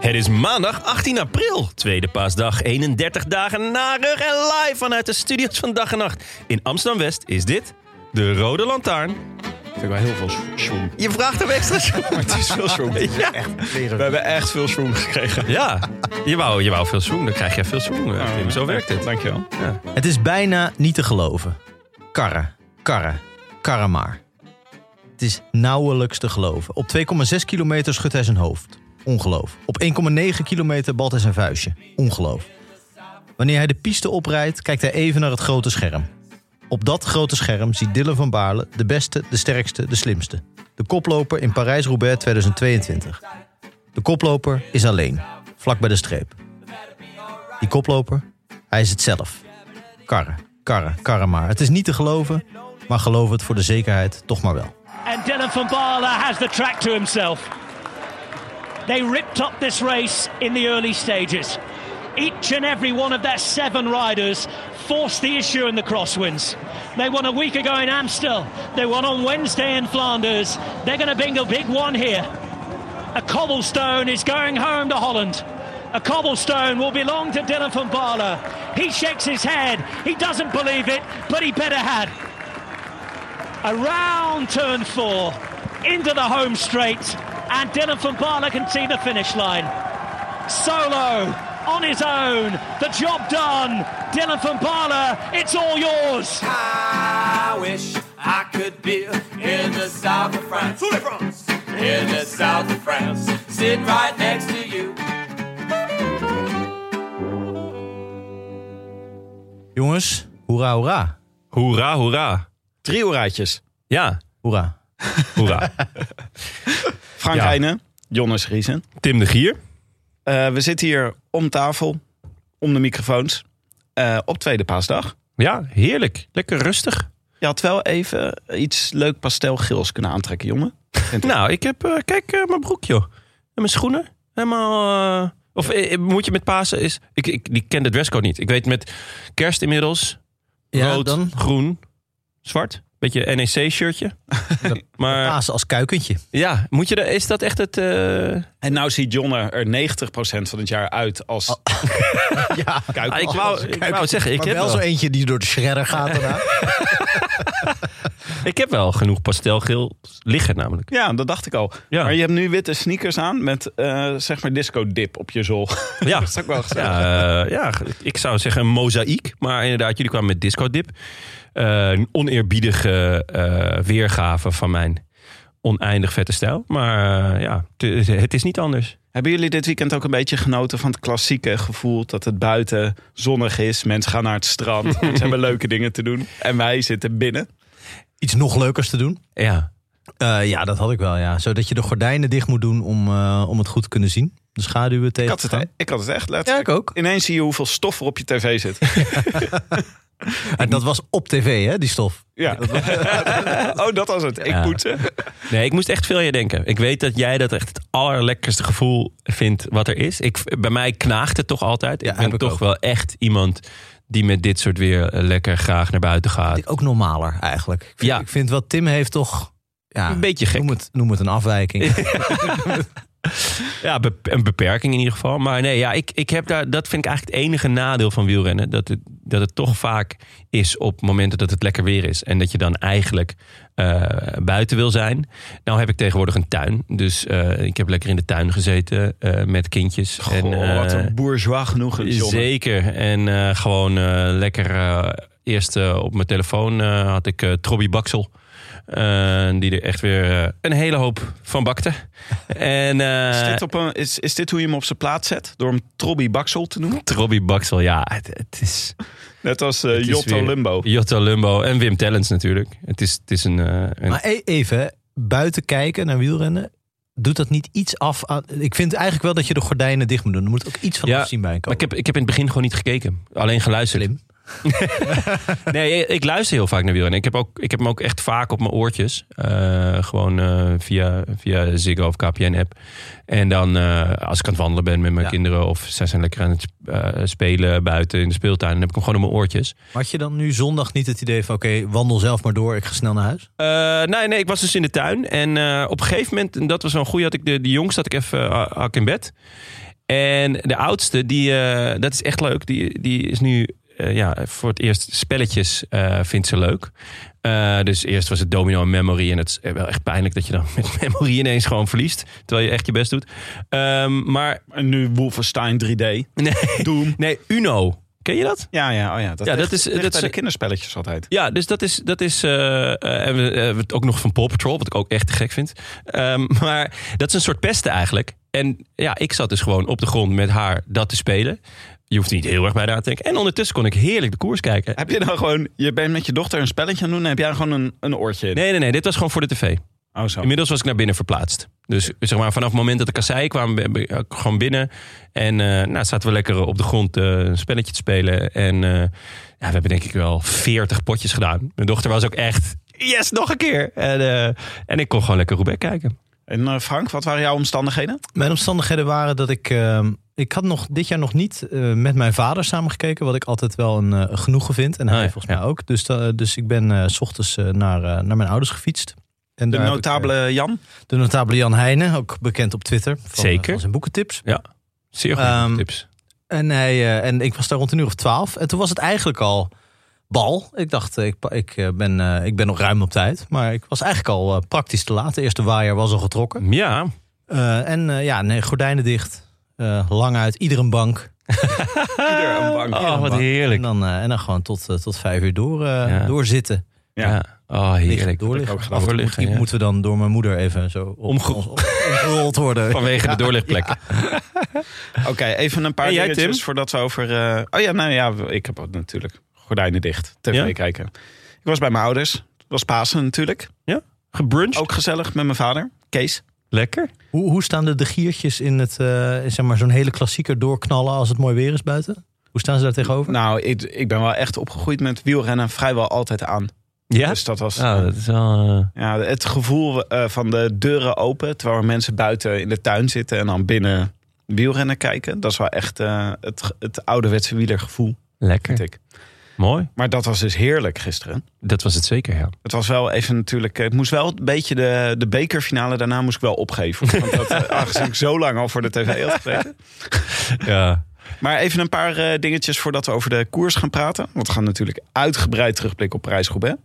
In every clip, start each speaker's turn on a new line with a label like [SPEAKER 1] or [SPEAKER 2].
[SPEAKER 1] Het is maandag 18 april, tweede paasdag, 31 dagen na rug en live vanuit de studios van Dag en Nacht. In Amsterdam-West is dit de Rode Lantaarn.
[SPEAKER 2] Vind ik wel heel veel sch- schroom.
[SPEAKER 1] Je vraagt hem extra schoen.
[SPEAKER 2] Het is veel schroom.
[SPEAKER 1] Ja.
[SPEAKER 2] We hebben echt veel schroom gekregen.
[SPEAKER 1] ja, je wou, je wou veel schoen, dan krijg je veel schoen.
[SPEAKER 2] Ah,
[SPEAKER 1] eh, Tim. Zo werkt het.
[SPEAKER 2] Dankjewel.
[SPEAKER 3] Het is bijna niet te geloven. Karren, karren, karren maar. Het is nauwelijks te geloven. Op 2,6 kilometer schudt hij zijn hoofd. Ongeloof. Op 1,9 kilometer balt hij zijn vuistje. Ongeloof. Wanneer hij de piste oprijdt, kijkt hij even naar het grote scherm. Op dat grote scherm ziet Dylan van Baarle de beste, de sterkste, de slimste. De koploper in Parijs-Roubaix 2022. De koploper is alleen, vlak bij de streep. Die koploper, hij is het zelf. Karren, karren, karren maar. Het is niet te geloven, maar geloof het voor de zekerheid toch maar wel.
[SPEAKER 4] And Dylan van Baarle has the track to himself. They ripped up this race in the early stages. Each and every one of their seven riders forced the issue in the crosswinds. They won a week ago in Amstel. They won on Wednesday in Flanders. They're going to bring a big one here. A cobblestone is going home to Holland. A cobblestone will belong to Dylan van Baarle. He shakes his head. He doesn't believe it, but he better had around turn four into the home straight and Dylan van Baarle can see the finish line solo on his own the job done Dylan van Baarle it's all yours
[SPEAKER 5] I wish I could be in the south of France. In the south of France, sitting right next to you.
[SPEAKER 3] Jongens, hoera, hoera.
[SPEAKER 1] Hoera, hoera.
[SPEAKER 2] Drie hoeraatjes.
[SPEAKER 1] Ja,
[SPEAKER 3] Hoera.
[SPEAKER 1] hoera.
[SPEAKER 2] Frank
[SPEAKER 1] Ja.
[SPEAKER 2] Heijnen, Jonas Riesen.
[SPEAKER 1] Tim de Gier.
[SPEAKER 2] Eh, we zitten hier om tafel, om de microfoons, eh, op tweede paasdag.
[SPEAKER 1] Ja, heerlijk. Lekker rustig.
[SPEAKER 2] Je had wel even iets leuk pastelgeels kunnen aantrekken, jongen.
[SPEAKER 1] Nou, ik heb... eh, kijk, eh, mijn broek, joh. En mijn schoenen. Helemaal... eh, of eh, eh, moet je met Pasen... Is, ik, ik die ken de dresscode niet. Ik weet met kerst inmiddels... rood, groen, zwart. Beetje E NEC-shirtje. maar
[SPEAKER 3] Pasen als kuikentje.
[SPEAKER 1] ja, moet je er, is dat echt het... eh,
[SPEAKER 2] En nou ziet John er 90% van het jaar uit als...
[SPEAKER 3] Ja,
[SPEAKER 1] ah, ik, wou, ik wou het zeggen, ik
[SPEAKER 3] maar
[SPEAKER 1] heb
[SPEAKER 3] wel,
[SPEAKER 1] wel,
[SPEAKER 3] zo eentje die door de shredder gaat daarna.
[SPEAKER 1] ik heb wel genoeg pastelgeel liggen namelijk.
[SPEAKER 2] Ja, dat dacht ik al.
[SPEAKER 1] Ja.
[SPEAKER 2] Maar je hebt nu witte sneakers aan met, eh, zeg maar, disco-dip op je zool.
[SPEAKER 1] Ja,
[SPEAKER 2] dat is ook wel gezellig.
[SPEAKER 1] ja, eh, ja, ik zou zeggen een mozaïek. Maar inderdaad, jullie kwamen met Disco Dip. Eh, een oneerbiedige eh, weergave van mijn oneindig vette stijl. Maar eh, ja, het- het is niet anders.
[SPEAKER 2] Hebben jullie dit weekend ook een beetje genoten van het klassieke gevoel dat het buiten zonnig is? Mensen gaan naar het strand, mensen hebben leuke dingen te doen. En wij zitten binnen.
[SPEAKER 3] Iets nog leukers te doen.
[SPEAKER 1] Ja,
[SPEAKER 3] Eh, ja, dat had ik wel, ja. Zodat je de gordijnen dicht moet doen om, eh, om het goed te kunnen zien. De schaduwen
[SPEAKER 2] Ik
[SPEAKER 3] tegen
[SPEAKER 2] had
[SPEAKER 3] te
[SPEAKER 2] het,
[SPEAKER 3] gaan.
[SPEAKER 2] e- ik had het echt
[SPEAKER 3] Ja,
[SPEAKER 2] letterlijk.
[SPEAKER 3] ik ook.
[SPEAKER 2] Ineens zie je hoeveel stof er op je tv zit.
[SPEAKER 3] En dat was op tv, hè, die stof.
[SPEAKER 2] Ja. oh, dat was het. Ik
[SPEAKER 1] Ja.
[SPEAKER 2] poetsen.
[SPEAKER 1] Nee, ik moest echt veel aan je denken. Ik weet dat jij dat echt het allerlekkerste gevoel vindt wat er is. Ik, bij mij knaagt het toch altijd.
[SPEAKER 3] Ja,
[SPEAKER 1] ik ben
[SPEAKER 3] heb ik
[SPEAKER 1] toch
[SPEAKER 3] ook.
[SPEAKER 1] wel echt iemand die met dit soort weer eh, lekker graag naar buiten gaat.
[SPEAKER 3] Vind ik ook normaler, eigenlijk. Ik vind,
[SPEAKER 1] Ja.
[SPEAKER 3] ik vind wat Tim heeft toch... Ja,
[SPEAKER 1] Een beetje gek.
[SPEAKER 3] Noem het, noem het een afwijking.
[SPEAKER 1] Ja, bep- een beperking in ieder geval. Maar nee, ja, ik, ik heb daar, dat vind ik eigenlijk het enige nadeel van wielrennen. Dat het dat het toch vaak is op momenten dat het lekker weer is. En dat je dan eigenlijk eh, buiten wil zijn. Nou heb ik tegenwoordig een tuin. Dus eh, ik heb lekker in de tuin gezeten eh, met kindjes. en,
[SPEAKER 2] Goh, wat
[SPEAKER 1] eh,
[SPEAKER 2] een bourgeois genoegen, John.
[SPEAKER 1] Zeker. En eh, gewoon eh, lekker. eh, eerst eh, op mijn telefoon eh, had ik eh Trobby Baksel. eh, die er echt weer eh, een hele hoop van bakte. En, eh,
[SPEAKER 2] Is dit, op een, is, is dit hoe je hem op zijn plaats zet? Door hem Trobby Baksel te noemen?
[SPEAKER 1] Trobby Baksel, ja, het, het is
[SPEAKER 2] Net als eh,
[SPEAKER 1] is
[SPEAKER 2] Jotto
[SPEAKER 1] weer-
[SPEAKER 2] Lumbo.
[SPEAKER 1] Jotto Lumbo en Wim Tellens natuurlijk. Het is, het is een, eh, een-
[SPEAKER 3] Maar e- even, hè, buiten kijken naar wielrennen, doet dat niet iets af aan... Ik vind eigenlijk wel dat je de gordijnen dicht moet doen. Er moet ook iets van
[SPEAKER 1] Ja,
[SPEAKER 3] afzien bij
[SPEAKER 1] Maar
[SPEAKER 3] komen.
[SPEAKER 1] ik heb, ik heb in het begin gewoon niet gekeken. Alleen geluisterd.
[SPEAKER 3] Slim.
[SPEAKER 1] nee, ik luister heel vaak naar wielrennen. Ik heb, ook, ik heb hem ook echt vaak op mijn oortjes. Eh, gewoon eh, via, via Ziggo of KPN-app. En dan eh, als ik aan het wandelen ben met mijn
[SPEAKER 3] Ja.
[SPEAKER 1] kinderen... of zij zijn lekker aan het eh, spelen buiten in de speeltuin... dan heb ik hem gewoon op mijn oortjes.
[SPEAKER 3] Maar had je dan nu zondag niet het idee van... oké, wandel zelf maar door, ik ga snel naar huis?
[SPEAKER 1] Eh, nee, nee, ik was dus in de tuin. En eh, op een gegeven moment, en dat was wel een goeie, had ik de, de jongste had ik even eh, hak in bed. En de oudste, die, eh, dat is echt leuk. Die, die is nu eh, ja, voor het eerst spelletjes eh, vindt ze leuk. Eh, dus eerst was het domino en memory. En het is eh, wel echt pijnlijk dat je dan met memory ineens gewoon verliest. Terwijl je echt je best doet. Ehm, maar
[SPEAKER 2] En nu Wolfenstein 3D.
[SPEAKER 1] nee,
[SPEAKER 2] Doom.
[SPEAKER 1] nee, Uno. Ken je dat?
[SPEAKER 2] Ja, ja, oh ja. Dat,
[SPEAKER 1] Ja,
[SPEAKER 2] ligt-
[SPEAKER 1] dat is-
[SPEAKER 2] ligt
[SPEAKER 1] dat
[SPEAKER 2] bij
[SPEAKER 1] is-
[SPEAKER 2] de kinderspelletjes altijd.
[SPEAKER 1] Ja, dus dat is. Dat is eh, eh, en we eh, we hebben het ook nog van Paw Patrol, wat ik ook echt te gek vind. Ehm, maar dat is een soort pesten eigenlijk. En ja, ik zat dus gewoon op de grond met haar dat te spelen. Je hoeft er niet heel erg bij na te denken. En ondertussen kon ik heerlijk de koers kijken.
[SPEAKER 2] Heb je nou gewoon... Je bent met je dochter een spelletje aan het doen... en heb jij gewoon een, een oortje in?
[SPEAKER 1] Nee, nee, nee, dit was gewoon voor de tv.
[SPEAKER 2] Oh, zo.
[SPEAKER 1] Inmiddels was ik naar binnen verplaatst. Dus zeg maar, vanaf het moment dat de kasseien kwamen, ben- ben ik gewoon binnen. En eh, nou, zaten we lekker op de grond eh, een spelletje te spelen. En eh, ja, we hebben denk ik wel 40 potjes gedaan. Mijn dochter was ook echt, yes, nog een keer. En, eh, en ik kon gewoon lekker Roubaix kijken.
[SPEAKER 2] En eh, Frank, wat waren jouw omstandigheden?
[SPEAKER 3] Mijn omstandigheden waren dat ik... ehm, ik had nog dit jaar nog niet eh, met mijn vader samengekeken. Wat ik altijd wel een eh, genoegen vind. En hij
[SPEAKER 1] Oh ja,
[SPEAKER 3] volgens mij ook. Dus, da- dus ik ben eh, s ochtends eh, naar, eh, naar mijn ouders gefietst. En
[SPEAKER 2] De
[SPEAKER 3] daar heb ik, eh,
[SPEAKER 2] notabele Jan?
[SPEAKER 3] De notabele Jan Heijnen, ook bekend op Twitter. Van, eh,
[SPEAKER 1] Zeker.
[SPEAKER 3] Van zijn boekentips.
[SPEAKER 1] Zeer goede
[SPEAKER 3] Ehm,
[SPEAKER 1] tips.
[SPEAKER 3] En, hij, eh, en ik was daar rond een uur of twaalf. En toen was het eigenlijk al bal. Ik dacht, eh, ik, pa- ik, eh, ben, eh, ik ben nog ruim op tijd. Maar ik was eigenlijk al eh, praktisch te laat. De eerste waaier was al getrokken.
[SPEAKER 1] Ja,
[SPEAKER 3] Eh, en eh, ja, nee, gordijnen dicht. Eh, lang uit, ieder een bank.
[SPEAKER 2] Ieder een bank.
[SPEAKER 1] Oh,
[SPEAKER 3] een
[SPEAKER 1] wat
[SPEAKER 3] bank. En
[SPEAKER 1] heerlijk.
[SPEAKER 3] dan, eh, en dan gewoon tot, eh, tot vijf uur door, eh,
[SPEAKER 1] Ja.
[SPEAKER 3] doorzitten.
[SPEAKER 1] Ja. Oh, heerlijk.
[SPEAKER 3] doorliggen.
[SPEAKER 1] Ook gedaan. Doorliggen,
[SPEAKER 3] Die
[SPEAKER 1] ja.
[SPEAKER 3] moeten we dan door mijn moeder even zo op-
[SPEAKER 1] Omge-
[SPEAKER 3] ons- omgerold worden.
[SPEAKER 1] Vanwege de doorlichtplekken.
[SPEAKER 2] Ah. Oké, even een paar
[SPEAKER 1] En jij,
[SPEAKER 2] dingetjes
[SPEAKER 1] Tim?
[SPEAKER 2] voordat we over... eh, Oh ja, nou ja, ik heb ook natuurlijk gordijnen dicht. TV
[SPEAKER 1] Ja?
[SPEAKER 2] kijken. Ik was bij mijn ouders. Het was Pasen natuurlijk.
[SPEAKER 1] Gebruncht.
[SPEAKER 2] Ook gezellig met mijn vader, Kees.
[SPEAKER 1] lekker.
[SPEAKER 3] Hoe, hoe staan de, de giertjes in het, eh, zeg maar, zo'n hele klassieker doorknallen als het mooi weer is buiten? Hoe staan ze daar tegenover?
[SPEAKER 2] Nou, ik, ik ben wel echt opgegroeid met wielrennen vrijwel altijd aan.
[SPEAKER 1] Ja?
[SPEAKER 2] Dus dat was...
[SPEAKER 1] Oh, dat is wel... eh,
[SPEAKER 2] Ja, het gevoel eh, van de deuren open, terwijl mensen buiten in de tuin zitten en dan binnen wielrennen kijken. Dat is wel echt eh, het, het ouderwetse wielergevoel, vind
[SPEAKER 1] lekker.
[SPEAKER 2] ik.
[SPEAKER 1] Mooi.
[SPEAKER 2] Maar dat was dus heerlijk gisteren.
[SPEAKER 1] Dat was het zeker, ja.
[SPEAKER 2] Het was wel even natuurlijk, eh, ik moest wel een beetje de, de bekerfinale daarna moest ik wel opgeven. Want dat, eh, aangezien ik zo lang al voor de tv had gezeten.
[SPEAKER 1] Ja.
[SPEAKER 2] Maar even een paar eh, dingetjes voordat we over de koers gaan praten. Want we gaan natuurlijk uitgebreid terugblikken op Parijs-Roubaix.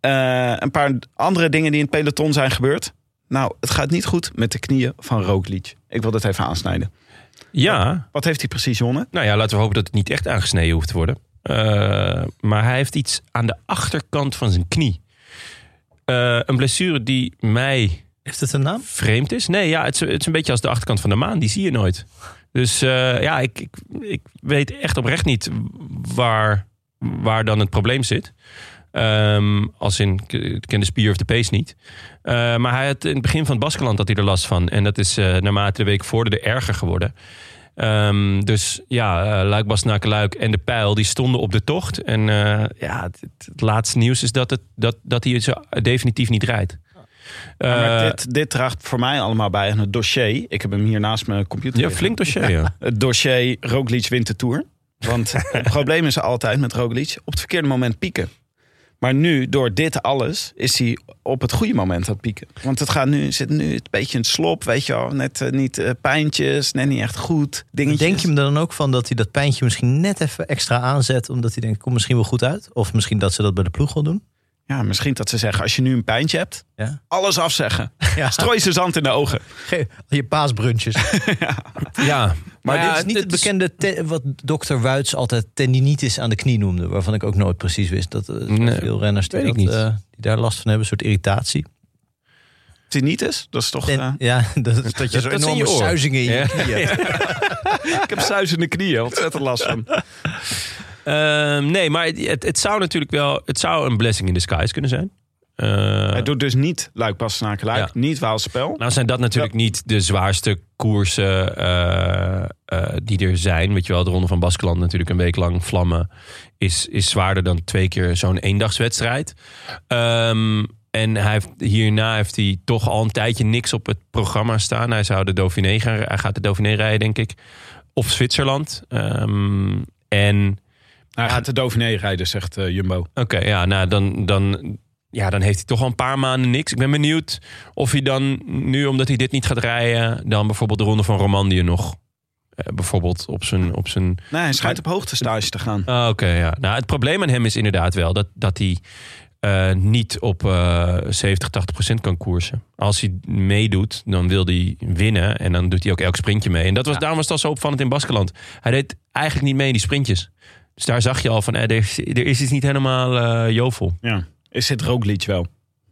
[SPEAKER 2] Eh, een paar andere dingen die in het peloton zijn gebeurd. Nou, het gaat niet goed met de knieën van Roglic. Ik wil dat even aansnijden.
[SPEAKER 1] Ja,
[SPEAKER 2] Wat heeft hij precies, Jonne?
[SPEAKER 1] Nou ja, laten we hopen dat het niet echt aangesneden hoeft te worden. Eh, maar hij heeft iets aan de achterkant van zijn knie. Eh, een blessure die mij
[SPEAKER 3] Heeft het een naam?
[SPEAKER 1] vreemd is. Nee, ja, het is, het is een beetje als de achterkant van de maan. Die zie je nooit. Dus eh, ja, ik, ik, ik weet echt oprecht niet waar, waar dan het probleem zit. Ehm, als in, ik- ik ken de spier of de pees niet. Eh, maar hij had, in het begin van het Baskeland had hij er last van. En dat is eh, naarmate de week vorderde erger geworden. Ehm, dus ja, eh Luik, Bastenaken, Luik en de Pijl die stonden op de tocht. En eh, ja, het, het- het laatste nieuws is dat, het, dat, dat hij ze definitief niet rijdt.
[SPEAKER 2] Maar
[SPEAKER 1] Eh,
[SPEAKER 2] dit, dit draagt voor mij allemaal bij aan het dossier. Ik heb hem hier naast mijn computer.
[SPEAKER 1] ja,
[SPEAKER 2] liggen.
[SPEAKER 1] flink dossier. Ja.
[SPEAKER 2] Het dossier Roglic wint de Tour. Want het probleem is altijd met Roglic op het verkeerde moment pieken. Maar nu, door dit alles, is hij op het goede moment aan het pieken. Want het gaat nu, zit nu een beetje een slop, weet je wel. Net eh, niet eh, pijntjes, net niet echt goed, dingetjes.
[SPEAKER 3] Denk je hem er dan ook van dat hij dat pijntje misschien net even extra aanzet? Omdat hij denkt, kom misschien wel goed uit. Of misschien dat ze dat bij de ploeg wel doen.
[SPEAKER 2] Ja, misschien dat ze zeggen, als je nu een pijntje hebt,
[SPEAKER 3] Ja.
[SPEAKER 2] alles afzeggen.
[SPEAKER 3] Ja.
[SPEAKER 2] Strooi ze zand in de ogen.
[SPEAKER 3] Ge- Je paasbruntjes.
[SPEAKER 1] Ja,
[SPEAKER 3] Maar
[SPEAKER 2] Ja,
[SPEAKER 3] dit is niet het,
[SPEAKER 2] is-
[SPEAKER 3] bekende te- wat dokter Wuits altijd tendinitis aan de knie noemde. Waarvan ik ook nooit precies wist dat eh,
[SPEAKER 1] Nee,
[SPEAKER 3] veel renners die,
[SPEAKER 1] weet ik
[SPEAKER 3] dat,
[SPEAKER 1] niet.
[SPEAKER 3] eh, die daar last van hebben. Een soort irritatie.
[SPEAKER 2] Tinnitus, dat is toch...
[SPEAKER 3] En,
[SPEAKER 2] eh,
[SPEAKER 3] ja, dat, is dat je
[SPEAKER 1] dat
[SPEAKER 3] zo
[SPEAKER 1] is in
[SPEAKER 3] enorme
[SPEAKER 1] je oor.
[SPEAKER 3] suizingen in je
[SPEAKER 1] Ja.
[SPEAKER 3] knieën hebt.
[SPEAKER 2] ik heb zuizende knieën, ontzettend last van.
[SPEAKER 1] Ehm, nee, maar het, het, het zou natuurlijk wel... Het zou een blessing in disguise kunnen zijn. Eh,
[SPEAKER 2] Hij doet dus niet Luik Bastenaken Luik,
[SPEAKER 1] Ja.
[SPEAKER 2] niet Waals Spel.
[SPEAKER 1] Nou zijn dat natuurlijk niet de zwaarste koersen eh, eh, die er zijn. Weet je wel, de Ronde van Baskeland natuurlijk een week lang vlammen... is, is zwaarder dan twee keer zo'n eendagswedstrijd. Ehm, en hij heeft, hierna heeft hij toch al een tijdje niks op het programma staan. Hij, zou de Dauphiné gaan, hij gaat de Dauphiné rijden, denk ik. Of Zwitserland. Ehm, en...
[SPEAKER 2] Hij gaat de Dauphiné rijden, zegt eh, Jumbo.
[SPEAKER 1] Oké, ja, nou dan, dan, ja, dan heeft hij toch al een paar maanden niks. Ik ben benieuwd of hij dan nu, omdat hij dit niet gaat rijden, dan bijvoorbeeld de ronde van Romandie nog. eh, bijvoorbeeld op zijn. Op zijn
[SPEAKER 2] Nee, hij schijnt op hoogtestage te gaan.
[SPEAKER 1] Ah, Oké, ja. Nou, het probleem aan hem is inderdaad wel dat, dat hij eh, niet op eh 70, 80 procent kan koersen. Als hij meedoet, dan wil hij winnen en dan doet hij ook elk sprintje mee. En dat was, daarom was het al zo opvallend in Baskeland. Hij deed eigenlijk niet mee in die sprintjes. Dus daar zag je al van, eh, er, is- er is iets niet helemaal eh, jovel.
[SPEAKER 2] Ja. Is dit Roglic wel?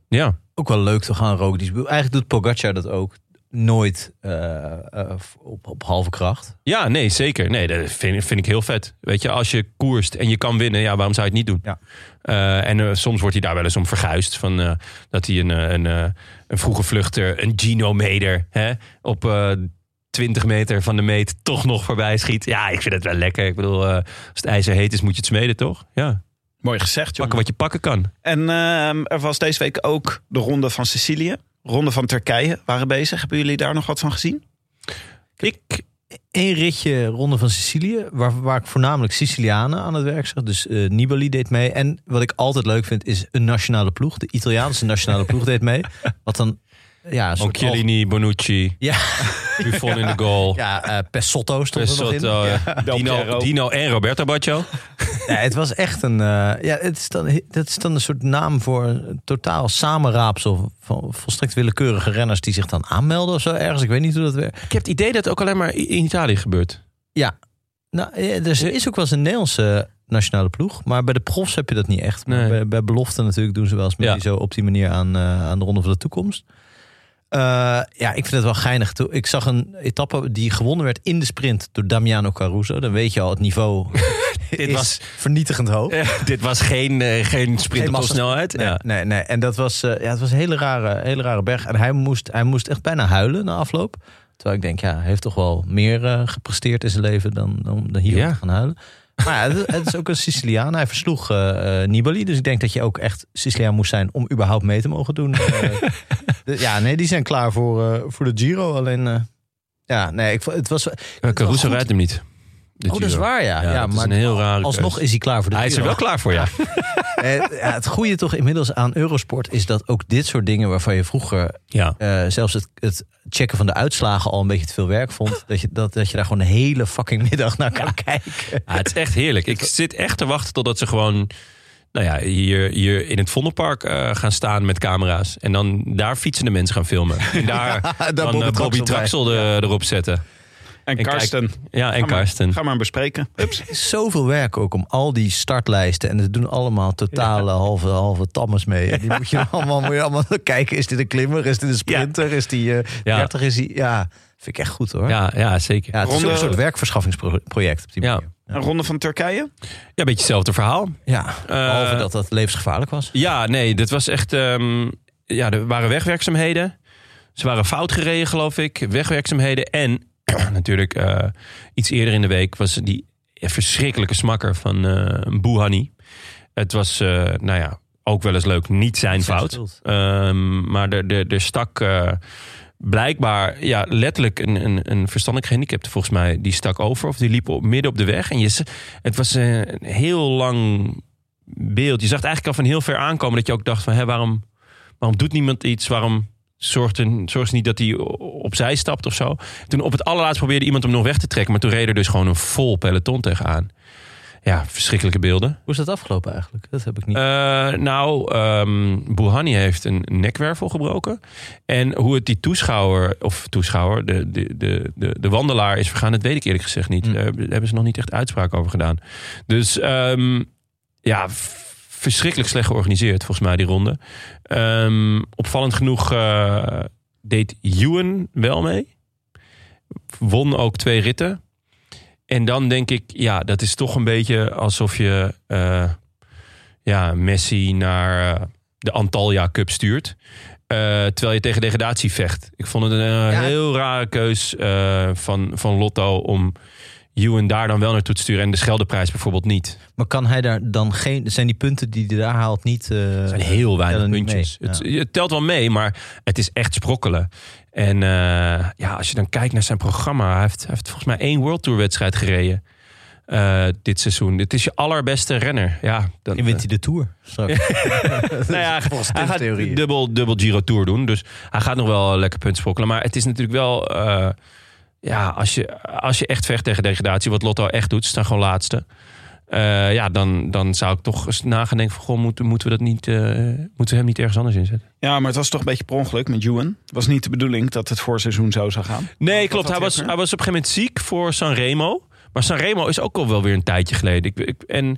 [SPEAKER 1] Ja.
[SPEAKER 3] ook wel leuk te gaan roken. Eigenlijk doet Pogacar dat ook nooit eh, eh, op, op halve kracht.
[SPEAKER 1] Ja, nee, zeker. Nee, dat vind, vind ik heel vet. Weet je, als je koerst en je kan winnen, ja, waarom zou je het niet doen?
[SPEAKER 3] Ja.
[SPEAKER 1] Eh, en eh, soms wordt hij daar wel eens om verguisd. Van, eh, dat hij een, eh, een, eh, een vroege vluchter, een genometer, hè, op eh 20 meter van de meet toch nog voorbij schiet. Ja, ik vind het wel lekker. Ik bedoel, eh, als het ijzer heet is, moet je het smeden, toch? Ja,
[SPEAKER 2] Mooi gezegd, jongen.
[SPEAKER 1] pakken wat je pakken kan.
[SPEAKER 2] En ehm, er was deze week ook de ronde van Sicilië. Ronde van Turkije waren bezig. Hebben jullie daar nog wat van gezien?
[SPEAKER 1] Ik,
[SPEAKER 3] Eén ritje Ronde van Sicilië, waar, waar ik voornamelijk Sicilianen aan het werk zag. Dus eh, Nibali deed mee. En wat ik altijd leuk vind, is een nationale ploeg. De Italiaanse nationale ploeg deed mee. Wat dan, ja, een soort algemeen-
[SPEAKER 1] Angelini, Bonucci,
[SPEAKER 3] Ja,
[SPEAKER 1] Buffon in de goal.
[SPEAKER 3] ja eh, Pessotto stond er nog in.
[SPEAKER 1] Pesotto, eh,
[SPEAKER 2] Del
[SPEAKER 1] Dino,
[SPEAKER 2] Piero.
[SPEAKER 1] Dino en Roberto Baccio.
[SPEAKER 3] Ja, het was echt een. eh, ja, het is dan, dat is dan een soort naam voor een totaal samenraapsel van volstrekt willekeurige renners die zich dan aanmelden of zo ergens. Ik weet niet hoe dat werkt.
[SPEAKER 1] Ik heb het idee dat het ook alleen maar in Italië gebeurt.
[SPEAKER 3] Ja, nou, ja, dus
[SPEAKER 1] Eh.
[SPEAKER 3] er is ook wel eens een Nederlandse nationale ploeg, maar bij de profs heb je dat niet echt. Maar
[SPEAKER 1] Nee.
[SPEAKER 3] Bij, bij belofte natuurlijk doen ze wel eens mee
[SPEAKER 1] Ja.
[SPEAKER 3] zo op die manier aan, eh, aan de ronde van de toekomst. Eh, ja, ik vind het wel geinig. Toen- Ik zag een etappe die gewonnen werd in de sprint door Damiano Caruso. Dan weet je al, het niveau Dit is
[SPEAKER 1] was-
[SPEAKER 3] vernietigend hoog.
[SPEAKER 1] Eh, dit was geen, eh, geen sprint
[SPEAKER 3] Geen
[SPEAKER 1] op
[SPEAKER 3] massa-
[SPEAKER 1] topsnelheid.
[SPEAKER 3] Nee,
[SPEAKER 1] Ja.
[SPEAKER 3] nee, nee. En dat was, eh, ja, het was een hele rare, hele rare berg. En hij moest, hij moest echt bijna huilen na afloop. Terwijl ik denk, ja, hij heeft toch wel meer eh, gepresteerd in zijn leven dan, dan, dan hier
[SPEAKER 1] Ja.
[SPEAKER 3] te gaan huilen. Maar ja, het, het is ook een Siciliaan. Hij versloeg eh, eh, Nibali. Dus ik denk dat je ook echt Siciliaan moest zijn om überhaupt mee te mogen doen. Eh, de- ja, nee, die zijn klaar voor, eh, voor de Giro. Alleen, eh, ja, nee, ik, vo- het was...
[SPEAKER 1] Eh, Caruso
[SPEAKER 3] goed.
[SPEAKER 1] rijdt hem niet. De
[SPEAKER 3] Oh, dat is
[SPEAKER 1] Giro.
[SPEAKER 3] waar, ja. ja,
[SPEAKER 1] dat is
[SPEAKER 3] maar
[SPEAKER 1] een heel rare
[SPEAKER 3] alsnog
[SPEAKER 1] keus.
[SPEAKER 3] is hij klaar voor de
[SPEAKER 1] Hij is
[SPEAKER 3] Giro.
[SPEAKER 1] er wel klaar voor, ja.
[SPEAKER 3] Eh, ja, het goede toch inmiddels aan Eurosport is dat ook dit soort dingen waarvan je vroeger
[SPEAKER 1] ja.
[SPEAKER 3] eh, zelfs het, het checken van de uitslagen al een beetje te veel werk vond. Dat je, dat, dat je daar gewoon de hele fucking middag naar kan kijken.
[SPEAKER 1] Ah, het is echt heerlijk. Ik zit echt te wachten totdat ze gewoon... Nou ja, hier, hier in het Vondelpark eh, gaan staan met camera's. En dan daar fietsende mensen gaan filmen. En daar
[SPEAKER 3] daar
[SPEAKER 1] dan eh,
[SPEAKER 3] Bobby
[SPEAKER 1] Bobby,
[SPEAKER 3] Traxel
[SPEAKER 1] Traxel
[SPEAKER 3] bij.
[SPEAKER 1] er- erop zetten.
[SPEAKER 2] En,
[SPEAKER 1] kijk-
[SPEAKER 2] Karsten.
[SPEAKER 1] Ja, en
[SPEAKER 2] Ga maar-
[SPEAKER 1] Karsten.
[SPEAKER 2] Ga maar bespreken. Ups.
[SPEAKER 3] Het is zoveel werk ook om al die startlijsten. En ze doen allemaal totale halve, halve tammers mee. En die moet je allemaal, moet je allemaal kijken. Is dit een klimmer? Is dit een sprinter? Is die eh
[SPEAKER 1] Ja.
[SPEAKER 3] 30? Is die, ja, vind ik echt goed hoor. Ja.
[SPEAKER 1] Ja, ja, zeker. Ja,
[SPEAKER 3] het is ook
[SPEAKER 2] Ronde-
[SPEAKER 3] een soort werkverschaffingsproject op die
[SPEAKER 1] Ja.
[SPEAKER 3] manier.
[SPEAKER 2] Een ronde van Turkije.
[SPEAKER 1] een beetje hetzelfde verhaal.
[SPEAKER 3] Ja, behalve
[SPEAKER 1] Eh,
[SPEAKER 3] dat dat levensgevaarlijk was.
[SPEAKER 1] Ja, nee, dit was echt. ehm, ja, er waren wegwerkzaamheden. Ze waren fout gereden, geloof ik. Wegwerkzaamheden. En natuurlijk, eh, iets eerder in de week was die verschrikkelijke smakker van eh Bouhanni. Het was, eh, nou ja, ook wel eens leuk. Niet zijn
[SPEAKER 3] zijn
[SPEAKER 1] fout.
[SPEAKER 3] schuld.
[SPEAKER 1] Ehm, maar er, er, er stak eh, blijkbaar ja, letterlijk een, een, een verstandelijk gehandicapte, volgens mij. Die stak over of die liep op, midden op de weg. En je, z- het was eh, een heel lang beeld. Je zag het eigenlijk al van heel ver aankomen dat je ook dacht van... Hé, waarom, waarom doet niemand iets? Waarom zorgt, een, zorgt niet dat hij o- opzij stapt of zo? Toen op het allerlaatst probeerde iemand hem nog weg te trekken... maar toen reed er dus gewoon een vol peloton tegenaan. Ja, verschrikkelijke beelden.
[SPEAKER 3] Hoe is dat afgelopen eigenlijk? Dat heb ik niet.
[SPEAKER 1] Eh, nou, ehm Bouhanni heeft een nekwervel gebroken. En hoe het die toeschouwer, of toeschouwer, de, de, de, de, de wandelaar is vergaan, dat weet ik eerlijk gezegd niet.
[SPEAKER 3] Hmm.
[SPEAKER 1] Daar hebben- daar hebben ze nog niet echt uitspraak over gedaan. Dus ehm, ja, v- verschrikkelijk slecht georganiseerd volgens mij die ronde. Ehm, opvallend genoeg eh, deed Ewan wel mee. Won ook twee ritten. En dan denk ik, ja, dat is toch een beetje alsof je... eh, ja, Messi naar eh, de Antalya Cup stuurt. Eh, terwijl je tegen degradatie vecht. Ik vond het een eh,
[SPEAKER 3] Ja.
[SPEAKER 1] heel rare keus eh, van, van Lotto om Ewan daar dan wel naartoe te sturen. En de Scheldeprijs bijvoorbeeld niet.
[SPEAKER 3] Maar kan hij daar dan geen. Zijn die punten die hij daar haalt niet. eh,
[SPEAKER 1] Er zijn heel weinig
[SPEAKER 3] tellen niet
[SPEAKER 1] puntjes.
[SPEAKER 3] mee?
[SPEAKER 1] Het,
[SPEAKER 3] Ja.
[SPEAKER 1] het telt wel mee, maar het is echt sprokkelen. En eh, ja, als je dan kijkt naar zijn programma. Hij heeft, hij heeft volgens mij één World Tour wedstrijd gereden. eh, dit seizoen. Dit is je allerbeste renner. Ja, dan,
[SPEAKER 3] En wint hij de tour straks.
[SPEAKER 1] nou ja, hij gaat
[SPEAKER 3] theorieën.
[SPEAKER 1] dubbel, dubbel Giro Tour doen. Dus hij gaat nog wel lekker punten sprokkelen. Maar het is natuurlijk wel... eh, ja, als je, als je echt vecht tegen degradatie... wat Lotto echt doet, ze staan gewoon laatste. Eh, ja, dan, dan zou ik toch eens na gaan denken van... Goh, moeten, moeten, we dat niet, eh, moeten we hem niet ergens anders inzetten?
[SPEAKER 2] Ja, maar het was toch een beetje per ongeluk met Ewan. Het was niet de bedoeling dat het voorseizoen zo zou gaan.
[SPEAKER 1] Nee,
[SPEAKER 2] Wat
[SPEAKER 1] klopt.
[SPEAKER 2] had
[SPEAKER 1] Hij
[SPEAKER 2] hij
[SPEAKER 1] was,
[SPEAKER 2] ook, hè?
[SPEAKER 1] hij was op een gegeven moment ziek voor Sanremo. Maar Sanremo is ook al wel weer een tijdje geleden. Ik, ik, en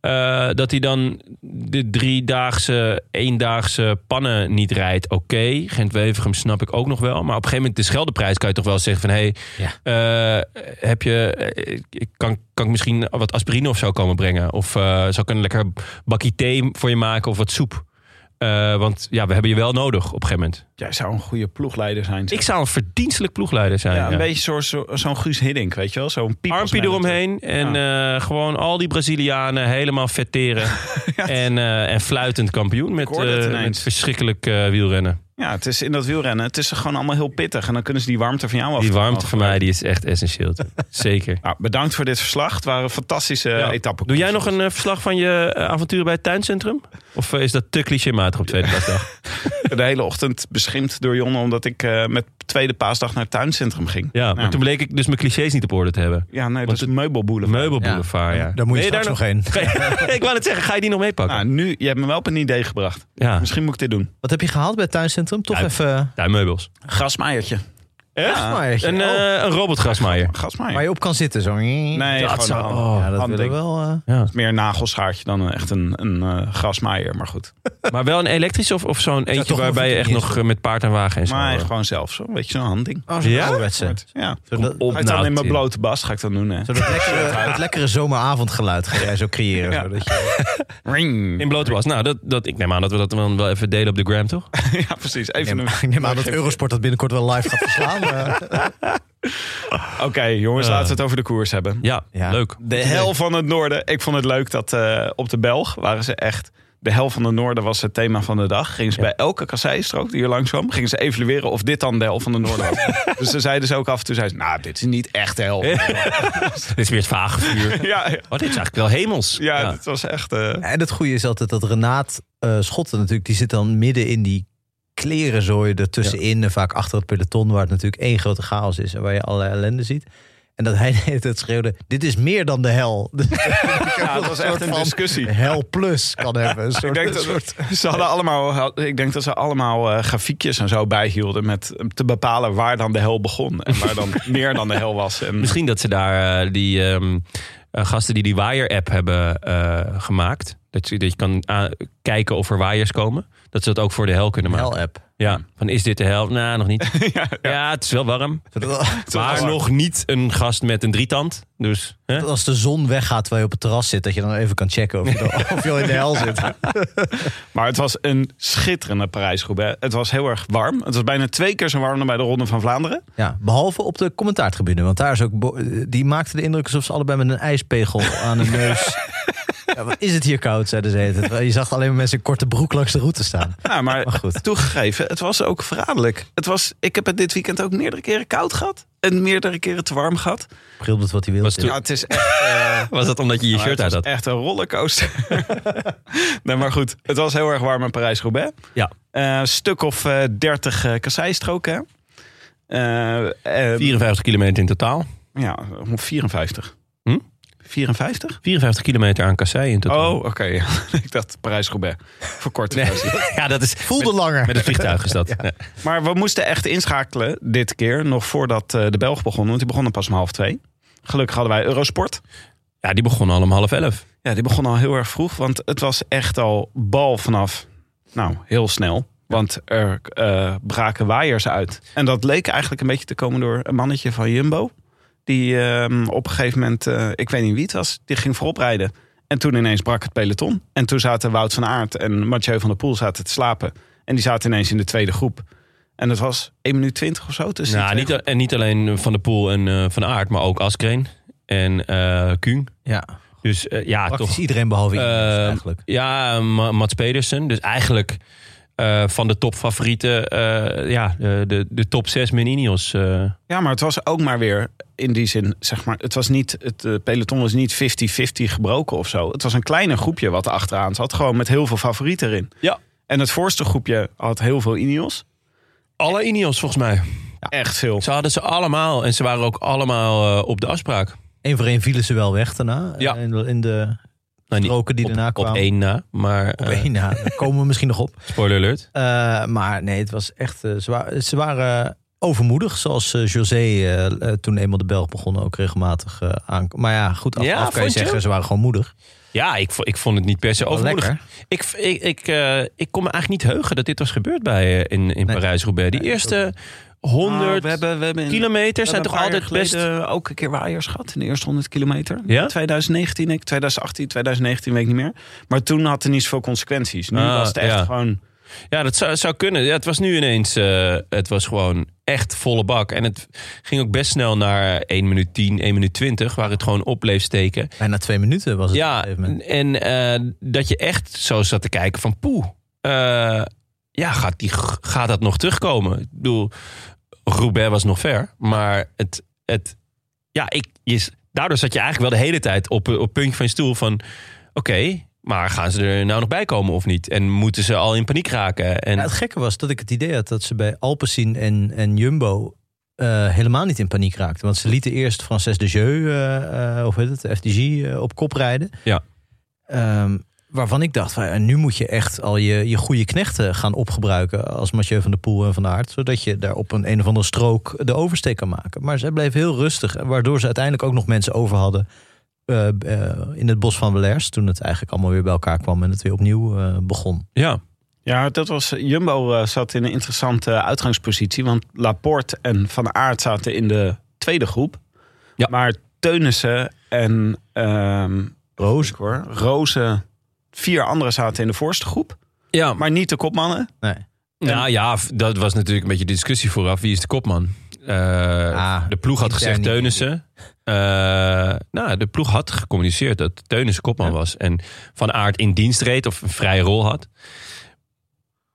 [SPEAKER 1] eh, dat hij dan de driedaagse, eendaagse pannen niet rijdt, oké. Gent-Wevergem snap ik ook nog wel. Maar op een gegeven moment de Scheldeprijs kan je toch wel zeggen van... Hey, eh, heb je, eh, ik kan, kan ik misschien wat aspirine of zo komen brengen? Of eh, zou ik een lekker bakkie thee voor je maken of wat soep? Eh, want ja, we hebben je wel nodig op een gegeven moment.
[SPEAKER 2] Jij zou een goede ploegleider zijn.
[SPEAKER 1] Ik zou een verdienstelijk ploegleider zijn.
[SPEAKER 2] ja, een
[SPEAKER 1] ja.
[SPEAKER 2] beetje zo'n zo, zo'n Guus Hiddink, weet je wel? Zo'n piep.
[SPEAKER 1] Armpje eromheen en eh, gewoon al die Brazilianen helemaal vetteren. en, eh, en fluitend kampioen met,
[SPEAKER 2] Ik hoorde het
[SPEAKER 1] eh,
[SPEAKER 2] ineens.
[SPEAKER 1] met verschrikkelijk eh, wielrennen.
[SPEAKER 2] Ja, het is in dat wielrennen. Het is gewoon allemaal heel pittig. En dan kunnen ze die warmte van jou af.
[SPEAKER 1] Die warmte van mij die is echt essentieel. Zeker.
[SPEAKER 2] Nou, bedankt voor dit verslag. Het waren fantastische
[SPEAKER 1] Ja.
[SPEAKER 2] etappen. etappen.
[SPEAKER 1] Doe jij nog een eh, verslag van je eh, avonturen bij het tuincentrum? Of eh, is dat te clichématig op tweede klasdag?
[SPEAKER 2] De hele ochtend beschimd door Jonne... omdat ik eh, met tweede paasdag naar het tuincentrum ging.
[SPEAKER 1] Ja, maar
[SPEAKER 2] Ja.
[SPEAKER 1] toen bleek ik dus mijn clichés niet op orde te hebben.
[SPEAKER 2] Ja, nee, dat is meubelboelen.
[SPEAKER 1] Meubelboulevard, ja.
[SPEAKER 3] Daar moet je
[SPEAKER 1] Ben
[SPEAKER 3] straks nog heen.
[SPEAKER 1] Ga je- ik wou net zeggen, ga je die nog
[SPEAKER 2] Nou,
[SPEAKER 1] meepakken?
[SPEAKER 2] nu, je hebt me wel op een idee gebracht.
[SPEAKER 1] Ja,
[SPEAKER 2] Misschien moet ik dit doen.
[SPEAKER 3] Wat heb je gehaald bij het tuincentrum? Toch
[SPEAKER 1] Ja,
[SPEAKER 3] even. eh,
[SPEAKER 1] tuinmeubels.
[SPEAKER 2] Grasmaaiertje.
[SPEAKER 1] Echt?
[SPEAKER 3] Grasmaaiertje.
[SPEAKER 1] Een,
[SPEAKER 3] Oh.
[SPEAKER 1] eh, een robotgrasmaaier.
[SPEAKER 3] Waar
[SPEAKER 2] Grasmaaier.
[SPEAKER 3] je op kan zitten zo.
[SPEAKER 2] eh, Nee,
[SPEAKER 1] Dat
[SPEAKER 2] gewoon
[SPEAKER 1] zou...
[SPEAKER 2] een-
[SPEAKER 1] oh.
[SPEAKER 3] Ja, dat
[SPEAKER 2] handig.
[SPEAKER 3] willen we wel. eh.
[SPEAKER 1] Ja.
[SPEAKER 2] meer een nagelschaartje dan een- echt een, een eh, grasmaaier. Maar goed.
[SPEAKER 1] Maar wel een elektrische of, of zo'n eentje
[SPEAKER 3] toch wel
[SPEAKER 1] waarbij je echt
[SPEAKER 3] verdiend
[SPEAKER 1] nog eh, met paard en wagen en zo.
[SPEAKER 2] Maar
[SPEAKER 1] eh,
[SPEAKER 2] gewoon zelf zo. Weet je, zo'n handding.
[SPEAKER 3] Oh, zo'n
[SPEAKER 1] Ja?
[SPEAKER 3] ouderwetse.
[SPEAKER 2] Ja.
[SPEAKER 3] Zodat,
[SPEAKER 1] op-
[SPEAKER 2] Ga ik dan
[SPEAKER 1] Nou,
[SPEAKER 2] in mijn
[SPEAKER 1] Tim.
[SPEAKER 2] blote bas ga ik dan doen. Hè.
[SPEAKER 3] zodat lekkere, het lekkere zomeravondgeluid ga jij zo creëren.
[SPEAKER 2] Ja.
[SPEAKER 3] Zodat je,
[SPEAKER 2] Ring.
[SPEAKER 1] in blote was. Nou, dat, dat, ik neem aan dat we dat dan wel even delen op de gram, toch?
[SPEAKER 2] Ja, precies. Even
[SPEAKER 3] neem,
[SPEAKER 2] een...
[SPEAKER 3] ik neem aan dat Eurosport dat binnenkort wel live gaat verslaan. eh.
[SPEAKER 2] Oké, jongens, laten we het over de koers hebben.
[SPEAKER 1] Ja,
[SPEAKER 3] Ja.
[SPEAKER 1] leuk.
[SPEAKER 2] De hel van het noorden. Ik vond het leuk dat eh, op de Belg waren ze echt... De hel van het noorden was het thema van de dag. Gingen ze bij elke kasseistrook die hier langs kwam... gingen ze evalueren of dit dan de hel van het noorden was. dus ze zeiden ze ook af en toe... zeiden ze, nou, dit is niet echt de hel. ja,
[SPEAKER 1] Dit is weer het vage vuur.
[SPEAKER 2] ja, ja,
[SPEAKER 1] Oh, dit is eigenlijk wel hemels.
[SPEAKER 2] het was echt... eh,
[SPEAKER 3] En het goede is altijd dat Renaat eh, Schotten natuurlijk, die zit dan midden in die klerenzooi ertussenin. En vaak achter het peloton, waar het natuurlijk één grote chaos is en waar je allerlei ellende ziet. En dat hij de hele tijd schreeuwde, dit is meer dan de hel. Dus
[SPEAKER 2] ja, het was echt een discussie.
[SPEAKER 3] hel plus kan hebben. Een
[SPEAKER 2] Ik
[SPEAKER 3] soort,
[SPEAKER 2] denk, dat, ze hadden allemaal, ik denk dat ze allemaal eh, grafiekjes en zo bijhielden... met te bepalen waar dan de hel begon. En waar dan meer dan de hel was. En
[SPEAKER 1] Misschien dat ze daar eh, die ehm, eh, gasten die die waaier-app hebben eh, gemaakt. Dat je, dat je kan a- kijken of er waaiers komen. Dat ze dat ook voor de hel kunnen maken.
[SPEAKER 3] hel-app.
[SPEAKER 1] Ja, van is dit de hel? Nou, nog niet. ja, het is wel warm.
[SPEAKER 3] Zodat-
[SPEAKER 1] Maar
[SPEAKER 2] warm.
[SPEAKER 1] nog niet een gast met een drietand. Dus, hè?
[SPEAKER 3] dat als de zon weggaat terwijl je op het terras zit, dat je dan even kan checken of je, dan- of je al in de hel zit.
[SPEAKER 2] Maar het was een schitterende Parijs-Roubaix. Het was heel erg warm. Het was bijna twee keer zo warm dan bij de Ronde van Vlaanderen.
[SPEAKER 3] Ja, behalve op de commentaartribune. Want daar is ook. bo- eh, Die maakte de indruk alsof ze allebei met een ijspegel aan hun neus. Ja, wat is het hier koud, zeiden ze. het. Terwijl Je zag alleen maar mensen in korte broek langs de route staan.
[SPEAKER 2] Ja, maar
[SPEAKER 3] Maar goed.
[SPEAKER 2] toegegeven, het was ook verraderlijk. Het was, ik heb het dit weekend ook meerdere keren koud gehad. het meerdere keren te warm gehad.
[SPEAKER 3] Gilbert wat hij wil.
[SPEAKER 1] Was
[SPEAKER 3] Tim.
[SPEAKER 2] Ja, het is echt... eh,
[SPEAKER 1] Was dat omdat je je
[SPEAKER 2] Nou,
[SPEAKER 1] shirt uit
[SPEAKER 2] het was
[SPEAKER 1] had?
[SPEAKER 2] Echt een rollercoaster. nee, maar goed, het was heel erg warm in Parijs-Roubaix.
[SPEAKER 1] Ja.
[SPEAKER 2] Eh, een stuk of eh 30 eh kasseistroken. hè? Eh, eh,
[SPEAKER 1] 54 kilometer in totaal.
[SPEAKER 2] ja, 54.
[SPEAKER 1] Hm?
[SPEAKER 2] 54?
[SPEAKER 1] 54 kilometer aan kassei in totaal.
[SPEAKER 2] Oh, oké. ik dacht Parijs-Roubaix. Voor korte versie.
[SPEAKER 1] ja, dat is...
[SPEAKER 3] Voelde langer.
[SPEAKER 1] Met het vliegtuig is dat. ja.
[SPEAKER 2] Maar we moesten echt inschakelen dit keer. Nog voordat eh, de Belg begon. Want die begonnen pas om half twee. Gelukkig hadden wij Eurosport.
[SPEAKER 1] Ja, die begon al om half elf.
[SPEAKER 2] Ja, die begon al heel erg vroeg, want het was echt al bal vanaf, nou, heel snel. Want er eh, braken waaiers uit. En dat leek eigenlijk een beetje te komen door een mannetje van Jumbo. Die ehm, op een gegeven moment, eh, ik weet niet wie het was, die ging voorop rijden. En toen ineens brak het peloton. En toen zaten Wout van Aert en Mathieu van der Poel zaten te slapen. En die zaten ineens in de tweede groep. En dat was 1 minuut 20 of zo. Tussen
[SPEAKER 1] Nou,
[SPEAKER 2] die
[SPEAKER 1] niet,
[SPEAKER 2] twee
[SPEAKER 1] a- en niet alleen Van der Poel en eh, Van Aert, maar ook Askreen en eh Kuhn.
[SPEAKER 3] Ja,
[SPEAKER 1] Dus eh, ja,
[SPEAKER 3] praktisch
[SPEAKER 1] toch.
[SPEAKER 3] iedereen behalve Ineos
[SPEAKER 1] Eh,
[SPEAKER 3] eigenlijk.
[SPEAKER 1] Ja, Ma- Mats Pedersen. Dus eigenlijk eh, van de topfavorieten, eh, ja, de, de, de top 6 min Ineos. eh.
[SPEAKER 2] Ja, maar het was ook maar weer in die zin, zeg maar, het was niet, het eh, peloton was niet 50-50 gebroken of zo. Het was een kleiner groepje wat achteraan zat, gewoon met heel veel favorieten erin.
[SPEAKER 1] Ja.
[SPEAKER 2] En het voorste groepje had heel veel Ineos.
[SPEAKER 1] alle Ineos volgens mij.
[SPEAKER 2] Echt veel.
[SPEAKER 1] Ze hadden ze allemaal en ze waren ook allemaal eh, op de afspraak.
[SPEAKER 3] Eén voor één vielen ze wel weg daarna. eh,
[SPEAKER 1] Ja.
[SPEAKER 3] In, de- in de
[SPEAKER 1] Nou, niet
[SPEAKER 3] roken die
[SPEAKER 1] op,
[SPEAKER 3] daarna kwamen.
[SPEAKER 1] Op één na, maar
[SPEAKER 3] Op
[SPEAKER 1] eh,
[SPEAKER 3] één, ja, daar komen we misschien nog op.
[SPEAKER 1] spoiler alert.
[SPEAKER 3] Eh, maar nee, het was echt eh, zwaar. Ze waren overmoedig, zoals eh, José eh, eh, toen eenmaal de Belg begon ook regelmatig eh aan. Maar ja, goed, af,
[SPEAKER 1] Ja,
[SPEAKER 3] af kan je
[SPEAKER 1] vond je?
[SPEAKER 3] zeggen, ze waren gewoon moedig.
[SPEAKER 1] Ja, ik, vo- ik vond het niet per se
[SPEAKER 3] Wel
[SPEAKER 1] overmoedig.
[SPEAKER 3] lekker.
[SPEAKER 1] Ik, ik, ik, eh, ik kon me eigenlijk niet heugen dat dit was gebeurd bij, eh, in, in
[SPEAKER 3] Nee.
[SPEAKER 1] Parijs-Roubaix. Die
[SPEAKER 3] Nee,
[SPEAKER 1] eerste 100
[SPEAKER 3] Nou,
[SPEAKER 2] Ah, we hebben, we hebben in-
[SPEAKER 1] kilometer
[SPEAKER 2] we
[SPEAKER 1] zijn
[SPEAKER 2] hebben
[SPEAKER 1] toch
[SPEAKER 2] een paar
[SPEAKER 1] altijd
[SPEAKER 2] jaar
[SPEAKER 1] best...
[SPEAKER 2] geleden ook een keer waaiers gehad in de eerste 100 kilometer.
[SPEAKER 1] Ja?
[SPEAKER 2] 2019, ik, 2018, 2019, weet ik niet meer. Maar toen had het niet zoveel consequenties. Nu
[SPEAKER 1] Ah,
[SPEAKER 2] was het echt
[SPEAKER 1] ja.
[SPEAKER 2] gewoon...
[SPEAKER 1] Ja, dat zou, zou kunnen. Ja, het was nu ineens, eh, het was gewoon echt volle bak. En het ging ook best snel naar 1 minuut 10, 1 minuut 20, waar het gewoon op bleef steken.
[SPEAKER 3] Bijna twee minuten was het op een
[SPEAKER 1] Ja,
[SPEAKER 3] gegeven moment.
[SPEAKER 1] en eh, dat je echt zo zat te kijken van poeh, eh, ja, gaat, die, gaat dat nog terugkomen? Ik bedoel, Roubaix was nog ver, maar het, het ja, ik, je, daardoor zat je eigenlijk wel de hele tijd op, op het puntje van je stoel van oké, maar gaan ze er nou nog bij komen of niet? En moeten ze al in paniek raken? En,
[SPEAKER 3] Ja, het gekke was dat ik het idee had dat ze bij Alpecin en, en Jumbo eh, helemaal niet in paniek raakten. Want ze lieten eerst Frances de Jeu, eh, eh, of heet het, FDG, eh, op kop rijden.
[SPEAKER 1] Ja.
[SPEAKER 3] Ehm, waarvan ik dacht, van, ja, nu moet je echt al je, je goede knechten gaan opgebruiken. Als Mathieu van der Poel en Van Aert. Zodat je daar op een, een of andere strook de oversteek kan maken. Maar ze bleven heel rustig. Waardoor ze uiteindelijk ook nog mensen over hadden. eh, eh, in het bos van Belers. Toen het eigenlijk allemaal weer bij elkaar kwam. En het weer opnieuw eh, begon.
[SPEAKER 1] ja.
[SPEAKER 2] Ja, dat was, Jumbo eh, zat in een interessante eh, uitgangspositie. Want Laporte en Van Aert zaten in de tweede groep.
[SPEAKER 1] Ja.
[SPEAKER 2] Maar Teunissen en ehm
[SPEAKER 3] Roos.
[SPEAKER 2] hoor, Rozen, vier anderen zaten in de voorste groep.
[SPEAKER 1] ja,
[SPEAKER 2] Maar niet de kopmannen.
[SPEAKER 3] Nee.
[SPEAKER 1] Nou ja, v- dat was natuurlijk een beetje de discussie vooraf. Wie is de kopman? Eh,
[SPEAKER 3] Ah,
[SPEAKER 1] de ploeg had
[SPEAKER 3] intern
[SPEAKER 1] gezegd
[SPEAKER 3] niet.
[SPEAKER 1] Teunissen. Eh, nou, de ploeg had gecommuniceerd dat Teunissen kopman was. En Van Aert in dienst reed of een vrije rol had.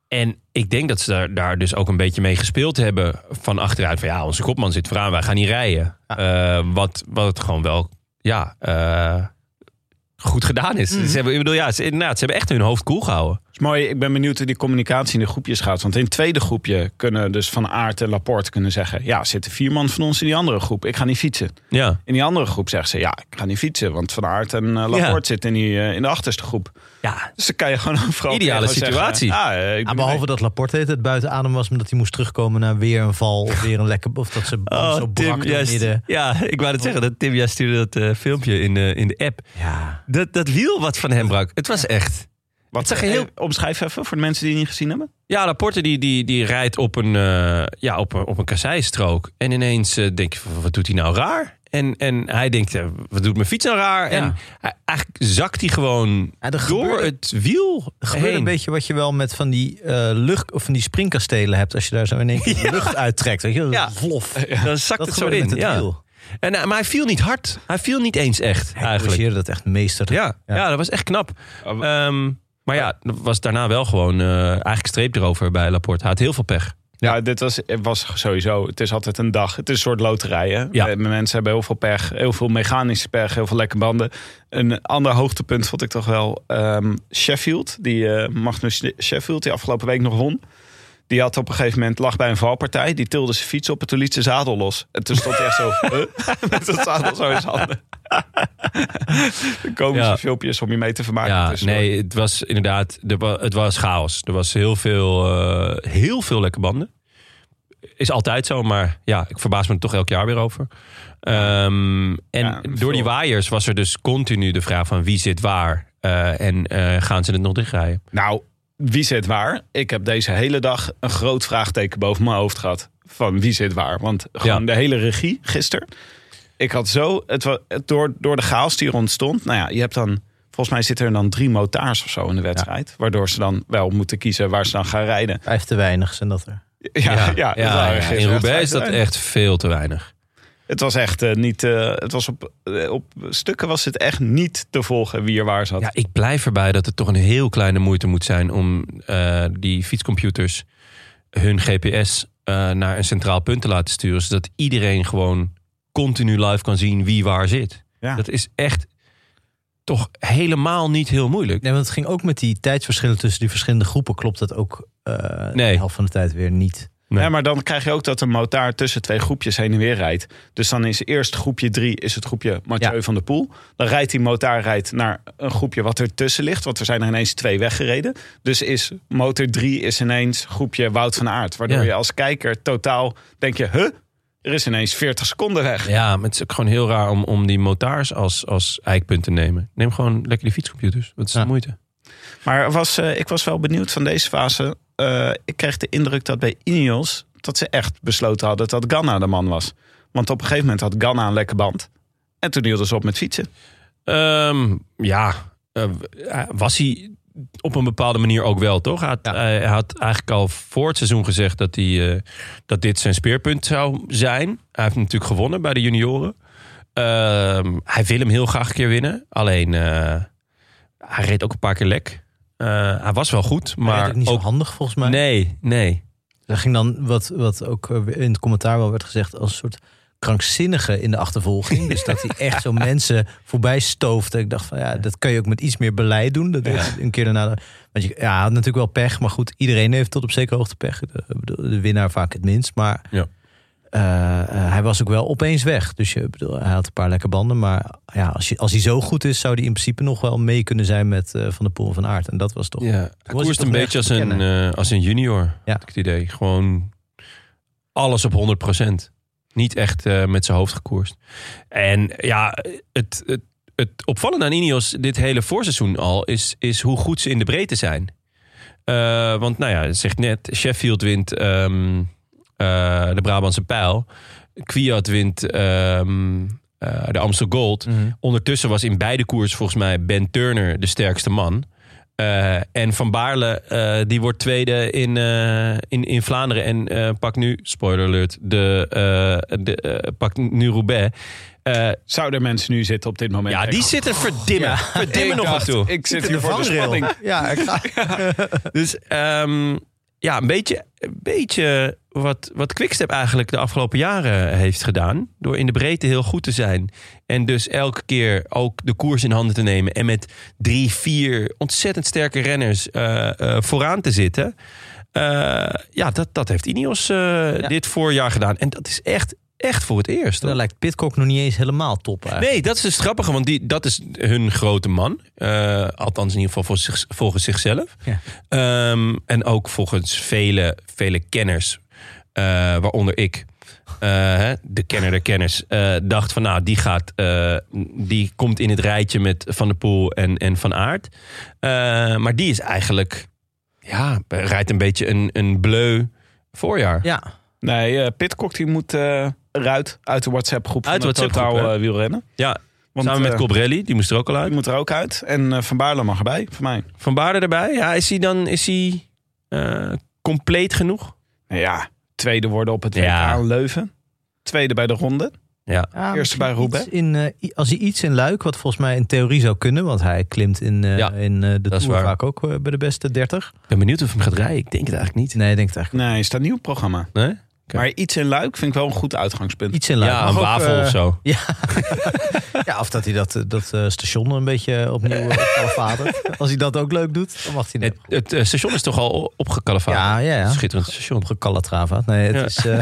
[SPEAKER 1] En ik denk dat ze daar, daar dus ook een beetje mee gespeeld hebben. Van achteruit van ja, onze kopman zit vooraan. Wij gaan niet rijden. Eh, wat, wat gewoon wel, ja... eh, goed gedaan is.
[SPEAKER 3] Mhm.
[SPEAKER 1] Ze hebben, ik bedoel, ja, ze, inderdaad, ze hebben echt hun hoofd koel gehouden.
[SPEAKER 2] is mooi. Ik ben benieuwd hoe die communicatie in de groepjes gaat. Want in het tweede groepje kunnen dus Van Aert en Laporte kunnen zeggen... ja, zitten vier man van ons in die andere groep. Ik ga niet fietsen.
[SPEAKER 1] Ja.
[SPEAKER 2] In die andere groep zeggen ze... ja, ik ga niet fietsen. Want Van Aert en eh, Laporte zitten in, die, eh, in de achterste groep.
[SPEAKER 1] ja,
[SPEAKER 2] Dus dan kan je gewoon overal...
[SPEAKER 1] Ideale
[SPEAKER 2] tegen zeggen,
[SPEAKER 1] situatie.
[SPEAKER 2] ah, eh, ik ben
[SPEAKER 3] Ja, behalve dat Laporte heet het buiten adem was, omdat hij moest terugkomen na weer een val of weer een lekker. Of dat ze band zo brak door
[SPEAKER 1] Oh, juist-
[SPEAKER 3] midden.
[SPEAKER 1] ja, ik wou het zeggen dat Tim, jij stuurde dat eh, filmpje in, eh, in de app.
[SPEAKER 3] Ja,
[SPEAKER 1] Dat, dat wiel wat van hem brak, het was echt.
[SPEAKER 2] Wat
[SPEAKER 1] Het
[SPEAKER 2] zeg
[SPEAKER 1] is een
[SPEAKER 2] heel...
[SPEAKER 1] heel-
[SPEAKER 2] Omschrijf even voor de mensen die het niet gezien hebben.
[SPEAKER 1] Ja, Laporte die, die, die rijdt op een, eh ja, op, een- op een kasseistrook. En ineens eh, denk je, van, wat doet hij nou raar? En, en hij denkt, eh, wat doet mijn fiets nou raar? En hij- eigenlijk zakt hij gewoon
[SPEAKER 3] Ja, er
[SPEAKER 1] door
[SPEAKER 3] gebeurde-
[SPEAKER 1] het wiel
[SPEAKER 3] er gebeurde
[SPEAKER 1] heen.
[SPEAKER 3] een beetje wat je wel met van die eh, lucht of van die springkastelen hebt. Als je daar zo in één keer de lucht uittrekt. Weet je, wel,
[SPEAKER 1] Ja.
[SPEAKER 3] vlof.
[SPEAKER 1] Dan zakt
[SPEAKER 3] Dat
[SPEAKER 1] het zo
[SPEAKER 3] gebeurde
[SPEAKER 1] in.
[SPEAKER 3] met het
[SPEAKER 1] Ja.
[SPEAKER 3] wiel.
[SPEAKER 1] En, eh, maar hij viel niet hard. Hij viel niet eens echt,
[SPEAKER 3] Hij
[SPEAKER 1] eigenlijk.
[SPEAKER 3] corrigeerde dat echt meester.
[SPEAKER 1] Ja, ja. dat was echt knap.
[SPEAKER 2] Ah,
[SPEAKER 1] Ehm, maar ja, er was daarna wel gewoon eh, eigenlijk streep erover bij Laporte. Hij had heel veel pech. Ja.
[SPEAKER 2] Ja, Nou, dit was, was sowieso. Het is altijd een dag. Het is een soort loterij. Hè?
[SPEAKER 1] Ja.
[SPEAKER 2] Eh, Mensen hebben heel veel pech, heel veel mechanische pech, heel veel lekke banden. Een ander hoogtepunt vond ik toch wel ehm, Sheffield. Die eh Magnus Sheffield, die afgelopen week nog won. Die had op een gegeven moment lag bij een valpartij. Die tilde zijn fiets op en toen liet zijn zadel los. En toen stond hij echt zo huh? met zijn zadel zo in zijn handen. Er komen
[SPEAKER 1] Ja.
[SPEAKER 2] filmpjes om je mee te vermaken.
[SPEAKER 1] Ja,
[SPEAKER 2] Dus,
[SPEAKER 1] nee, het was inderdaad, er wa- het was chaos. Er was heel veel, eh, heel veel lekke banden. Is altijd zo, maar ja, ik verbaas me er toch elk jaar weer over. Ehm, en
[SPEAKER 2] Ja,
[SPEAKER 1] door
[SPEAKER 2] veel.
[SPEAKER 1] die waaiers was er dus continu de vraag van wie zit waar. eh, en eh, gaan ze het nog dichtrijden?
[SPEAKER 2] Nou, wie zit waar? Ik heb deze hele dag een groot vraagteken boven mijn hoofd gehad. Van wie zit waar? Want gewoon
[SPEAKER 1] Ja.
[SPEAKER 2] de hele regie gisteren. Ik had zo, het, wa- het door, door de chaos die er ontstond. Nou ja, je hebt dan, volgens mij zitten er dan drie motaars of zo in de wedstrijd. Waardoor ze dan wel moeten kiezen waar ze dan gaan rijden.
[SPEAKER 3] Vijf te weinig zijn dat er.
[SPEAKER 2] Ja, ja, dat waren gisteren
[SPEAKER 1] In Roubaix is
[SPEAKER 2] echt-
[SPEAKER 1] dat echt veel te weinig.
[SPEAKER 2] Het was echt eh, niet, eh, het was op, eh, op stukken was het echt niet te volgen wie er waar zat.
[SPEAKER 1] Ja, ik blijf erbij dat het toch een heel kleine moeite moet zijn om eh, die fietscomputers hun GPS eh, naar een centraal punt te laten sturen. Zodat iedereen gewoon continu live kan zien wie waar zit.
[SPEAKER 2] Ja.
[SPEAKER 1] Dat is echt toch helemaal niet heel moeilijk.
[SPEAKER 3] Nee, want het ging ook met die tijdsverschillen tussen die verschillende groepen. Klopt dat ook eh
[SPEAKER 1] Nee.
[SPEAKER 3] de helft van de tijd weer niet.
[SPEAKER 1] Nee.
[SPEAKER 2] Ja, maar dan krijg je ook dat een motaar tussen twee groepjes heen en weer rijdt. Dus dan is eerst groepje drie is het groepje Mathieu
[SPEAKER 3] Ja.
[SPEAKER 2] van der Poel. Dan rijdt die motaar rijdt naar een groepje wat ertussen ligt. Want er zijn er ineens twee weggereden. Dus is motor drie is ineens groepje Wout van Aert. Waardoor
[SPEAKER 1] Ja.
[SPEAKER 2] je als kijker totaal denk je... Huh? Er is ineens 40 seconden weg.
[SPEAKER 1] Ja, maar het is ook gewoon heel raar om, om die motaars als, als eikpunt te nemen. Neem gewoon lekker die fietscomputers. Wat is
[SPEAKER 3] Ja.
[SPEAKER 1] de moeite?
[SPEAKER 2] Maar er was, eh, ik was wel benieuwd van deze fase. Eh, ik kreeg de indruk dat bij Ineos... dat ze echt besloten hadden dat Ganna de man was. Want op een gegeven moment had Ganna een lekke band. En toen hielden ze op met fietsen.
[SPEAKER 1] Ehm, ja, eh, was hij op een bepaalde manier ook wel, toch? Hij had, hij had eigenlijk al voor het seizoen gezegd dat, hij, eh, dat dit zijn speerpunt zou zijn. Hij heeft natuurlijk gewonnen bij de junioren. Ehm, hij wil hem heel graag een keer winnen. Alleen, eh, hij reed ook een paar keer lek. Eh, hij was wel goed,
[SPEAKER 3] Maar
[SPEAKER 1] maar
[SPEAKER 3] ook niet
[SPEAKER 1] ook...
[SPEAKER 3] zo handig volgens mij.
[SPEAKER 1] Nee, nee.
[SPEAKER 3] Er ging dan wat, wat ook eh, in het commentaar wel werd gezegd als een soort krankzinnige in de achtervolging. Dus dat hij echt zo mensen voorbij stoofde. Ik dacht van ja, dat kan je ook met iets meer beleid doen. Dat deed hij een keer daarna. Want je, ja, hij had natuurlijk wel pech. Maar goed, iedereen heeft tot op zekere hoogte pech. De, ik bedoel, de winnaar vaak het minst. Maar
[SPEAKER 1] Ja.
[SPEAKER 3] eh, eh, hij was ook wel opeens weg. Dus je, ik bedoel, hij had een paar lekke banden. Maar ja, als, je, als hij zo goed is, zou hij in principe nog wel mee kunnen zijn met eh, Van der Poel en Van Aert. En dat was toch...
[SPEAKER 1] Ja, hij
[SPEAKER 3] was
[SPEAKER 1] koerst
[SPEAKER 3] toch
[SPEAKER 1] een
[SPEAKER 3] wel
[SPEAKER 1] beetje als
[SPEAKER 3] echt te
[SPEAKER 1] een, eh, als een junior,
[SPEAKER 3] Ja.
[SPEAKER 1] had ik het idee. Gewoon alles op 100%. Niet echt eh, met zijn hoofd gekoerst. En ja, het, het, het opvallende aan Ineos dit hele voorseizoen al... is, is hoe goed ze in de breedte zijn. Eh, want nou ja, het zegt net, Sheffield wint ehm, eh, de Brabantse Pijl. Kwiat wint ehm, eh, de Amstel Gold.
[SPEAKER 3] Mhm.
[SPEAKER 1] Ondertussen was in beide koers volgens mij Ben Turner de sterkste man. Eh, en Van Baarle, eh, die wordt tweede in, eh, in, in Vlaanderen. En eh pak nu, spoiler alert, de, eh de, eh, pak nu Roubaix. Eh,
[SPEAKER 2] Zouden mensen nu zitten op dit moment?
[SPEAKER 1] ja,
[SPEAKER 2] Ik
[SPEAKER 1] die zitten verdimmen. Verdimmen nog aan toe.
[SPEAKER 2] Ik zit hier voor de spanning.
[SPEAKER 3] Ja, ik ga...
[SPEAKER 1] Dus ehm, ja, een beetje, een beetje wat, wat Quickstep eigenlijk de afgelopen jaren heeft gedaan. Door in de breedte heel goed te zijn. En dus elke keer ook de koers in handen te nemen. En met drie, vier ontzettend sterke renners eh, eh, vooraan te zitten. Eh, ja, dat, dat heeft Ineos eh, dit voorjaar gedaan. En dat is echt, echt voor het eerst. hoor.
[SPEAKER 3] Dan lijkt Pitcock nog niet eens helemaal top eigenlijk.
[SPEAKER 1] Nee, dat is het grappige, want die, dat is hun grote man. Eh, althans, in ieder geval voor zich- volgens zichzelf.
[SPEAKER 3] Ja.
[SPEAKER 1] Ehm, en ook volgens vele, vele kenners, eh, waaronder ik. eh, hè, de kenner der kenners eh, dacht van nou, die gaat eh, die komt in het rijtje met Van der Poel en, en Van Aert Eh, maar die is eigenlijk ja, rijdt een beetje een, een bleu voorjaar
[SPEAKER 3] Ja,
[SPEAKER 2] Nee, eh, Pitcock die moet eh, eruit uit de WhatsApp-groep
[SPEAKER 1] Uit
[SPEAKER 2] van
[SPEAKER 1] de
[SPEAKER 2] het
[SPEAKER 1] WhatsApp-groep,
[SPEAKER 2] Totaal
[SPEAKER 1] hè?
[SPEAKER 2] eh, wielrennen.
[SPEAKER 1] ja,
[SPEAKER 2] Want,
[SPEAKER 1] samen met
[SPEAKER 2] eh,
[SPEAKER 1] Cobrelli, die moest er ook al uit
[SPEAKER 2] Die moet er ook uit. En eh, Van Baarle mag erbij, voor mij.
[SPEAKER 1] Van Baarden erbij. Ja, is hij dan is hij, eh, compleet genoeg?
[SPEAKER 2] Nou Ja, tweede worden op het WK
[SPEAKER 1] Ja.
[SPEAKER 2] aan Leuven. Tweede bij de ronde.
[SPEAKER 1] Ja.
[SPEAKER 3] Ja,
[SPEAKER 2] Eerste
[SPEAKER 3] misschien
[SPEAKER 2] bij Roubaix.
[SPEAKER 3] iets In, eh, i- als hij iets in Luik, wat volgens mij in theorie zou kunnen, want hij klimt in, eh,
[SPEAKER 1] Ja,
[SPEAKER 3] in eh, de
[SPEAKER 1] dat is
[SPEAKER 3] Tour
[SPEAKER 1] waar.
[SPEAKER 3] vaak ook eh, bij de beste 30.
[SPEAKER 1] Ik ben benieuwd of hij hem gaat rijden. Ik denk het eigenlijk niet.
[SPEAKER 3] Nee, ik denk het eigenlijk
[SPEAKER 2] Nee, staat niet op programma.
[SPEAKER 1] Nee? Oké.
[SPEAKER 2] Maar iets in Luik vind ik wel een goed uitgangspunt.
[SPEAKER 3] iets in Luik.
[SPEAKER 1] ja,
[SPEAKER 3] Mag
[SPEAKER 1] een
[SPEAKER 3] ook,
[SPEAKER 1] wafel
[SPEAKER 3] eh,
[SPEAKER 1] of zo.
[SPEAKER 3] Ja, of dat hij dat, eh, dat eh, station een beetje opnieuw eh, opkalfatert. Als hij dat ook leuk doet, dan mag hij net
[SPEAKER 1] Het, het eh, station is toch al opgekalefaat?
[SPEAKER 3] Ja, ja, ja.
[SPEAKER 1] Schitterend station.
[SPEAKER 3] opgekalatrava. Nee, het
[SPEAKER 1] Ja.
[SPEAKER 3] is, eh,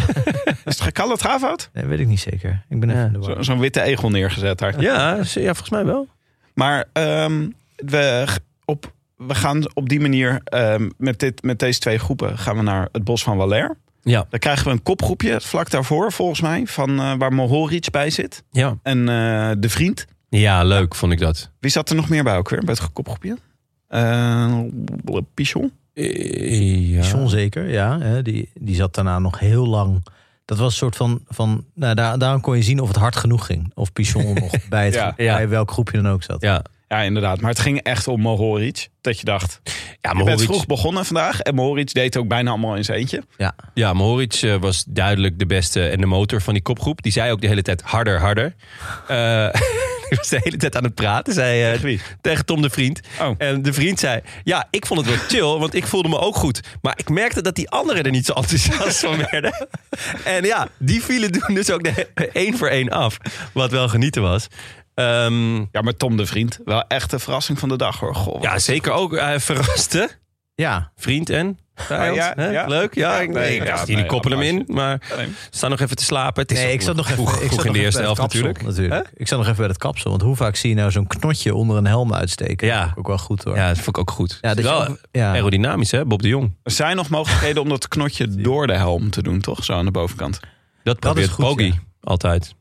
[SPEAKER 2] Is het gekallet Havoud?
[SPEAKER 3] nee, weet ik niet zeker. Ik ben even
[SPEAKER 1] Ja,
[SPEAKER 3] in de war.
[SPEAKER 2] Zo- Zo'n witte egel neergezet daar.
[SPEAKER 1] Ja, ze- ja, volgens mij wel.
[SPEAKER 2] Maar ehm, we, g- op, we gaan op die manier ehm, met, dit, met deze twee groepen gaan we naar het bos van Waller.
[SPEAKER 1] Ja.
[SPEAKER 2] Dan krijgen we een kopgroepje vlak daarvoor, volgens mij, van eh, waar Mohoric bij zit.
[SPEAKER 1] Ja,
[SPEAKER 2] En eh, de vriend.
[SPEAKER 1] ja leuk vond ik dat.
[SPEAKER 2] Wie zat er nog meer bij ook weer, bij het kopgroepje? Eh Pichon?
[SPEAKER 1] Eh, Ja.
[SPEAKER 3] John zeker, ja. Hè, die, die zat daarna nog heel lang. Dat was een soort van... van nou, daar, daarom kon je zien of het hard genoeg ging. Of Pichon nog bij, het,
[SPEAKER 2] Ja,
[SPEAKER 3] groep-
[SPEAKER 1] ja.
[SPEAKER 3] bij welk groepje dan ook zat.
[SPEAKER 1] Ja,
[SPEAKER 2] Ja, inderdaad. Maar het ging echt om Mohoric. Dat je dacht,
[SPEAKER 1] ja
[SPEAKER 2] je bent
[SPEAKER 1] Mohoric-
[SPEAKER 2] vroeg begonnen vandaag. En Mohoric deed ook bijna allemaal in zijn eentje.
[SPEAKER 1] Ja, Mohoric eh, was duidelijk de beste en de motor van die kopgroep. Die zei ook de hele tijd harder, harder. Eh, die was de hele tijd aan het praten, zei eh,
[SPEAKER 2] Tegen wie?
[SPEAKER 1] tegen Tom de Vriend.
[SPEAKER 2] Oh.
[SPEAKER 1] En de vriend zei, ja, ik vond het wel chill, want ik voelde me ook goed. Maar ik merkte dat die anderen er niet zo enthousiast van werden. En ja, die vielen toen dus ook de, één voor één af. Wat wel genieten was. Ehm,
[SPEAKER 2] Ja, maar Tom de Vriend. Wel echt de verrassing van de dag hoor. Goh,
[SPEAKER 1] ja, zeker ook eh, verraste
[SPEAKER 3] Ja,
[SPEAKER 1] vriend en...
[SPEAKER 3] Ah,
[SPEAKER 1] vijand,
[SPEAKER 2] ja,
[SPEAKER 1] hè?
[SPEAKER 2] ja.
[SPEAKER 1] Leuk, ja.
[SPEAKER 2] Ja,
[SPEAKER 1] ik-
[SPEAKER 2] nee,
[SPEAKER 1] ik dacht,
[SPEAKER 2] ja,
[SPEAKER 1] jullie
[SPEAKER 2] nee,
[SPEAKER 1] koppelen hem in,
[SPEAKER 2] absoluut.
[SPEAKER 1] maar...
[SPEAKER 2] Nee.
[SPEAKER 1] Staan nog even te slapen. Het is
[SPEAKER 3] nee,
[SPEAKER 1] al
[SPEAKER 3] ik zat nog even,
[SPEAKER 1] vroeg,
[SPEAKER 3] ik
[SPEAKER 1] vroeg in
[SPEAKER 3] zat nog
[SPEAKER 1] de
[SPEAKER 3] even
[SPEAKER 1] eerste
[SPEAKER 3] bij het
[SPEAKER 1] helft
[SPEAKER 3] kapsel,
[SPEAKER 1] natuurlijk.
[SPEAKER 3] natuurlijk. Ik zat nog even bij het kapsel. Want hoe vaak zie je nou zo'n knotje onder een helm uitsteken?
[SPEAKER 1] Ja.
[SPEAKER 3] Dat vond ik ook wel goed hoor.
[SPEAKER 1] Ja, dat vond ik ook goed.
[SPEAKER 3] Ja,
[SPEAKER 1] Ja,
[SPEAKER 3] dat je
[SPEAKER 1] wel
[SPEAKER 3] ook- ja.
[SPEAKER 1] aerodynamisch, hè, Bob de Jong.
[SPEAKER 2] Er zijn nog mogelijkheden om dat knotje door de helm te doen, toch? Zo aan de bovenkant.
[SPEAKER 1] Dat probeert
[SPEAKER 3] is goed,
[SPEAKER 1] Bogie
[SPEAKER 3] ja.
[SPEAKER 1] altijd.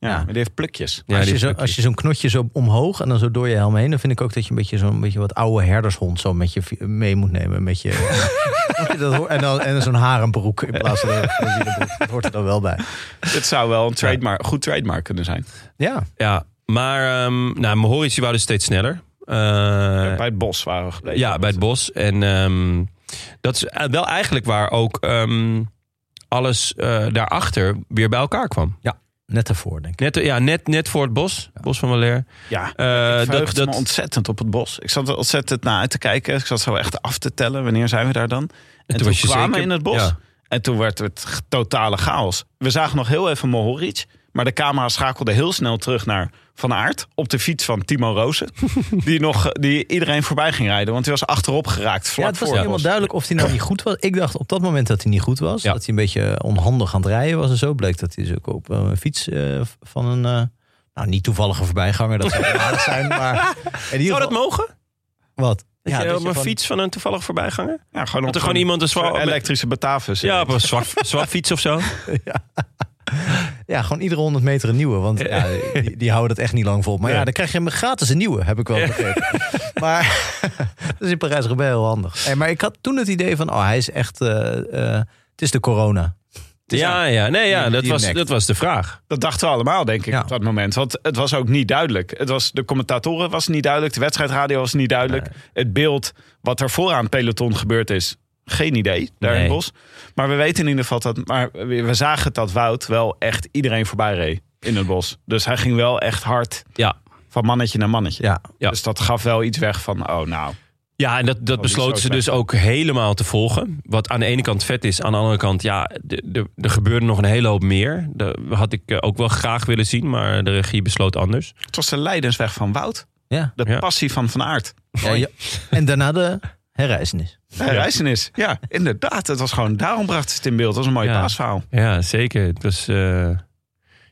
[SPEAKER 2] Ja, maar die heeft plukjes.
[SPEAKER 1] Ja,
[SPEAKER 3] als,
[SPEAKER 1] die
[SPEAKER 3] je zo,
[SPEAKER 1] stukjes.
[SPEAKER 3] als je zo'n knotje zo omhoog en dan zo door je helm heen, dan vind ik ook dat je een beetje zo'n beetje wat oude herdershond zo met je vi- mee moet nemen. Met je, Dat je dat hoort. en dan, en dan zo'n harenbroek in plaats van een van een wielenbroek. Dat hoort er dan wel bij.
[SPEAKER 2] Het zou wel een trademark, goed trademark kunnen zijn.
[SPEAKER 3] Ja,
[SPEAKER 1] Ja, maar ehm nou, Mohoric die wou dus steeds sneller. Eh,
[SPEAKER 2] Bij het bos waren we gebleven.
[SPEAKER 1] ja, bij het bos. En ehm, dat is eh, wel eigenlijk waar ook ehm, alles eh, daarachter weer bij elkaar kwam.
[SPEAKER 3] net daarvoor denk ik.
[SPEAKER 1] Net, ja, net, net voor het bos, bos van Waler.
[SPEAKER 2] Ja,
[SPEAKER 1] Eh,
[SPEAKER 2] ik
[SPEAKER 1] dat,
[SPEAKER 2] verheugde me
[SPEAKER 1] dat,
[SPEAKER 2] ontzettend op het bos. Ik zat er ontzettend naar uit te kijken. Ik zat zo echt af te tellen. Wanneer zijn we daar dan? En toen,
[SPEAKER 1] was je
[SPEAKER 2] kwamen we
[SPEAKER 1] zeker-
[SPEAKER 2] in het bos.
[SPEAKER 1] ja.
[SPEAKER 2] En toen werd het g- totale chaos. We zagen nog heel even Mohoric. Maar de camera schakelde heel snel terug naar Van Aert. Op de fiets van Timo Roosen. die, nog, die iedereen voorbij ging rijden. Want hij was achterop geraakt. Vlak
[SPEAKER 3] Ja, het was
[SPEAKER 2] voor
[SPEAKER 3] niet
[SPEAKER 2] het
[SPEAKER 3] helemaal
[SPEAKER 2] bos.
[SPEAKER 3] duidelijk of hij nou niet goed was. Ik dacht op dat moment dat hij niet goed was.
[SPEAKER 1] Ja.
[SPEAKER 3] Dat hij een beetje eh, onhandig aan het rijden was en zo. Bleek dat hij dus ook op eh, een fiets eh, van een... eh, nou, niet toevallige voorbijganger, dat zou wel aardig zijn, maar... In ieder
[SPEAKER 1] zou
[SPEAKER 3] geval,
[SPEAKER 1] dat mogen?
[SPEAKER 3] wat?
[SPEAKER 1] Ja,
[SPEAKER 3] dat
[SPEAKER 1] op
[SPEAKER 3] je
[SPEAKER 1] een
[SPEAKER 3] van-
[SPEAKER 1] fiets van een toevallig voorbijganger?
[SPEAKER 2] Ja, gewoon
[SPEAKER 1] Dat er gewoon iemand een zwaar- met-
[SPEAKER 2] elektrische Batavus. eh,
[SPEAKER 1] Ja, op een zwart, zwart fiets of zo.
[SPEAKER 3] Ja, gewoon iedere 100 meter een nieuwe. Want ja, die, die houden dat echt niet lang vol. Maar ja,
[SPEAKER 1] Nee.
[SPEAKER 3] dan krijg je hem gratis een nieuwe, heb ik wel begrepen. maar dat is in parijs roubaix heel handig. Hey, maar ik had toen het idee van, oh, hij is echt... eh, eh, het is de corona.
[SPEAKER 1] Ja, ja, nee, ja
[SPEAKER 3] Die-
[SPEAKER 1] dat,
[SPEAKER 3] die
[SPEAKER 1] was,
[SPEAKER 3] nekt.
[SPEAKER 1] dat was de vraag.
[SPEAKER 2] Dat dachten we allemaal, denk ik,
[SPEAKER 3] Ja.
[SPEAKER 2] op dat moment. Want het was ook niet duidelijk. Het was, de commentatoren was niet duidelijk. De wedstrijdradio was niet duidelijk. Het beeld wat er vooraan het peloton gebeurd is. Geen idee, daar in
[SPEAKER 1] Nee.
[SPEAKER 2] het bos. Maar we weten in ieder geval dat... Maar we we zagen dat Wout wel echt iedereen voorbij reed in het bos. Dus hij ging wel echt hard
[SPEAKER 1] Ja,
[SPEAKER 2] van mannetje naar mannetje.
[SPEAKER 3] Ja,
[SPEAKER 1] Ja.
[SPEAKER 2] Dus dat gaf wel iets weg van, oh nou...
[SPEAKER 1] ja en dat, dat
[SPEAKER 2] niet zo
[SPEAKER 1] besloten ze dus
[SPEAKER 2] slecht.
[SPEAKER 1] ook helemaal te volgen. Wat aan de ene kant vet is, aan de andere kant, ja, de- de- er gebeurde nog een hele hoop meer. Dat had ik eh, ook wel graag willen zien, maar de regie besloot anders.
[SPEAKER 2] Het was de leidensweg van Wout.
[SPEAKER 3] ja.
[SPEAKER 2] De
[SPEAKER 1] Ja.
[SPEAKER 2] passie van Van Aert.
[SPEAKER 3] Ja, ja. En daarna de herreizenis.
[SPEAKER 2] Ja. Reizenis. Ja, inderdaad. Het was gewoon... Daarom bracht ze het in beeld. Dat was een mooi
[SPEAKER 1] Ja.
[SPEAKER 2] paasverhaal.
[SPEAKER 1] Ja, zeker. Het was, eh,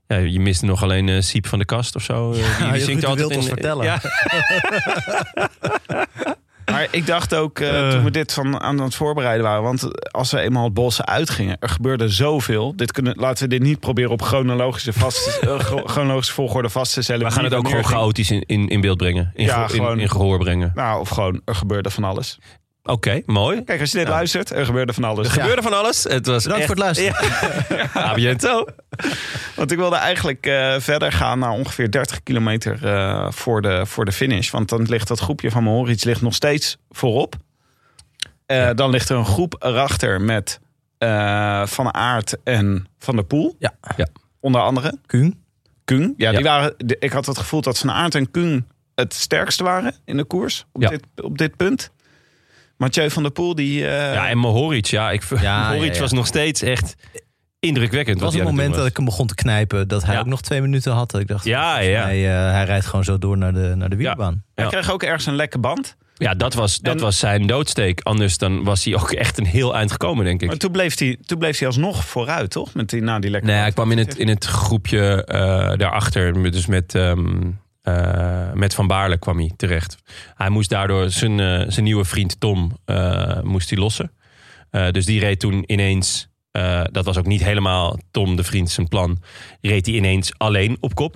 [SPEAKER 1] ja, je miste nog alleen eh, Siep van de Kast of zo. eh, die- die,
[SPEAKER 3] je Ruud de Wild ons vertellen.
[SPEAKER 1] Ja,
[SPEAKER 2] Maar ik dacht ook eh,
[SPEAKER 1] Eh.
[SPEAKER 2] toen we dit van, aan het voorbereiden waren. Want als we eenmaal het bos uitgingen, er gebeurde zoveel. Dit kunnen, laten we dit niet proberen op chronologische, vast, eh, chro- chronologische volgorde vast te stellen.
[SPEAKER 1] we gaan het
[SPEAKER 2] Wie
[SPEAKER 1] ook gewoon
[SPEAKER 2] wanneer ging.
[SPEAKER 1] chaotisch in, in, in beeld brengen. In,
[SPEAKER 2] Ja,
[SPEAKER 1] geho- in-
[SPEAKER 2] gewoon-
[SPEAKER 1] in gehoor brengen.
[SPEAKER 2] Nou, of gewoon, er gebeurde van alles.
[SPEAKER 1] Oké, mooi.
[SPEAKER 2] Kijk, als je dit
[SPEAKER 1] Ja.
[SPEAKER 2] luistert, er gebeurde van alles.
[SPEAKER 1] Er gebeurde van alles. Het was Ah,
[SPEAKER 3] Bedankt voor het luisteren. Eh.
[SPEAKER 1] luisteren. bientôt.
[SPEAKER 2] Want ik wilde eigenlijk eh, verder gaan naar ongeveer 30 kilometer eh, voor, de, voor de finish. Want dan ligt dat groepje van Mohoric ligt nog steeds voorop. Eh, Dan ligt er een groep erachter met eh, Van Aert en Van der Poel.
[SPEAKER 3] Ja.
[SPEAKER 1] Ja.
[SPEAKER 2] onder andere.
[SPEAKER 3] Kuhn.
[SPEAKER 2] Kuhn. Ja,
[SPEAKER 1] Ja.
[SPEAKER 2] Die waren, de- ik had het gevoel dat Van Aert en Kuhn het sterkste waren in de koers op,
[SPEAKER 1] Ja.
[SPEAKER 2] dit, op dit punt. Mathieu van der Poel, die... eh,
[SPEAKER 1] Ja, en Mohoric, ja. Ik,
[SPEAKER 3] ja,
[SPEAKER 1] Mohoric
[SPEAKER 3] ja.
[SPEAKER 1] was nog steeds echt indrukwekkend.
[SPEAKER 3] Het was
[SPEAKER 1] wat
[SPEAKER 3] een
[SPEAKER 1] hij aan
[SPEAKER 3] moment
[SPEAKER 1] het
[SPEAKER 3] dat ik hem begon te knijpen. Dat hij
[SPEAKER 1] Ja.
[SPEAKER 3] ook nog twee minuten had. Dat Ik dacht,
[SPEAKER 1] Ja, ja.
[SPEAKER 3] Hij, eh, hij rijdt gewoon zo door naar de, naar de wielbaan.
[SPEAKER 2] Hij
[SPEAKER 1] Ja.
[SPEAKER 2] kreeg ook ergens een lekke band.
[SPEAKER 1] doen was. Ja, dat was, dat
[SPEAKER 2] En-
[SPEAKER 1] was zijn doodsteek. Anders dan was hij ook echt een heel eind gekomen, denk ik.
[SPEAKER 2] Maar toen bleef hij, toen bleef hij alsnog vooruit, toch? Met die, na die lekke
[SPEAKER 1] Nee,
[SPEAKER 2] band.
[SPEAKER 1] hij kwam in het, in het groepje eh, daarachter. met- Dus met, ehm, eh, met Van Baarle kwam hij terecht. Hij moest daardoor zijn, eh, zijn nieuwe vriend Tom eh, moest hij lossen. Eh, dus die reed toen ineens. eh, dat was ook niet helemaal Tom de vriend zijn plan. Reed hij ineens alleen op kop.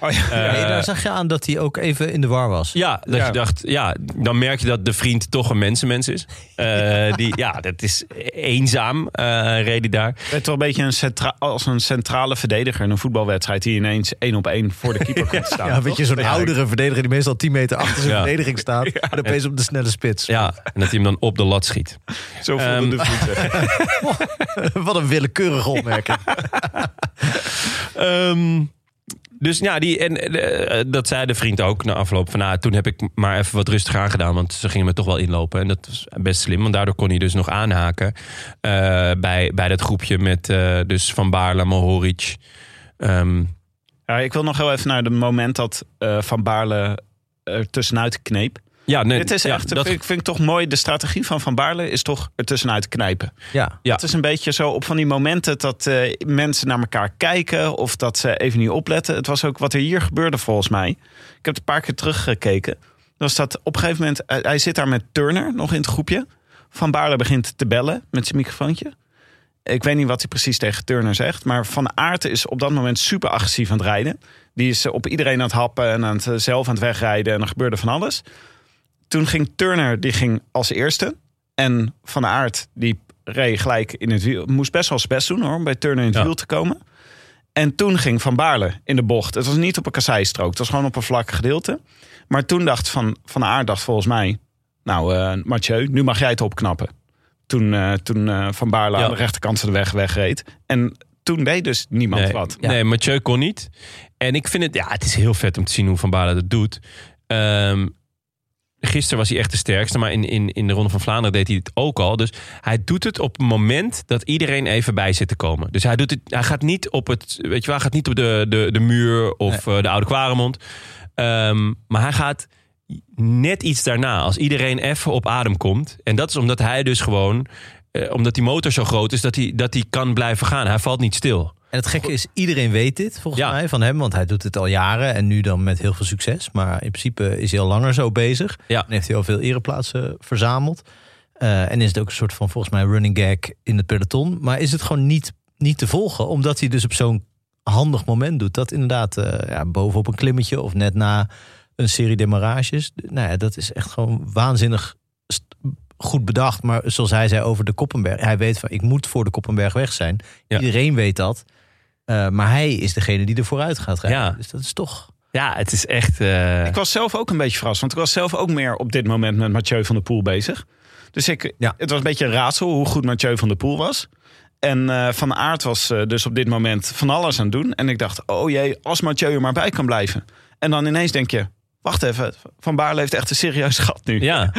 [SPEAKER 2] Oh ja.
[SPEAKER 1] Eh,
[SPEAKER 3] Nee, daar zag je aan dat hij ook even in de war was.
[SPEAKER 1] Ja, dat
[SPEAKER 2] Ja.
[SPEAKER 1] je dacht, ja, dan merk je dat de vriend toch een mensenmens is. Eh, die, ja, dat is eenzaam, eh reed hij daar.
[SPEAKER 2] werd toch een beetje een centra- als een centrale verdediger in een voetbalwedstrijd... die ineens één op één voor de keeper komt staan.
[SPEAKER 3] Ja, weet je, zo'n oudere verdediger die meestal 10 meter achter zijn
[SPEAKER 1] Ja.
[SPEAKER 3] verdediging staat. En opeens op de snelle spits.
[SPEAKER 1] Ja, en dat hij hem dan op de lat schiet.
[SPEAKER 2] Zo voelden
[SPEAKER 1] Ehm,
[SPEAKER 2] de voeten.
[SPEAKER 3] Wat een willekeurige opmerking.
[SPEAKER 1] Ehm, dus ja, die, en, eh, eh, dat zei de vriend ook na afloop. Van, nou, toen heb ik maar even wat rustig aangedaan. Want ze gingen me toch wel inlopen. En dat was best slim. Want daardoor kon hij dus nog aanhaken. eh, bij, bij dat groepje met eh, dus Van Baarle, Mohoric. ehm,
[SPEAKER 2] Ja, ik wil nog heel even naar het moment dat eh, Van Baarle er tussenuit kneep.
[SPEAKER 1] ja, nee,
[SPEAKER 2] Dit is
[SPEAKER 1] ja,
[SPEAKER 2] echt,
[SPEAKER 1] dat-
[SPEAKER 2] vind, ik- vind ik toch mooi. De strategie van Van Baarle is toch er tussenuit knijpen.
[SPEAKER 3] Ja.
[SPEAKER 1] Ja.
[SPEAKER 2] Het is een beetje zo op van die momenten dat eh, mensen naar elkaar kijken of dat ze even niet opletten. Het was ook wat er hier gebeurde volgens mij. Ik heb het een paar keer teruggekeken. Dat was dat op een gegeven moment, eh, hij- hij zit daar met Turner nog in het groepje. Van Baarle begint te bellen met zijn microfoontje. Ik weet niet wat hij precies tegen Turner zegt. Maar Van Aert is op dat moment super agressief aan het rijden. Die is eh, op iedereen aan het happen en aan het, eh, zelf aan het wegrijden. En er gebeurde van alles. Toen ging Turner, die ging als eerste. En Van Aert, die reed gelijk in het wiel. Moest best wel zijn best doen hoor, om bij Turner in het
[SPEAKER 1] Ja.
[SPEAKER 2] wiel te komen. En toen ging Van Baarle in de bocht. Het was niet op een kasseistrook. Het was gewoon op een vlak gedeelte. Maar toen dacht Van, van Aert, dacht volgens mij... Nou, eh Mathieu, nu mag jij het opknappen. Toen, eh, toen eh, Van Baarle
[SPEAKER 1] Ja.
[SPEAKER 2] aan de rechterkant van de weg wegreed. En toen deed dus niemand
[SPEAKER 1] nee,
[SPEAKER 2] wat.
[SPEAKER 1] Nee, Mathieu kon niet. En ik vind het, ja, het is heel vet om te zien hoe Van Baarle dat doet. Ehm, gisteren was hij echt de sterkste, maar in, in, in de Ronde van Vlaanderen deed hij het ook al. Dus hij doet het op het moment dat iedereen even bij zit te komen. Dus hij, doet het, hij gaat niet op het, weet je wel, hij gaat niet op de, de, de muur of eh, de Oude Kwaremond. Ehm, maar hij gaat net iets daarna, als iedereen even op adem komt. En dat is omdat hij dus gewoon, eh, omdat die motor zo groot is, dat hij, dat hij kan blijven gaan. Hij valt niet stil.
[SPEAKER 3] En het gekke is, iedereen weet dit volgens
[SPEAKER 1] Ja.
[SPEAKER 3] mij van hem. Want hij doet het al jaren en nu dan met heel veel succes. Maar in principe is hij al langer zo bezig.
[SPEAKER 1] Ja.
[SPEAKER 3] En heeft hij al veel ereplaatsen verzameld. Eh, en is het ook een soort van volgens mij running gag in het peloton. Maar is het gewoon niet, niet te volgen. Omdat hij dus op zo'n handig moment doet. Dat inderdaad eh ja, bovenop een klimmetje of net na een serie demarages. Nou ja, dat is echt gewoon waanzinnig st- goed bedacht. Maar zoals hij zei over de Koppenberg. Hij weet van ik moet voor de Koppenberg weg zijn.
[SPEAKER 1] Ja.
[SPEAKER 3] Iedereen weet dat. Eh, maar hij is degene die er vooruit gaat rijden.
[SPEAKER 1] Ja.
[SPEAKER 3] Dus dat is toch...
[SPEAKER 1] Ja, het is echt. eh,
[SPEAKER 2] Ik was zelf ook een beetje verrast. Want ik was zelf ook meer op dit moment met Mathieu van der Poel bezig. Dus ik,
[SPEAKER 3] Ja.
[SPEAKER 2] het was een beetje een raadsel hoe goed Mathieu van der Poel was. En eh, Van Aert was eh, dus op dit moment van alles aan het doen. En ik dacht, oh jee, als Mathieu er maar bij kan blijven. En dan ineens denk je, wacht even, Van Baarle heeft echt een serieus gat nu.
[SPEAKER 1] ja,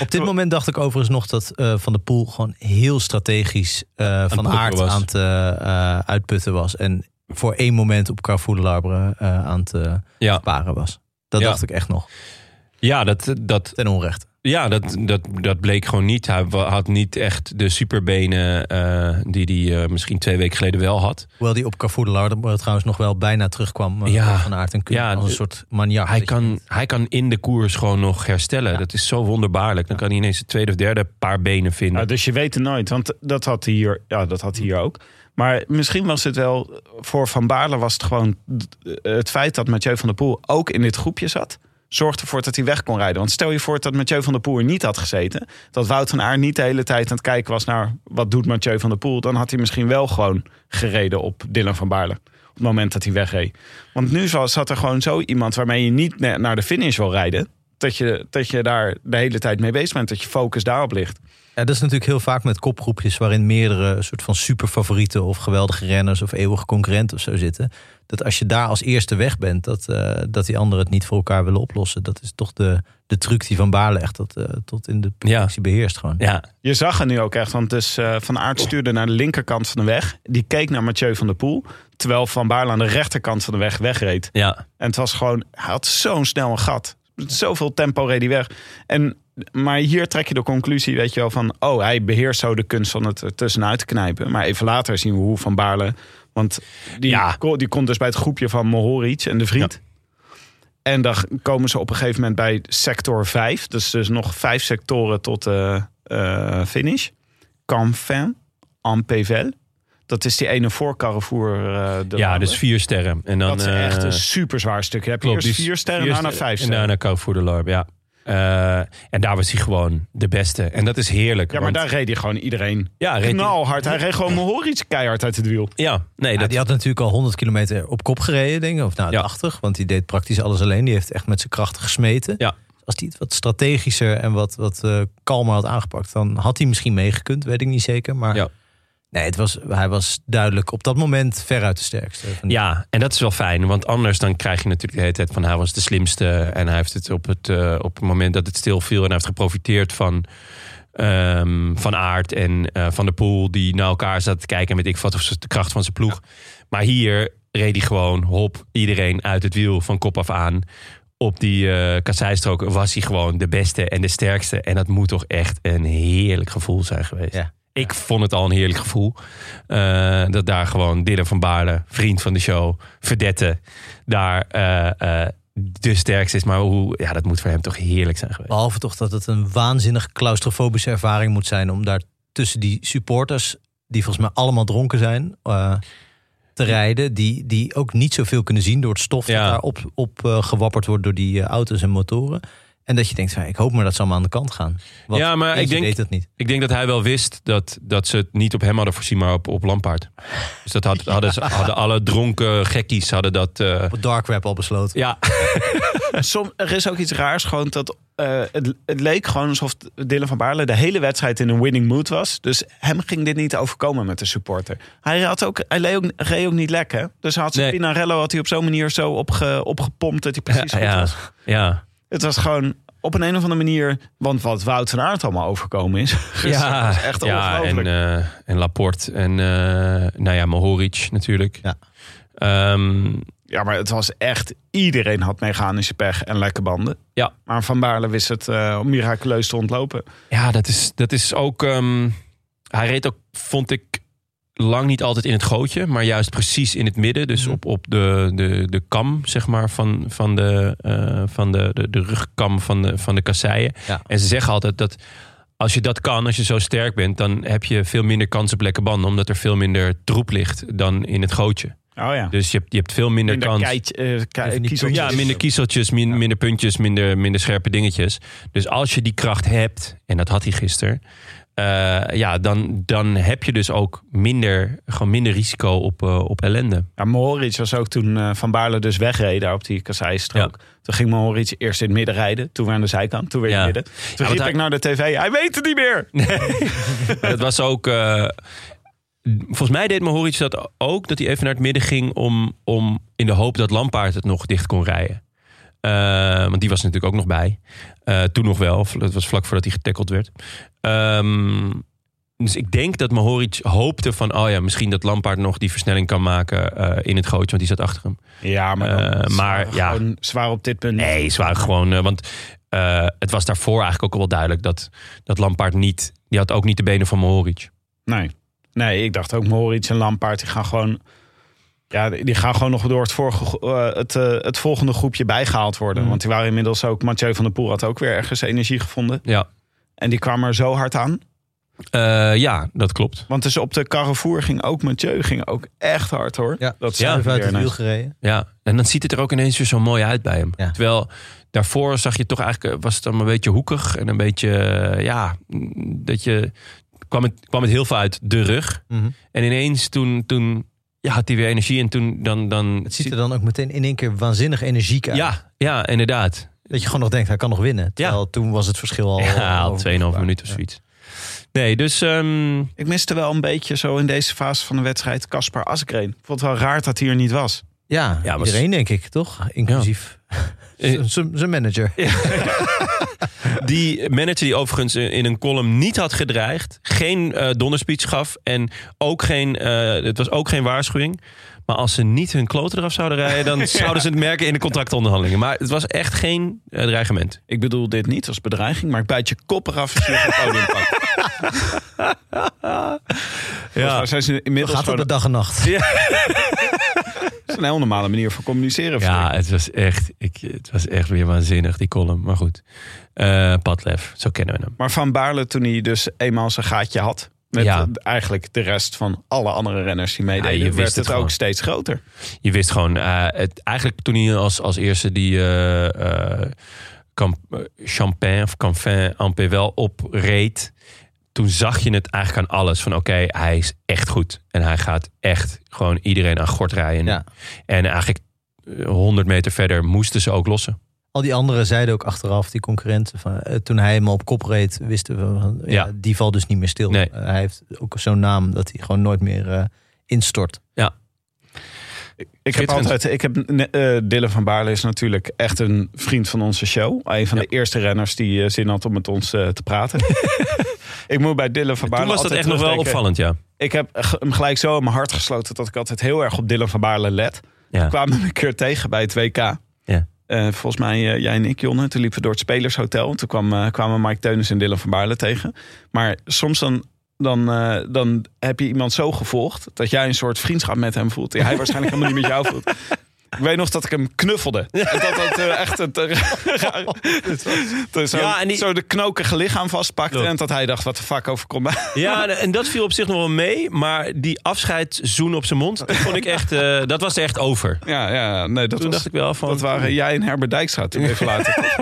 [SPEAKER 3] Op dit moment dacht ik overigens nog dat eh, Van der Poel gewoon heel strategisch eh, van
[SPEAKER 1] putten
[SPEAKER 3] aard
[SPEAKER 1] was.
[SPEAKER 3] aan het eh, eh, uitputten was. En voor één moment op Carrefour de Larbre eh, aan het eh,
[SPEAKER 1] ja,
[SPEAKER 3] sparen was. Dat
[SPEAKER 1] Ja.
[SPEAKER 3] dacht ik echt nog.
[SPEAKER 1] ja, dat, dat,
[SPEAKER 3] Ten onrechte.
[SPEAKER 1] ja dat, dat, dat bleek gewoon niet. Hij wa- had niet echt de superbenen eh, die hij eh, misschien twee weken geleden wel had.
[SPEAKER 3] Hoewel die op Carrefour de Larbre trouwens nog wel bijna terugkwam eh,
[SPEAKER 1] Ja.
[SPEAKER 3] van aard en Kuhn.
[SPEAKER 1] Ja,
[SPEAKER 3] als een
[SPEAKER 1] de-
[SPEAKER 3] soort maniak.
[SPEAKER 1] Hij
[SPEAKER 3] Dat je
[SPEAKER 1] kan, hij kan in de koers gewoon nog herstellen. Dat is zo wonderbaarlijk. Dan kan hij ineens het tweede of derde paar benen vinden.
[SPEAKER 2] Nou, dus je weet het nooit, want dat had hij hier, ja, dat had hij hier ook. Maar misschien was het wel, voor Van Baarle was het gewoon... eh, het feit dat Mathieu van der Poel ook in dit groepje zat... zorgde ervoor dat hij weg kon rijden. Want stel je voor dat Mathieu van der Poel er niet had gezeten... dat Wout van Aert niet de hele tijd aan het kijken was naar... wat doet Mathieu van der Poel, dan had hij misschien wel gewoon gereden op Dylan van Baarle. Op het moment dat hij wegreed. Want nu zo- zat er gewoon zo iemand waarmee je niet ne- naar de finish wil rijden... Dat je, dat je daar de hele tijd mee bezig bent, dat je focus daarop ligt.
[SPEAKER 3] Ja, dat is natuurlijk heel vaak met kopgroepjes waarin meerdere soort van superfavorieten of geweldige renners of eeuwige concurrenten of zo zitten. Dat als je daar als eerste weg bent, dat, eh, dat die anderen het niet voor elkaar willen oplossen. Dat is toch de, de truc die Van Baarle echt dat, eh, tot in de perfectie beheerst gewoon.
[SPEAKER 1] Ja,
[SPEAKER 2] Je zag het nu ook echt, want dus eh, Van Aert stuurde naar de linkerkant van de weg. Die keek naar Mathieu van der Poel, terwijl Van Baarle aan de rechterkant van de weg wegreed.
[SPEAKER 1] ja.
[SPEAKER 2] En het was gewoon, hij had zo'n snel een gat. Met zoveel tempo reed hij weg. En, maar hier trek je de conclusie, weet je wel, van... oh, hij beheerst zo de kunst van het er tussenuit te knijpen. Maar even later zien we hoe Van Baarle... want die,
[SPEAKER 1] Ja.
[SPEAKER 2] ko- die komt dus bij het groepje van Mohoric en de vriend. En dan g- komen ze op een gegeven moment bij sector 5. Dus, dus nog vijf sectoren tot eh eh, finish. Canfin, Ampevel. Dat is die ene voor Carrefour. eh, de
[SPEAKER 1] ja
[SPEAKER 2] Waalre.
[SPEAKER 1] dus vier sterren. En dan,
[SPEAKER 2] Dat is echt
[SPEAKER 1] eh,
[SPEAKER 2] een super zwaar stuk. Je hebt
[SPEAKER 1] Klopt,
[SPEAKER 2] eerst
[SPEAKER 1] die
[SPEAKER 2] vier
[SPEAKER 1] is-
[SPEAKER 2] sterren,
[SPEAKER 1] vier
[SPEAKER 2] daarna vijf
[SPEAKER 1] En
[SPEAKER 2] sterren.
[SPEAKER 1] daarna Kou voor de Larp, ja. Eh, en daar was hij gewoon de beste. En dat is heerlijk.
[SPEAKER 2] ja, maar
[SPEAKER 1] want-
[SPEAKER 2] daar reed hij gewoon iedereen
[SPEAKER 1] ja, reed hij-
[SPEAKER 2] knalhard. Hij reed gewoon Mohoric keihard uit het wiel.
[SPEAKER 1] Ja, nee,
[SPEAKER 3] Ja,
[SPEAKER 1] dat,
[SPEAKER 3] die had natuurlijk al 100 kilometer op kop gereden, denk ik. Of nou,
[SPEAKER 1] Ja.
[SPEAKER 3] 80, want die deed praktisch alles alleen. Die heeft echt met zijn krachten gesmeten.
[SPEAKER 1] Ja.
[SPEAKER 3] Als hij het wat strategischer en wat, wat eh, kalmer had aangepakt... dan had hij misschien meegekund, weet ik niet zeker. Maar
[SPEAKER 1] Ja.
[SPEAKER 3] nee, het was, hij was duidelijk op dat moment veruit de sterkste. Van-
[SPEAKER 1] ja, en dat is wel fijn. Want anders dan krijg je natuurlijk de hele tijd van... hij was de slimste en hij heeft het op het, eh, op het moment dat het stil viel... en hij heeft geprofiteerd van, ehm, van Aert en eh, Van der Poel... die naar elkaar zaten te kijken en weet ik wat... of ze- de kracht van zijn ploeg. Maar hier reed hij gewoon hop iedereen uit het wiel van kop af aan... Op die eh kasseistrook was hij gewoon de beste en de sterkste. En dat moet toch echt een heerlijk gevoel zijn geweest.
[SPEAKER 3] Ja.
[SPEAKER 1] Ik vond het al een heerlijk gevoel. Eh, dat daar gewoon Dylan van Baarle, vriend van de show, verdette, daar eh, eh, de sterkste is. Maar hoe, ja, dat moet voor hem toch heerlijk zijn geweest.
[SPEAKER 3] Behalve toch dat het een waanzinnig claustrofobische ervaring moet zijn... om daar tussen die supporters, die volgens mij allemaal dronken zijn... eh, te rijden, die, die ook niet zoveel kunnen zien door het stof...
[SPEAKER 1] Ja.
[SPEAKER 3] dat daar op, op eh, gewapperd wordt door die eh, auto's en motoren. En dat je denkt, van, ik hoop maar dat ze allemaal aan de kant gaan. Want
[SPEAKER 1] Ja, maar ik
[SPEAKER 3] eentje
[SPEAKER 1] denk-
[SPEAKER 3] deed dat niet.
[SPEAKER 1] Ik denk dat hij wel wist dat, dat ze het niet op hem hadden voorzien, maar op, op Lampaard. Dus dat had, hadden, ze, hadden alle dronken gekkies, hadden dat... eh,
[SPEAKER 3] Op het dark web al besloten.
[SPEAKER 1] ja,
[SPEAKER 2] Som, er is ook iets raars gewoon dat... eh, het, het leek gewoon alsof Dylan van Baarle de hele wedstrijd in een winning mood was. Dus hem ging dit niet overkomen met de supporter. Hij, had ook, hij reed, ook, reed ook niet lekker. Dus hij had zijn
[SPEAKER 1] Nee.
[SPEAKER 2] Pinarello had hij op zo'n manier zo opge, opgepompt dat hij precies goed
[SPEAKER 1] ja,
[SPEAKER 2] was.
[SPEAKER 1] ja.
[SPEAKER 2] Het was gewoon op een, een of andere manier... Want wat Wout van Aert allemaal overkomen is.
[SPEAKER 1] Ja,
[SPEAKER 2] dat is echt
[SPEAKER 1] ja en,
[SPEAKER 2] ongelooflijk.
[SPEAKER 1] eh, en Laporte en eh, nou ja, Mohoric natuurlijk.
[SPEAKER 3] Ja.
[SPEAKER 1] Ehm,
[SPEAKER 2] Ja, maar het was echt... Iedereen had mechanische pech en lekke banden.
[SPEAKER 1] Ja.
[SPEAKER 2] Maar Van Baarle wist het eh, miraculeus te ontlopen.
[SPEAKER 1] Ja, dat is, dat is ook. ehm, hij reed ook, vond ik, lang niet altijd in het gootje, maar juist precies in het midden. Dus op, op de, de, de kam, zeg maar, van, van, de, eh, van de, de, de rugkam van de, van de kasseien.
[SPEAKER 3] Ja.
[SPEAKER 1] En ze zeggen altijd dat als je dat kan, als je zo sterk bent, dan heb je veel minder kans op lekke banden, omdat er veel minder troep ligt dan in het gootje.
[SPEAKER 2] Oh ja.
[SPEAKER 1] Dus je hebt, je hebt veel minder,
[SPEAKER 2] Minder
[SPEAKER 1] kans.
[SPEAKER 2] kijk- eh, kijk-
[SPEAKER 3] Even die
[SPEAKER 2] kiezeltjes.
[SPEAKER 1] Ja, minder kiezeltjes, min- minder puntjes, minder, minder scherpe dingetjes. Dus als je die kracht hebt, en dat had hij gisteren, eh, ja, dan, dan heb je dus ook minder, gewoon minder risico op, eh, op ellende.
[SPEAKER 2] Ja, Mohoric was ook toen eh, Van Baarle dus wegreed daar op die kasseistrook. Toen ging Mohoric eerst in het midden rijden. Toen weer aan de zijkant. Toen weer
[SPEAKER 1] Ja.
[SPEAKER 2] in het midden. Toen
[SPEAKER 1] want
[SPEAKER 2] riep
[SPEAKER 1] hij-
[SPEAKER 2] ik naar de tv. Hij weet het niet meer.
[SPEAKER 1] Maar dat was ook. eh, volgens mij deed Mahoric dat ook. Dat hij even naar het midden ging. Om, om in de hoop dat Lampaard het nog dicht kon rijden. Eh, want die was er natuurlijk ook nog bij. Eh, toen nog wel. Dat was vlak voordat hij getackeld werd. Ehm, dus ik denk dat Mahoric hoopte van... oh ja, misschien dat Lampaard nog die versnelling kan maken eh, in het gootje. Want die zat achter hem.
[SPEAKER 2] Ja, maar, dan-
[SPEAKER 1] Eh,
[SPEAKER 2] ze
[SPEAKER 1] maar
[SPEAKER 2] waren
[SPEAKER 1] ja.
[SPEAKER 2] gewoon zwaar op dit punt.
[SPEAKER 1] Nee, ze waren gewoon. eh, want eh, het was daarvoor eigenlijk ook al wel duidelijk dat, dat Lampaard niet. Die had ook niet de benen van Mahoric.
[SPEAKER 2] Nee. Nee, ik dacht ook Mohoric en Lampaard. Die gaan gewoon... Ja, die gaan gewoon nog door het, vorige, gro- eh, het, eh, het volgende groepje bijgehaald worden.
[SPEAKER 3] Mm.
[SPEAKER 2] Want die waren inmiddels ook... Mathieu van der Poel had ook weer ergens energie gevonden.
[SPEAKER 1] Ja,
[SPEAKER 2] En die kwam er zo hard aan.
[SPEAKER 1] Eh, ja dat klopt.
[SPEAKER 2] Want dus op de Carrefour ging ook Mathieu ging ook echt hard hoor.
[SPEAKER 3] Ja.
[SPEAKER 2] dat
[SPEAKER 1] Ja,
[SPEAKER 2] zei
[SPEAKER 3] Even uit
[SPEAKER 2] weer
[SPEAKER 3] het wiel
[SPEAKER 2] net.
[SPEAKER 3] gereden.
[SPEAKER 1] Ja, en dan ziet het er ook ineens weer zo mooi uit bij hem.
[SPEAKER 3] Ja.
[SPEAKER 1] Terwijl daarvoor zag je toch eigenlijk, eh, was het dan een beetje hoekig en een beetje, eh, ja, mm, dat je, kwam het, kwam het heel veel uit de rug.
[SPEAKER 3] Mhm.
[SPEAKER 1] En ineens toen, toen ja, had hij weer energie en toen dan... dan
[SPEAKER 3] Het ziet er dan ook meteen in één keer waanzinnig energiek uit.
[SPEAKER 1] ja, ja, inderdaad.
[SPEAKER 3] Dat je gewoon nog denkt, hij kan nog winnen. Terwijl toen was het verschil al...
[SPEAKER 1] Ja, al
[SPEAKER 3] al
[SPEAKER 1] 2,5
[SPEAKER 3] overgebracht.
[SPEAKER 1] minuten of zoiets. Nee, dus ehm,
[SPEAKER 2] Ik miste wel een beetje zo in deze fase van de wedstrijd Caspar Askreen. Ik vond het wel raar dat hij er niet was.
[SPEAKER 3] Ja,
[SPEAKER 1] Ja, maar-
[SPEAKER 3] iedereen denk ik, toch? Inclusief
[SPEAKER 1] Eh.
[SPEAKER 3] zijn zijn manager.
[SPEAKER 1] die manager die overigens in in een column niet had gedreigd, geen eh donderspeech gaf en ook geen, eh, het was ook geen waarschuwing. Maar als ze niet hun kloten eraf zouden rijden, dan zouden ze het merken in de contractonderhandelingen. Maar het was echt geen eh, dreigement.
[SPEAKER 2] Ik bedoel dit niet als bedreiging, maar ik bijt je kop eraf als je nog een podium pakt.
[SPEAKER 1] Ja.
[SPEAKER 2] Ja. Zijn ze inmiddels
[SPEAKER 3] Gaat op
[SPEAKER 2] gewoon-
[SPEAKER 3] de dag en nacht.
[SPEAKER 2] dat is een heel normale manier van communiceren.
[SPEAKER 1] Ja, het was echt, ik, het was echt weer waanzinnig, die column. Maar goed, Eh Padlef, zo kennen we hem.
[SPEAKER 2] Maar Van Baarle, toen hij dus eenmaal zijn gaatje had... met
[SPEAKER 1] Ja.
[SPEAKER 2] eigenlijk de rest van alle andere renners die meededen...
[SPEAKER 1] Ja, je wist
[SPEAKER 2] werd
[SPEAKER 1] het
[SPEAKER 2] het,
[SPEAKER 1] gewoon.
[SPEAKER 2] ook steeds groter.
[SPEAKER 1] Je wist gewoon, eh, het, eigenlijk toen hij als, als eerste die eh, eh, Camp- eh, Champagne of Canfin Ampé wel opreed. Toen zag je het eigenlijk aan alles. Van oké, hij is echt goed. En hij gaat echt gewoon iedereen aan gort rijden.
[SPEAKER 3] Ja.
[SPEAKER 1] En eigenlijk eh, 100 meter verder moesten ze ook lossen.
[SPEAKER 3] Al die anderen zeiden ook achteraf, die concurrenten, van, eh, toen hij hem op kop reed, wisten we, van, ja,
[SPEAKER 1] Ja.
[SPEAKER 3] die valt dus niet meer stil.
[SPEAKER 1] Nee.
[SPEAKER 3] Eh, hij heeft ook zo'n naam dat hij gewoon nooit meer eh, instort.
[SPEAKER 2] Ik heb
[SPEAKER 1] Schitterend.
[SPEAKER 2] altijd, ik heb, eh, Dylan van Baarle is natuurlijk echt een vriend van onze show. Een van
[SPEAKER 1] Ja.
[SPEAKER 2] de eerste renners die eh, zin had om met ons eh, te praten. ik moet bij Dylan van Baarle
[SPEAKER 1] Toen was dat
[SPEAKER 2] altijd
[SPEAKER 1] echt nog wel
[SPEAKER 2] terugdenken.
[SPEAKER 1] opvallend, ja.
[SPEAKER 2] Ik heb ge- hem gelijk zo in mijn hart gesloten dat ik altijd heel erg op Dylan van Baarle let.
[SPEAKER 1] ja.
[SPEAKER 2] We kwamen hem een keer tegen bij het WK.
[SPEAKER 1] Ja.
[SPEAKER 2] Eh, volgens mij eh, jij en ik, Jonne. Toen liepen we door het Spelershotel. En toen kwam, eh, kwamen Mike Teunis en Dylan van Baarle tegen. Maar soms dan, dan, eh, dan heb je iemand zo gevolgd... dat jij een soort vriendschap met hem voelt... die hij waarschijnlijk helemaal niet met jou voelt. Ik weet nog dat ik hem knuffelde. En dat dat eh, echt... Het, eh, raar- dat zo,
[SPEAKER 1] Ja, en die-
[SPEAKER 2] zo de knokige lichaam vastpakte.
[SPEAKER 1] Klopt.
[SPEAKER 2] En dat hij dacht, wat de fuck overkomt mij?
[SPEAKER 1] Ja, en- en dat viel op zich nog wel mee. Maar die afscheidszoen op zijn mond, dat vond ik echt, eh, dat was er echt over.
[SPEAKER 2] Ja, ja, nee, dat
[SPEAKER 1] Toen
[SPEAKER 2] was...
[SPEAKER 1] dacht ik wel van...
[SPEAKER 2] Dat waren jij en Herbert Dijkstra toen even later.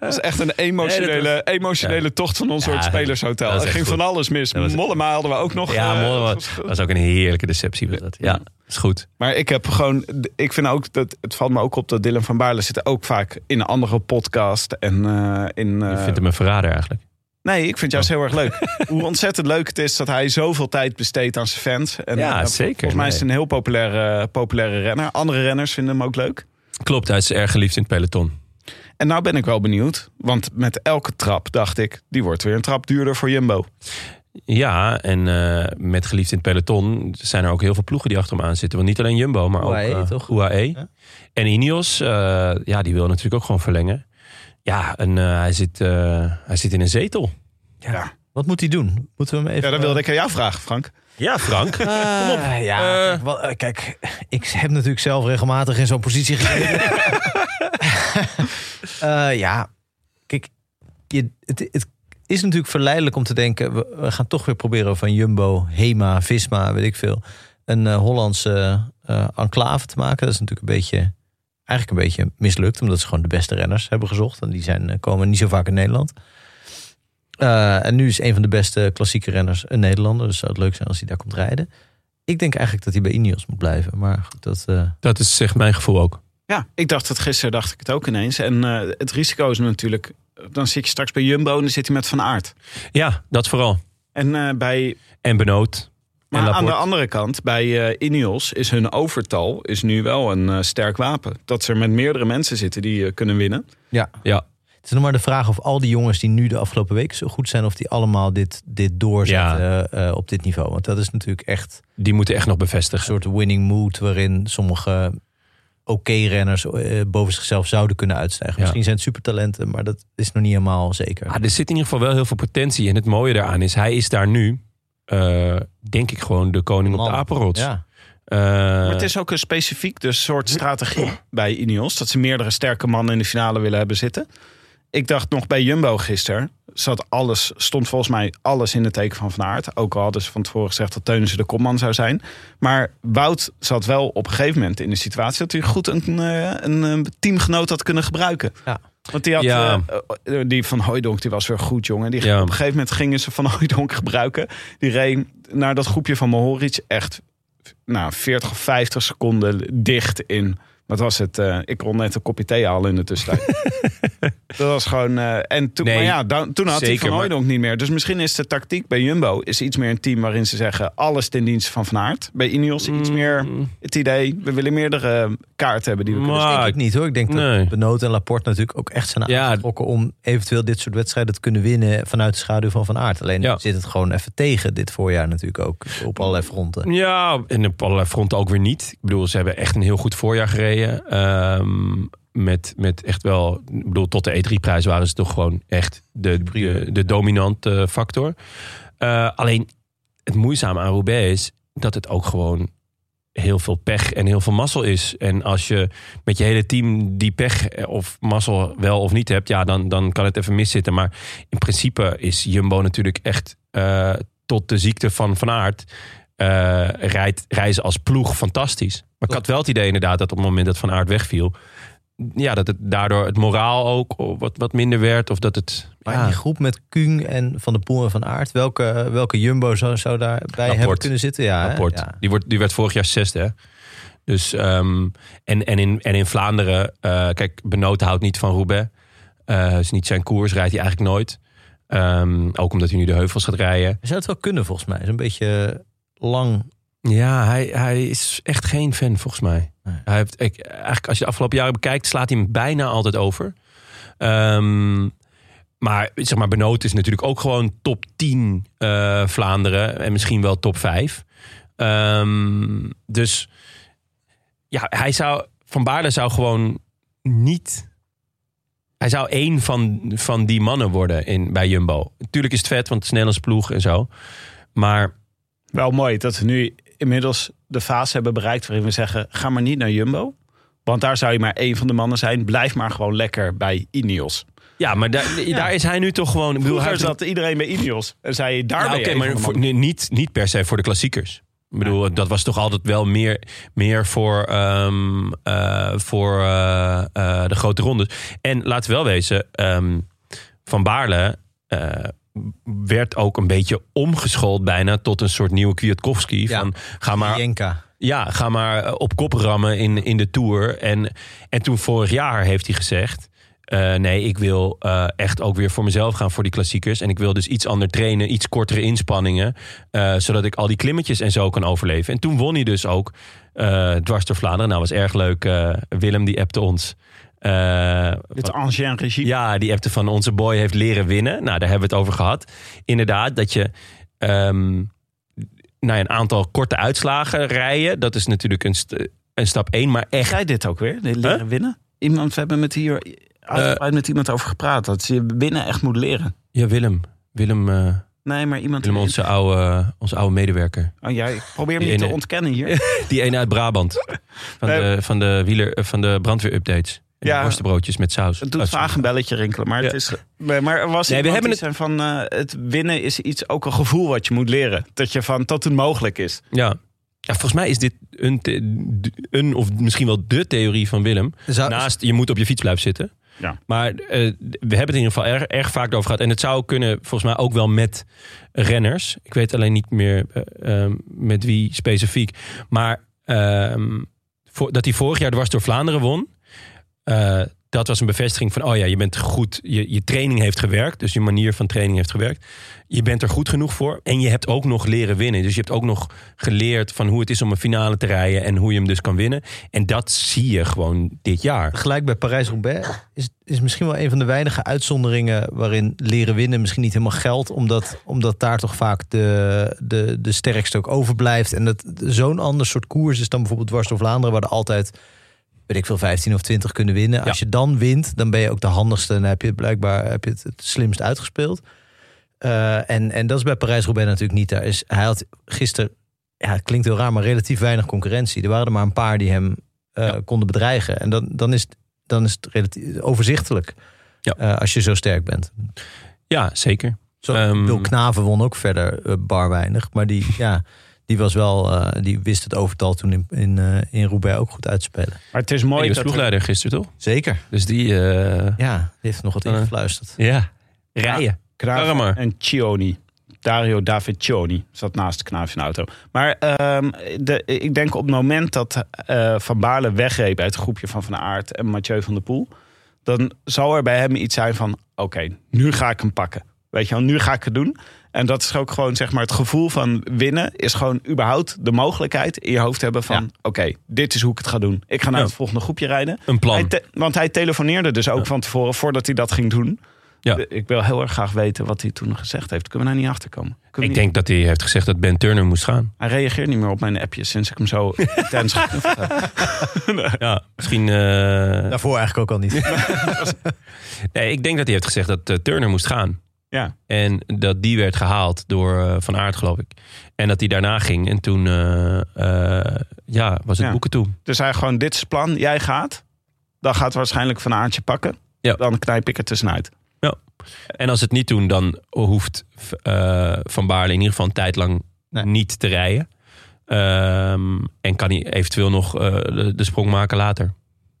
[SPEAKER 2] dat is echt een emotionele,
[SPEAKER 1] Nee, dat
[SPEAKER 2] emotionele tocht van ons
[SPEAKER 1] Ja,
[SPEAKER 2] soort spelershotel.
[SPEAKER 1] dat is
[SPEAKER 2] Er
[SPEAKER 1] echt
[SPEAKER 2] ging van
[SPEAKER 1] goed.
[SPEAKER 2] alles mis.
[SPEAKER 1] Dat was-
[SPEAKER 2] Mollema hadden we ook nog.
[SPEAKER 1] Ja,
[SPEAKER 2] eh,
[SPEAKER 1] mooi.
[SPEAKER 2] dat
[SPEAKER 1] Dat
[SPEAKER 2] was-
[SPEAKER 1] was, ook een heerlijke deceptie. Was dat. Ja, is goed.
[SPEAKER 2] Maar ik heb gewoon, ik vind ook dat het valt me ook op dat Dylan van Baarle zit ook vaak in een andere podcast en eh, in. eh,
[SPEAKER 1] Ik vind hem een verrader eigenlijk.
[SPEAKER 2] Nee, ik vind juist heel erg leuk. Hoe ontzettend leuk het is dat hij zoveel tijd besteedt aan zijn fans. En,
[SPEAKER 1] Ja,
[SPEAKER 2] eh,
[SPEAKER 1] zeker.
[SPEAKER 2] Volgens mij is
[SPEAKER 1] Nee.
[SPEAKER 2] het een heel populaire, populaire renner. Andere renners vinden hem ook leuk.
[SPEAKER 1] Klopt, hij is erg geliefd in het peloton.
[SPEAKER 2] En nou ben ik wel benieuwd, want met elke trap dacht ik, die wordt weer een trap duurder voor Jumbo.
[SPEAKER 1] Ja, en eh, met geliefd in het peloton zijn er ook heel veel ploegen die achter hem aan zitten. Want niet alleen Jumbo, maar
[SPEAKER 2] E,
[SPEAKER 3] UAE,
[SPEAKER 1] ook eh,
[SPEAKER 3] toch?
[SPEAKER 1] UAE.
[SPEAKER 3] Ja.
[SPEAKER 1] En Ineos, eh, ja, die wil natuurlijk ook gewoon verlengen. Ja, en eh, hij, zit, eh, hij zit in een zetel.
[SPEAKER 3] Wat moet hij doen? Moeten we hem even...
[SPEAKER 2] Ja, dat wilde ik aan jou vragen, Frank.
[SPEAKER 1] Ja, Frank.
[SPEAKER 3] Eh, Ja, kijk, wel, eh, kijk, ik heb natuurlijk zelf regelmatig in zo'n positie gezeten. Eh, ja, kijk, je, het, het is natuurlijk verleidelijk om te denken... We, we gaan toch weer proberen van Jumbo, Hema, Visma, weet ik veel... een eh, Hollandse eh, enclave te maken. Dat is natuurlijk een beetje, eigenlijk een beetje mislukt... omdat ze gewoon de beste renners hebben gezocht. En die zijn, eh, komen niet zo vaak in Nederland. Eh, en nu is een van de beste klassieke renners een Nederlander. Dus zou het leuk zijn als hij daar komt rijden. Ik denk eigenlijk dat hij bij Ineos moet blijven. Maar goed, dat... eh,
[SPEAKER 1] Dat is zeg mijn gevoel ook.
[SPEAKER 2] Ja, ik dacht het gisteren, dacht ik het ook ineens. En eh, het risico is natuurlijk, dan zit je straks bij Jumbo en dan zit hij met Van Aert.
[SPEAKER 1] Ja, dat vooral.
[SPEAKER 2] En eh, bij,
[SPEAKER 1] En Benoot.
[SPEAKER 2] maar aan de
[SPEAKER 1] Laporte.
[SPEAKER 2] andere kant, bij eh, Ineos is hun overtal is nu wel een eh, sterk wapen. Dat ze er met meerdere mensen zitten die eh, kunnen winnen.
[SPEAKER 3] ja.
[SPEAKER 1] Ja.
[SPEAKER 3] Het is nog maar de vraag of al die jongens die nu de afgelopen week zo goed zijn... of die allemaal dit, dit doorzetten eh, eh, op dit niveau. Want dat is natuurlijk echt
[SPEAKER 1] Die moeten echt nog
[SPEAKER 3] een
[SPEAKER 1] bevestigen.
[SPEAKER 3] soort winning mood... waarin sommige oké-renners eh, boven zichzelf zouden kunnen uitstijgen.
[SPEAKER 1] Ja.
[SPEAKER 3] Misschien zijn het supertalenten, maar dat is nog niet helemaal zeker.
[SPEAKER 1] Ah, er zit in ieder geval wel heel veel potentie. En het mooie daaraan is, hij is daar nu, eh, denk ik, gewoon de koning op
[SPEAKER 3] Man.
[SPEAKER 1] de apenrots.
[SPEAKER 3] Ja.
[SPEAKER 1] Eh,
[SPEAKER 2] Maar het is ook een specifiek dus soort strategie bij Ineos. Dat ze meerdere sterke mannen in de finale willen hebben zitten. Ik dacht nog bij Jumbo gisteren. Zat alles, stond volgens mij alles in het teken van Van Aert. Ook al hadden ze van tevoren gezegd dat Teunissen de kopman zou zijn. Maar Wout zat wel op een gegeven moment in de situatie... dat hij goed een, eh, een, eh, teamgenoot had kunnen gebruiken.
[SPEAKER 3] Ja.
[SPEAKER 2] Want die, had,
[SPEAKER 1] Ja.
[SPEAKER 2] eh, eh, die Van Hooijdonk die was weer goed, jongen. Die,
[SPEAKER 1] Ja.
[SPEAKER 2] Op een gegeven moment gingen ze Van Hooijdonk gebruiken. Die reed naar dat groepje van Mohoric echt nou, 40 of 50 seconden dicht in. Wat was het? eh, ik kon net een kopje thee halen in de tussentijd. Dat was gewoon. eh, en toen,
[SPEAKER 1] Nee,
[SPEAKER 2] maar ja, dan- toen had
[SPEAKER 1] zeker,
[SPEAKER 2] hij Van
[SPEAKER 1] maar-
[SPEAKER 2] Hooydonk niet meer. Dus misschien is de tactiek bij Jumbo is iets meer een team waarin ze zeggen alles ten dienste van Van Aert. Bij Ineos iets meer het idee, we willen meerdere kaarten hebben die we kunnen
[SPEAKER 1] Maar-
[SPEAKER 3] denk ik niet hoor. Ik denk
[SPEAKER 1] Ah, Nee.
[SPEAKER 3] dat Benoot en Laporte natuurlijk ook echt zijn
[SPEAKER 1] Ja.
[SPEAKER 3] aangetrokken om eventueel dit soort wedstrijden te kunnen winnen vanuit de schaduw van Van Aert. Alleen
[SPEAKER 1] Ja.
[SPEAKER 3] zit het gewoon even tegen dit voorjaar natuurlijk ook op allerlei fronten.
[SPEAKER 1] Ja, en op allerlei fronten ook weer niet. Ik bedoel, ze hebben echt een heel goed voorjaar gereden. Ehm, met, met echt wel, ik bedoel, tot de E3-prijs waren ze toch gewoon echt de, de, de dominante factor. Eh, alleen het moeizame aan Roubaix is dat het ook gewoon heel veel pech en heel veel mazzel is. En als je met je hele team die pech eh, of mazzel wel of niet hebt, ja, dan, dan kan het even miszitten. Maar in principe is Jumbo natuurlijk echt eh, tot de ziekte van Van Aert eh, rijdt, reizen als ploeg fantastisch. Maar ik had wel het idee inderdaad dat op het moment dat Van Aert wegviel, ja, dat het daardoor het moraal ook wat, wat minder werd. Of dat het...
[SPEAKER 3] Maar
[SPEAKER 1] ja.
[SPEAKER 3] in die groep met Kuhn en Van der Poel en Van Aert, welke, welke Jumbo zou, zou daarbij hebben
[SPEAKER 1] Laporte.
[SPEAKER 3] kunnen zitten? Ja, hè?
[SPEAKER 1] rapport.
[SPEAKER 3] Ja.
[SPEAKER 1] Die, wordt, die werd vorig jaar zesde. Hè? Dus, ehm, en, en, in, en in Vlaanderen, eh, kijk, Benoot houdt niet van Roubaix. Eh is niet zijn koers, rijdt hij eigenlijk nooit. Ehm, ook omdat hij nu de heuvels gaat rijden.
[SPEAKER 3] Hij zou het wel kunnen volgens mij. Is een beetje lang.
[SPEAKER 1] Ja, hij, hij is echt geen fan volgens mij.
[SPEAKER 3] Nee.
[SPEAKER 1] Hij heeft, ik, eigenlijk als je de afgelopen jaren bekijkt, slaat hij hem bijna altijd over. Ehm, maar zeg maar, Benoot is natuurlijk ook gewoon top 10 eh, Vlaanderen en misschien wel top 5. Ehm, dus ja, hij zou, Van Baarle zou gewoon niet. Hij zou één van, van die mannen worden in, bij Jumbo. Tuurlijk is het vet, want het is Nederlands ploeg en zo. Maar
[SPEAKER 2] Wel mooi dat we nu inmiddels de fase hebben bereikt waarin we zeggen: ga maar niet naar Jumbo. Want daar zou je maar één van de mannen zijn. Blijf maar gewoon lekker bij Ineos.
[SPEAKER 1] Ja, maar daar, daar is hij nu toch gewoon. Ik bedoel, hij
[SPEAKER 2] Vroeger
[SPEAKER 1] heeft-
[SPEAKER 2] zat iedereen bij Ineos. En zei je, daar
[SPEAKER 1] Ja,
[SPEAKER 2] ben
[SPEAKER 1] Oké,
[SPEAKER 2] je één van
[SPEAKER 1] maar
[SPEAKER 2] de
[SPEAKER 1] voor-
[SPEAKER 2] mannen.
[SPEAKER 1] nee, niet, niet per se voor de klassiekers. Ik bedoel, dat was toch altijd wel meer, meer voor, ehm, eh, voor eh, eh, de grote rondes. En laten we wel wezen, ehm, Van Baarle eh, werd ook een beetje omgeschoold bijna tot een soort nieuwe Kwiatkowski.
[SPEAKER 3] Ja.
[SPEAKER 1] Van, ga maar
[SPEAKER 3] Jenka.
[SPEAKER 1] ja, ga maar eh, op kop rammen in, in de Tour. En, en toen vorig jaar heeft hij gezegd... eh, nee, ik wil eh, echt ook weer voor mezelf gaan voor die klassiekers. En ik wil dus iets ander trainen, iets kortere inspanningen. eh, zodat ik al die klimmetjes en zo kan overleven. En toen won hij dus ook eh, dwars door Vlaanderen. Nou, was erg leuk. eh, Willem die appte ons. eh,
[SPEAKER 2] Dit ancien regime.
[SPEAKER 1] ja, die appte van onze boy heeft leren winnen. Nou, daar hebben we het over gehad. Inderdaad, dat je ehm, nou ja, een aantal korte uitslagen rijden. Dat is natuurlijk een, st- een stap één, maar echt.
[SPEAKER 2] Zei dit ook weer? dit Leren
[SPEAKER 1] Huh? Eh,
[SPEAKER 2] winnen? Iemand, we hebben met hier uitgebreid met iemand over gepraat. Dat je winnen echt moet leren.
[SPEAKER 1] Ja, Willem. Willem, eh,
[SPEAKER 2] Nee, maar iemand.
[SPEAKER 1] Willem onze, oude, onze oude medewerker.
[SPEAKER 2] Oh, jij probeer me
[SPEAKER 1] Die
[SPEAKER 2] niet te
[SPEAKER 1] ene-
[SPEAKER 2] ontkennen hier.
[SPEAKER 1] Die ene uit Brabant. Van de, van de, wieler, eh, van de brandweerupdates. En
[SPEAKER 2] Ja.
[SPEAKER 1] de worstenbroodjes met saus.
[SPEAKER 2] Het
[SPEAKER 1] Oh,
[SPEAKER 2] doet
[SPEAKER 1] sorry.
[SPEAKER 2] vaag een belletje rinkelen. Maar, het
[SPEAKER 1] Ja.
[SPEAKER 2] is, nee, maar er was
[SPEAKER 1] Nee, we
[SPEAKER 2] nee, we
[SPEAKER 1] hebben
[SPEAKER 2] hebben het van eh, het winnen is iets, ook een gevoel wat je moet leren. Dat je van tot het mogelijk is.
[SPEAKER 1] Ja. ja, volgens mij is dit een, the- een of misschien wel de theorie van Willem.
[SPEAKER 3] Zou-
[SPEAKER 1] Naast, je moet op je fiets blijven zitten.
[SPEAKER 2] Ja.
[SPEAKER 1] Maar eh, we hebben het in ieder geval erg, erg vaak over gehad. En het zou kunnen, volgens mij ook wel met renners. Ik weet alleen niet meer eh, ehm, met wie specifiek. Maar ehm, voor, dat hij vorig jaar dwars door Vlaanderen won. eh, dat was een bevestiging van, oh ja, je bent goed. Je, je training heeft gewerkt, dus je manier van training heeft gewerkt. Je bent er goed genoeg voor. En je hebt ook nog leren winnen. Dus je hebt ook nog geleerd van hoe het is om een finale te rijden. En hoe je hem dus kan winnen. En dat zie je gewoon dit jaar.
[SPEAKER 3] Gelijk bij Parijs-Roubaix is, is misschien wel een van de weinige uitzonderingen waarin leren winnen misschien niet helemaal geldt. Omdat, omdat daar toch vaak de, de, de sterkste ook overblijft. En dat zo'n ander soort koers is dan bijvoorbeeld dwars door Vlaanderen, waar er altijd, weet ik veel, 15 of 20 kunnen winnen. Als je dan wint, dan ben je ook de handigste en heb je blijkbaar heb je het, het slimst uitgespeeld. Eh, en, en dat is bij Parijs-Roubaix natuurlijk niet. Daar is, hij had gisteren, ja, het klinkt heel raar, maar relatief weinig concurrentie. Er waren er maar een paar die hem eh, konden bedreigen. En dan, dan, is, het- dan is het relatief overzichtelijk
[SPEAKER 1] Ja.
[SPEAKER 3] eh, als je zo sterk bent.
[SPEAKER 1] Ja, zeker.
[SPEAKER 3] Zo,
[SPEAKER 1] Ehm,
[SPEAKER 3] Wil Knaven won ook verder eh, bar weinig. Maar die, ja, die, was wel, eh, die wist het overtal toen in, in, eh, in Roubaix ook goed uit te spelen.
[SPEAKER 2] Maar het is
[SPEAKER 1] Die
[SPEAKER 2] mooi
[SPEAKER 1] was
[SPEAKER 2] dat er-
[SPEAKER 1] ploegleider gisteren, toch?
[SPEAKER 3] Zeker.
[SPEAKER 1] Dus die... eh,
[SPEAKER 3] Ja, die heeft nog wat
[SPEAKER 1] Eh.
[SPEAKER 3] ingefluisterd.
[SPEAKER 1] ja. Rijden. Kramer.
[SPEAKER 2] Knaven en Cioni. Dario Daviccioni zat naast Knaaf in de auto. Maar ehm, de, ik denk op het moment dat eh, Van Baarle wegreep uit het groepje van Van Aert en Mathieu van der Poel... dan zal er bij hem iets zijn van: oké, nu ga ik hem pakken. Weet je wel, nu ga ik het doen. En dat is ook gewoon zeg maar het gevoel van winnen. Is gewoon überhaupt de mogelijkheid in je hoofd hebben van: oké, dit is hoe ik het ga doen. Ik ga naar
[SPEAKER 1] Ja.
[SPEAKER 2] het volgende groepje rijden.
[SPEAKER 1] Een plan.
[SPEAKER 2] Hij te- want hij telefoneerde dus ook van tevoren voordat hij dat ging doen.
[SPEAKER 1] Ja.
[SPEAKER 2] De- Ik wil heel erg graag weten wat hij toen gezegd heeft. Kunnen we daar niet achter komen?
[SPEAKER 1] Ik denk dat hij heeft gezegd dat Ben Turner moest gaan.
[SPEAKER 2] Hij reageert niet meer op mijn appjes sinds ik hem zo intens geknuffeld heb.
[SPEAKER 1] Ja, misschien... eh,
[SPEAKER 3] Daarvoor eigenlijk ook al niet.
[SPEAKER 1] Nee, ik denk dat hij heeft gezegd dat eh, Turner moest gaan.
[SPEAKER 2] Ja.
[SPEAKER 1] En dat die werd gehaald door eh, Van Aert, geloof ik. En dat hij daarna ging. En toen eh, eh, ja, was het
[SPEAKER 2] Ja.
[SPEAKER 1] boeken toe.
[SPEAKER 2] Dus hij gewoon, dit is het plan, jij gaat. Dan gaat waarschijnlijk Van Aartje pakken.
[SPEAKER 1] Ja.
[SPEAKER 2] Dan knijp ik het tussenuit.
[SPEAKER 1] En als ze het niet doen, dan hoeft eh, Van Baarle in ieder geval een tijd lang
[SPEAKER 3] Nee.
[SPEAKER 1] niet te rijden. Ehm, en kan hij eventueel nog eh, de, de sprong maken later.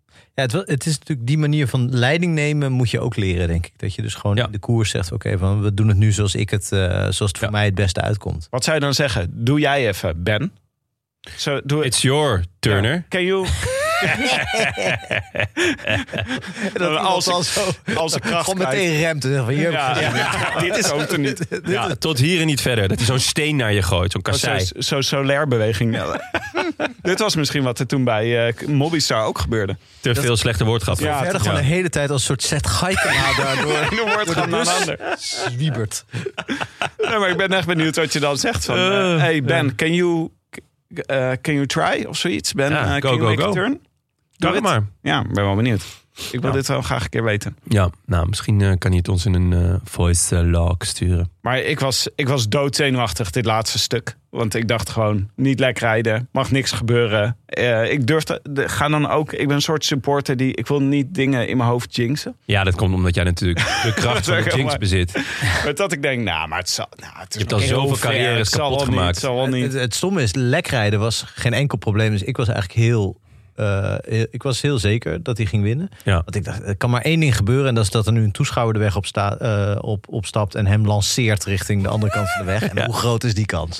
[SPEAKER 3] Ja, het, wel- het is natuurlijk die manier van leiding nemen moet je ook leren, denk ik. Dat je dus gewoon
[SPEAKER 1] Ja.
[SPEAKER 3] in de koers zegt, oké, van we doen het nu zoals, ik het, eh, zoals het voor
[SPEAKER 1] Ja.
[SPEAKER 3] mij het beste uitkomt.
[SPEAKER 2] Wat zou je dan zeggen? Doe jij even, Ben. Zo, doe
[SPEAKER 1] It's your Turner.
[SPEAKER 2] Ja. Can you?
[SPEAKER 3] Dat
[SPEAKER 2] als ik-
[SPEAKER 3] al zo
[SPEAKER 2] Als een kracht
[SPEAKER 3] gewoon meteen remt en zegt van, hier,
[SPEAKER 2] kwijt. Ja, ja, dit komt er niet.
[SPEAKER 1] Ja, tot hier en niet verder. Dat hij zo'n steen naar je gooit, zo'n
[SPEAKER 2] Zo'n
[SPEAKER 1] kassei.
[SPEAKER 2] zo solair beweging. dit was misschien wat er toen bij eh Mobbystar ook gebeurde.
[SPEAKER 1] Te veel slechte woordgrap.
[SPEAKER 2] Ja,
[SPEAKER 3] verder gewoon de hele tijd als een soort set Gaikema daardoor
[SPEAKER 2] Eén woord gaat naar een ander.
[SPEAKER 3] zwiebert.
[SPEAKER 1] dus?
[SPEAKER 2] Nee, maar ik ben echt benieuwd wat je dan zegt. Van, eh, hey Ben, can you, eh, can you try? Of zoiets. Ben,
[SPEAKER 1] Ja,
[SPEAKER 2] eh,
[SPEAKER 1] go,
[SPEAKER 2] can you
[SPEAKER 1] go,
[SPEAKER 2] make a
[SPEAKER 1] go.
[SPEAKER 2] turn? Doe
[SPEAKER 1] Kan
[SPEAKER 2] het.
[SPEAKER 1] maar.
[SPEAKER 2] Ja, ik ben wel benieuwd. Ik wil
[SPEAKER 1] Ja.
[SPEAKER 2] dit wel graag een keer weten.
[SPEAKER 1] Ja, nou, misschien eh, kan hij het ons in een eh, voice eh, log sturen.
[SPEAKER 2] Maar ik was, ik was doodzenuwachtig, dit laatste stuk. Want ik dacht gewoon, niet lekker rijden, mag niks gebeuren. Eh, ik durfde, de- ga dan ook, ik ben een soort supporter die, ik wil niet dingen in mijn hoofd jinxen.
[SPEAKER 1] Ja, dat komt omdat jij natuurlijk de kracht van de
[SPEAKER 2] Zeg
[SPEAKER 1] jinx
[SPEAKER 2] maar.
[SPEAKER 1] bezit. Je
[SPEAKER 2] Maar dat ik denk, nou, maar het zal, nou, het is
[SPEAKER 1] hebt al zoveel carrières kapot gemaakt.
[SPEAKER 2] Het zal wel
[SPEAKER 3] Eh, Het,
[SPEAKER 2] niet.
[SPEAKER 3] het stomme is, lekrijden was geen enkel probleem. Dus ik was eigenlijk heel, eh, heel- ik was heel zeker dat hij ging winnen.
[SPEAKER 1] Ja.
[SPEAKER 3] Want ik dacht, er kan maar één ding gebeuren. En dat is dat er nu een toeschouwer de weg op, sta, eh, op, opstapt en hem lanceert richting de andere kant van de weg. En hoe groot is die kans?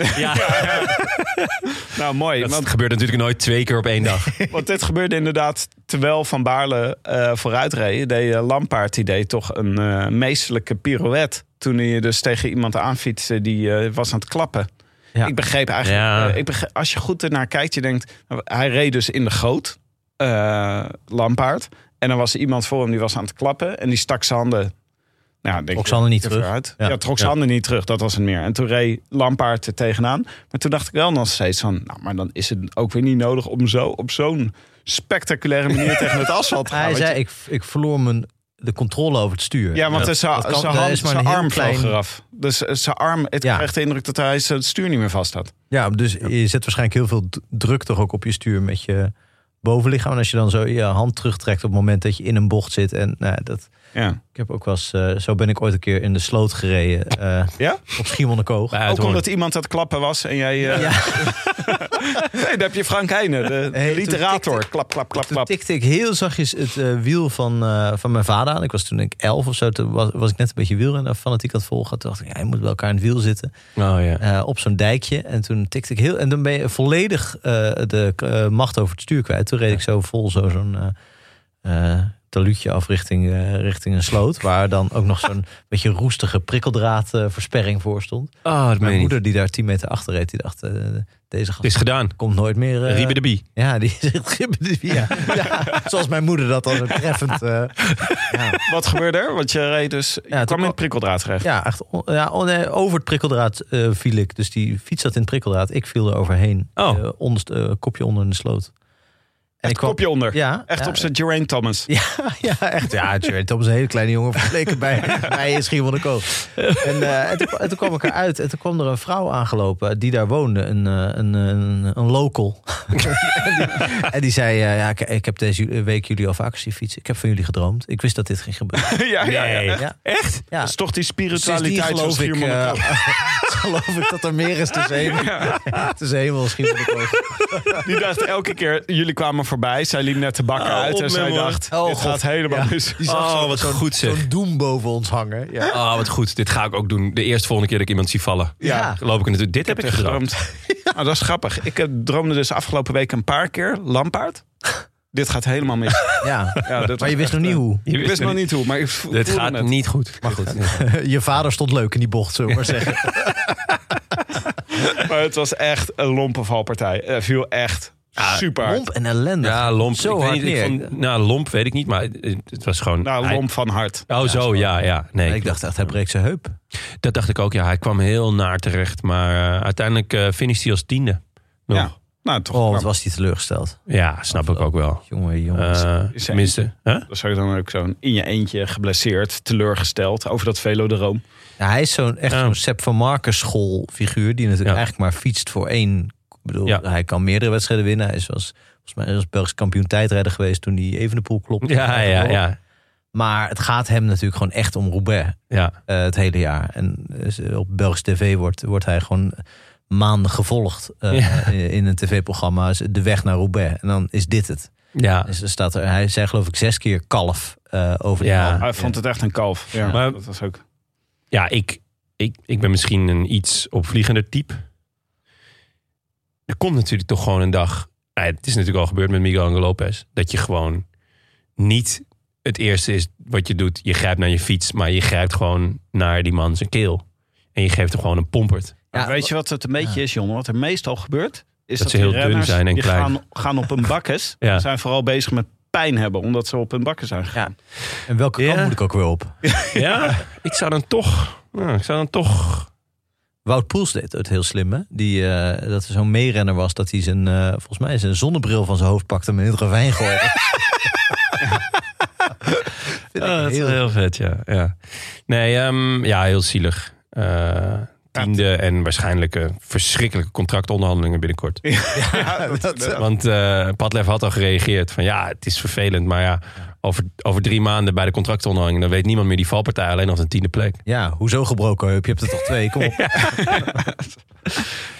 [SPEAKER 2] Nou, mooi.
[SPEAKER 1] Dat
[SPEAKER 2] Want,
[SPEAKER 1] gebeurt natuurlijk nooit twee keer op één dag.
[SPEAKER 2] want dit gebeurde inderdaad terwijl Van Baarle eh vooruit reed. Deed eh, Lampaard, die deed toch een eh, meesterlijke pirouette. Toen hij dus tegen iemand aanfietste, die eh, was aan het klappen.
[SPEAKER 3] Ja.
[SPEAKER 2] Ik begreep eigenlijk,
[SPEAKER 1] Ja.
[SPEAKER 2] eh, ik begre- als je goed ernaar kijkt, je denkt, nou, hij reed dus in de goot, eh Lampaard. En dan was er iemand voor hem die was aan het klappen en die stak zijn handen. Nou, denk
[SPEAKER 3] Trok
[SPEAKER 2] je,
[SPEAKER 3] zijn handen niet
[SPEAKER 2] even
[SPEAKER 3] terug.
[SPEAKER 2] uit. Ja.
[SPEAKER 3] Ja.
[SPEAKER 2] trok zijn
[SPEAKER 3] Ja.
[SPEAKER 2] handen niet terug, dat was het meer. En toen reed Lampaard er tegenaan. Maar toen dacht ik wel nog steeds van, nou, maar dan is het ook weer niet nodig om zo op zo'n spectaculaire manier tegen het asfalt te gaan.
[SPEAKER 3] Hij
[SPEAKER 2] weet
[SPEAKER 3] zei,
[SPEAKER 2] je.
[SPEAKER 3] ik, ik verloor mijn, de controle over het stuur.
[SPEAKER 2] ja, want
[SPEAKER 3] Dat-
[SPEAKER 2] zijn-
[SPEAKER 3] dat kan-
[SPEAKER 2] zijn
[SPEAKER 3] daar
[SPEAKER 2] hand-
[SPEAKER 3] is maar een
[SPEAKER 2] zijn
[SPEAKER 3] heel
[SPEAKER 2] arm vloog
[SPEAKER 3] klein-
[SPEAKER 2] eraf. Dus eh, zijn arm, het
[SPEAKER 3] Ja.
[SPEAKER 2] kreeg de indruk dat hij zijn stuur niet meer vast had.
[SPEAKER 3] Ja, dus je zet waarschijnlijk heel veel d- druk toch ook op je stuur met je bovenlichaam. En als je dan zo je hand terugtrekt op het moment dat je in een bocht zit. En nou, ja, dat,
[SPEAKER 2] Ja.
[SPEAKER 3] ik heb ook wel eens, eh, zo ben ik ooit een keer in de sloot gereden. eh,
[SPEAKER 2] Ja?
[SPEAKER 3] Op Schiermonnikoog.
[SPEAKER 1] Bij
[SPEAKER 2] Ook
[SPEAKER 1] Uithoorn.
[SPEAKER 2] omdat iemand aan het klappen was en jij... eh,
[SPEAKER 3] Ja,
[SPEAKER 2] Nee, daar heb je Frank Heijnen, de
[SPEAKER 3] Hey, toen
[SPEAKER 2] literator. klap, klap, klap,
[SPEAKER 3] toen
[SPEAKER 2] klap.
[SPEAKER 3] tikte ik heel zachtjes het eh, wiel van, eh, van mijn vader aan. Ik was toen denk ik elf of zo. Toen was, was ik net een beetje wielrenner fanatiek aan het volgen. Toen dacht ik, ja, je moet bij elkaar in het wiel zitten.
[SPEAKER 1] Oh ja.
[SPEAKER 3] eh, op zo'n dijkje. En toen tikte ik heel. En dan ben je volledig eh, de eh, macht over het stuur kwijt. Toen reed ik zo vol zo- zo'n. eh, eh, taluutje af richting, eh, richting een sloot. Waar dan ook nog zo'n beetje roestige prikkeldraadversperring voor stond.
[SPEAKER 1] Oh, dat
[SPEAKER 3] Mijn
[SPEAKER 1] meen je niet.
[SPEAKER 3] moeder, die daar 10 meter achter reed, die dacht: eh, deze
[SPEAKER 1] Het is
[SPEAKER 3] gast
[SPEAKER 1] gedaan.
[SPEAKER 3] komt nooit meer. eh,
[SPEAKER 1] Riebe de Bie.
[SPEAKER 3] ja, die zegt Ribbe de Bie, ja. ja, zoals mijn moeder dat dan zo treffend. eh, ja.
[SPEAKER 2] Wat gebeurde er? Want je reed dus... Je
[SPEAKER 3] Ja, toen
[SPEAKER 2] kwam in
[SPEAKER 3] kwam-
[SPEAKER 2] het prikkeldraad terecht.
[SPEAKER 3] Ja, echt on- ja, on- eh, over het prikkeldraad eh, viel ik. Dus die fiets zat in het prikkeldraad. Ik viel er overheen.
[SPEAKER 1] Oh.
[SPEAKER 3] Eh, onderst- eh, kopje onder in de sloot. En ik kwam-
[SPEAKER 2] Kopje onder.
[SPEAKER 3] Ja,
[SPEAKER 2] Echt
[SPEAKER 3] ja,
[SPEAKER 2] op zijn Geraint Thomas.
[SPEAKER 3] Ja, ja, echt. Ja, Jerry Thomas, een hele kleine jongen vergeleken bij, bij Schiermonnikoog. En, eh, en, toen, en toen kwam ik eruit en toen kwam er een vrouw aangelopen die daar woonde, een, eh, een, een, een local. en, die, en die zei, eh, ja, ik, ik heb deze week jullie al vaker zien fietsen. Ik heb van jullie gedroomd. Ik wist dat dit ging gebeuren.
[SPEAKER 2] ja, ja, ja.
[SPEAKER 1] Nee.
[SPEAKER 2] Dat
[SPEAKER 3] Ja.
[SPEAKER 1] Echt?
[SPEAKER 3] Ja.
[SPEAKER 2] is toch die
[SPEAKER 3] Sinds die
[SPEAKER 2] spiritualiteit van
[SPEAKER 3] geloof ik,
[SPEAKER 2] Schiermonnikoog.
[SPEAKER 3] eh, geloof ik dat er meer is tussen hemel, tussen hemel en Schiermonnikoog.
[SPEAKER 2] Die dacht elke keer... Jullie kwamen voorbij, zij liep net de bakken
[SPEAKER 1] Oh,
[SPEAKER 2] uit.
[SPEAKER 1] op
[SPEAKER 2] En
[SPEAKER 1] met
[SPEAKER 2] zij
[SPEAKER 1] me, hoor.
[SPEAKER 2] dacht,
[SPEAKER 3] Oh,
[SPEAKER 2] dit
[SPEAKER 3] God.
[SPEAKER 2] gaat helemaal
[SPEAKER 3] Ja.
[SPEAKER 2] mis.
[SPEAKER 3] Die zag
[SPEAKER 1] Oh,
[SPEAKER 3] zo'n-
[SPEAKER 1] wat
[SPEAKER 3] zo'n-
[SPEAKER 1] goed zeg.
[SPEAKER 3] zo'n doem boven ons hangen. Ja.
[SPEAKER 1] Oh, wat goed. Dit ga ik ook doen. De eerste volgende keer dat ik iemand zie vallen.
[SPEAKER 3] Ja.
[SPEAKER 1] Loop ik natuurlijk. Dit heb ik gedaan.
[SPEAKER 2] gedroomd. Nou, dat is grappig. Ik eh, droomde dus afgelopen week een paar keer Lampaard. dit gaat helemaal mis.
[SPEAKER 3] Ja.
[SPEAKER 2] Ja, dat
[SPEAKER 3] Maar je
[SPEAKER 2] was
[SPEAKER 3] wist nog niet hoe.
[SPEAKER 2] Ik wist nog niet hoe, maar ik vo-
[SPEAKER 1] Dit
[SPEAKER 2] voelde
[SPEAKER 1] gaat
[SPEAKER 2] het.
[SPEAKER 1] niet goed. Maar goed.
[SPEAKER 3] Je vader stond leuk in die bocht, zullen we maar zeggen.
[SPEAKER 2] Maar het was echt een lompe valpartij. Eh, viel echt super hard.
[SPEAKER 3] Lomp en ellende.
[SPEAKER 1] Ja, lomp.
[SPEAKER 3] Zo
[SPEAKER 1] ik weet
[SPEAKER 3] hard
[SPEAKER 1] niet, ik
[SPEAKER 3] neer.
[SPEAKER 1] vond- nou, lomp weet ik niet, maar het, het was gewoon...
[SPEAKER 2] Nou,
[SPEAKER 1] hij-
[SPEAKER 2] lomp van hard.
[SPEAKER 1] Oh, zo, ja, ja. Nee,
[SPEAKER 3] Ik dacht echt, hij breekt zijn heup.
[SPEAKER 1] dat dacht ik ook. Ja, hij kwam heel naar terecht. Maar eh, uiteindelijk eh finishte hij als tiende. Nog.
[SPEAKER 2] Ja. Nou, toch.
[SPEAKER 3] Oh, wat
[SPEAKER 2] Nou,
[SPEAKER 3] was hij teleurgesteld.
[SPEAKER 1] Ja, snap ik ook wel.
[SPEAKER 3] Jongen, jongen.
[SPEAKER 1] Eh
[SPEAKER 2] is-
[SPEAKER 1] tenminste, hè?
[SPEAKER 2] Dat zou je dan ook zo'n in je eentje geblesseerd, teleurgesteld over dat velodroom.
[SPEAKER 3] Ja, hij is zo'n echt
[SPEAKER 1] Ja.
[SPEAKER 3] zo'n Sepp van Marken schoolfiguur. Die
[SPEAKER 1] Ja.
[SPEAKER 3] natuurlijk eigenlijk maar fietst voor één. Ik bedoel,
[SPEAKER 1] Ja.
[SPEAKER 3] hij kan meerdere wedstrijden winnen. Hij is was, volgens mij als Belgisch kampioen tijdrijder geweest toen hij even de poel klopte.
[SPEAKER 1] Ja, ja, ja.
[SPEAKER 3] Maar het gaat hem natuurlijk gewoon echt om Roubaix
[SPEAKER 1] ja.
[SPEAKER 3] eh, het hele jaar. En eh, op Belgische tv wordt, wordt hij gewoon maanden gevolgd eh,
[SPEAKER 1] Ja.
[SPEAKER 3] in een tv-programma. Is De weg naar Roubaix. En dan is dit het.
[SPEAKER 1] ja.
[SPEAKER 3] Dus er staat er, hij zei geloof ik zes keer kalf eh, over die
[SPEAKER 1] Ja.
[SPEAKER 3] man.
[SPEAKER 2] Hij vond het echt een kalf. Ja,
[SPEAKER 1] Maar-
[SPEAKER 2] dat was ook.
[SPEAKER 1] Ja, ik, ik, ik ben misschien een iets opvliegender type. Er komt natuurlijk toch gewoon een dag. Nou, ja, het is natuurlijk al gebeurd met Miguel Angel Lopez. Dat je gewoon niet het eerste is wat je doet. Je grijpt naar je fiets, maar je grijpt gewoon naar die man zijn keel. En je geeft hem gewoon een pompert.
[SPEAKER 3] Ja,
[SPEAKER 2] Weet je wat het een beetje is, Jon? Wat er meestal gebeurt, is dat,
[SPEAKER 1] ze
[SPEAKER 2] die
[SPEAKER 1] heel dun
[SPEAKER 2] renners
[SPEAKER 1] zijn en
[SPEAKER 2] die
[SPEAKER 1] klein.
[SPEAKER 2] Gaan, gaan op hun bakkes.
[SPEAKER 1] Ja.
[SPEAKER 2] Zijn vooral bezig met pijn hebben, omdat ze op hun bakken zijn gegaan.
[SPEAKER 3] En welke kant
[SPEAKER 1] Ja.
[SPEAKER 3] moet ik ook weer op?
[SPEAKER 1] Ja, ik zou dan toch. nou, ik zou dan toch.
[SPEAKER 3] Wout Poels deed het heel slim, hè? Die, eh, dat er zo'n meerenner was dat hij zijn, eh, volgens mij zijn zonnebril van zijn hoofd pakte en hem in het ravijn gooide. Vind ik
[SPEAKER 1] Oh, dat is
[SPEAKER 3] heel-
[SPEAKER 1] wel heel vet, ja. ja. Nee, ehm, ja, heel zielig. Eh, tiende en waarschijnlijk eh, verschrikkelijke contractonderhandelingen binnenkort. Want eh Padlef had al gereageerd van ja, het is vervelend. Maar ja, over, over drie maanden bij de contractonderhandelingen... dan weet niemand meer die valpartij, alleen nog een tiende plek.
[SPEAKER 3] Ja, hoezo gebroken heup? Je hebt er toch twee? Kom op.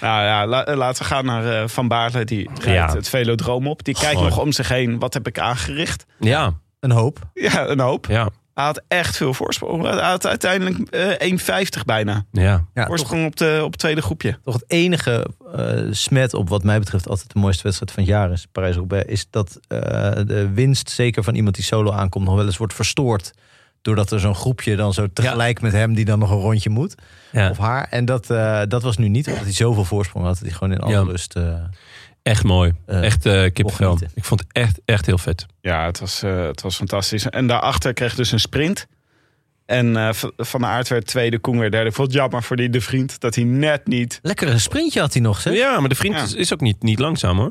[SPEAKER 2] Nou ja, la- eh, laten we gaan naar eh, Van Baarle. Die rijdt
[SPEAKER 1] Ja.
[SPEAKER 2] het velodroom op. Die kijkt
[SPEAKER 1] Goh.
[SPEAKER 2] nog om zich heen. Wat heb ik aangericht?
[SPEAKER 1] Ja,
[SPEAKER 3] Een hoop.
[SPEAKER 2] Ja, een hoop.
[SPEAKER 1] ja,
[SPEAKER 2] Hij had echt veel voorsprong. Hij had uiteindelijk eh 1,50 bijna.
[SPEAKER 1] ja.
[SPEAKER 3] Ja, toch,
[SPEAKER 2] Voorsprong op, de, op het tweede groepje.
[SPEAKER 3] toch het enige eh, smet op wat mij betreft altijd de mooiste wedstrijd van het jaar is. Parijs-Roubaix. Is dat eh, de winst, zeker van iemand die solo aankomt, nog wel eens wordt verstoord. Doordat er zo'n groepje dan zo tegelijk met hem die dan nog een rondje moet.
[SPEAKER 1] ja.
[SPEAKER 3] Of haar. En dat, eh, dat was nu niet, omdat hij zoveel voorsprong had. Dat hij gewoon in alle
[SPEAKER 1] Ja.
[SPEAKER 3] lust... eh,
[SPEAKER 1] Echt mooi.
[SPEAKER 3] Eh,
[SPEAKER 1] echt eh kippenvel.
[SPEAKER 3] genieten.
[SPEAKER 1] Ik vond het echt, echt heel vet.
[SPEAKER 2] Ja, het was, eh, het was fantastisch. En daarachter kreeg dus een sprint. En eh, V- Van de Aert werd tweede, Koen werd derde. Ik vond het jammer voor die de vriend dat hij net niet...
[SPEAKER 3] Lekker een sprintje had hij nog, zeg.
[SPEAKER 1] Ja, maar de vriend
[SPEAKER 2] Ja.
[SPEAKER 1] is, is ook niet, niet langzaam hoor.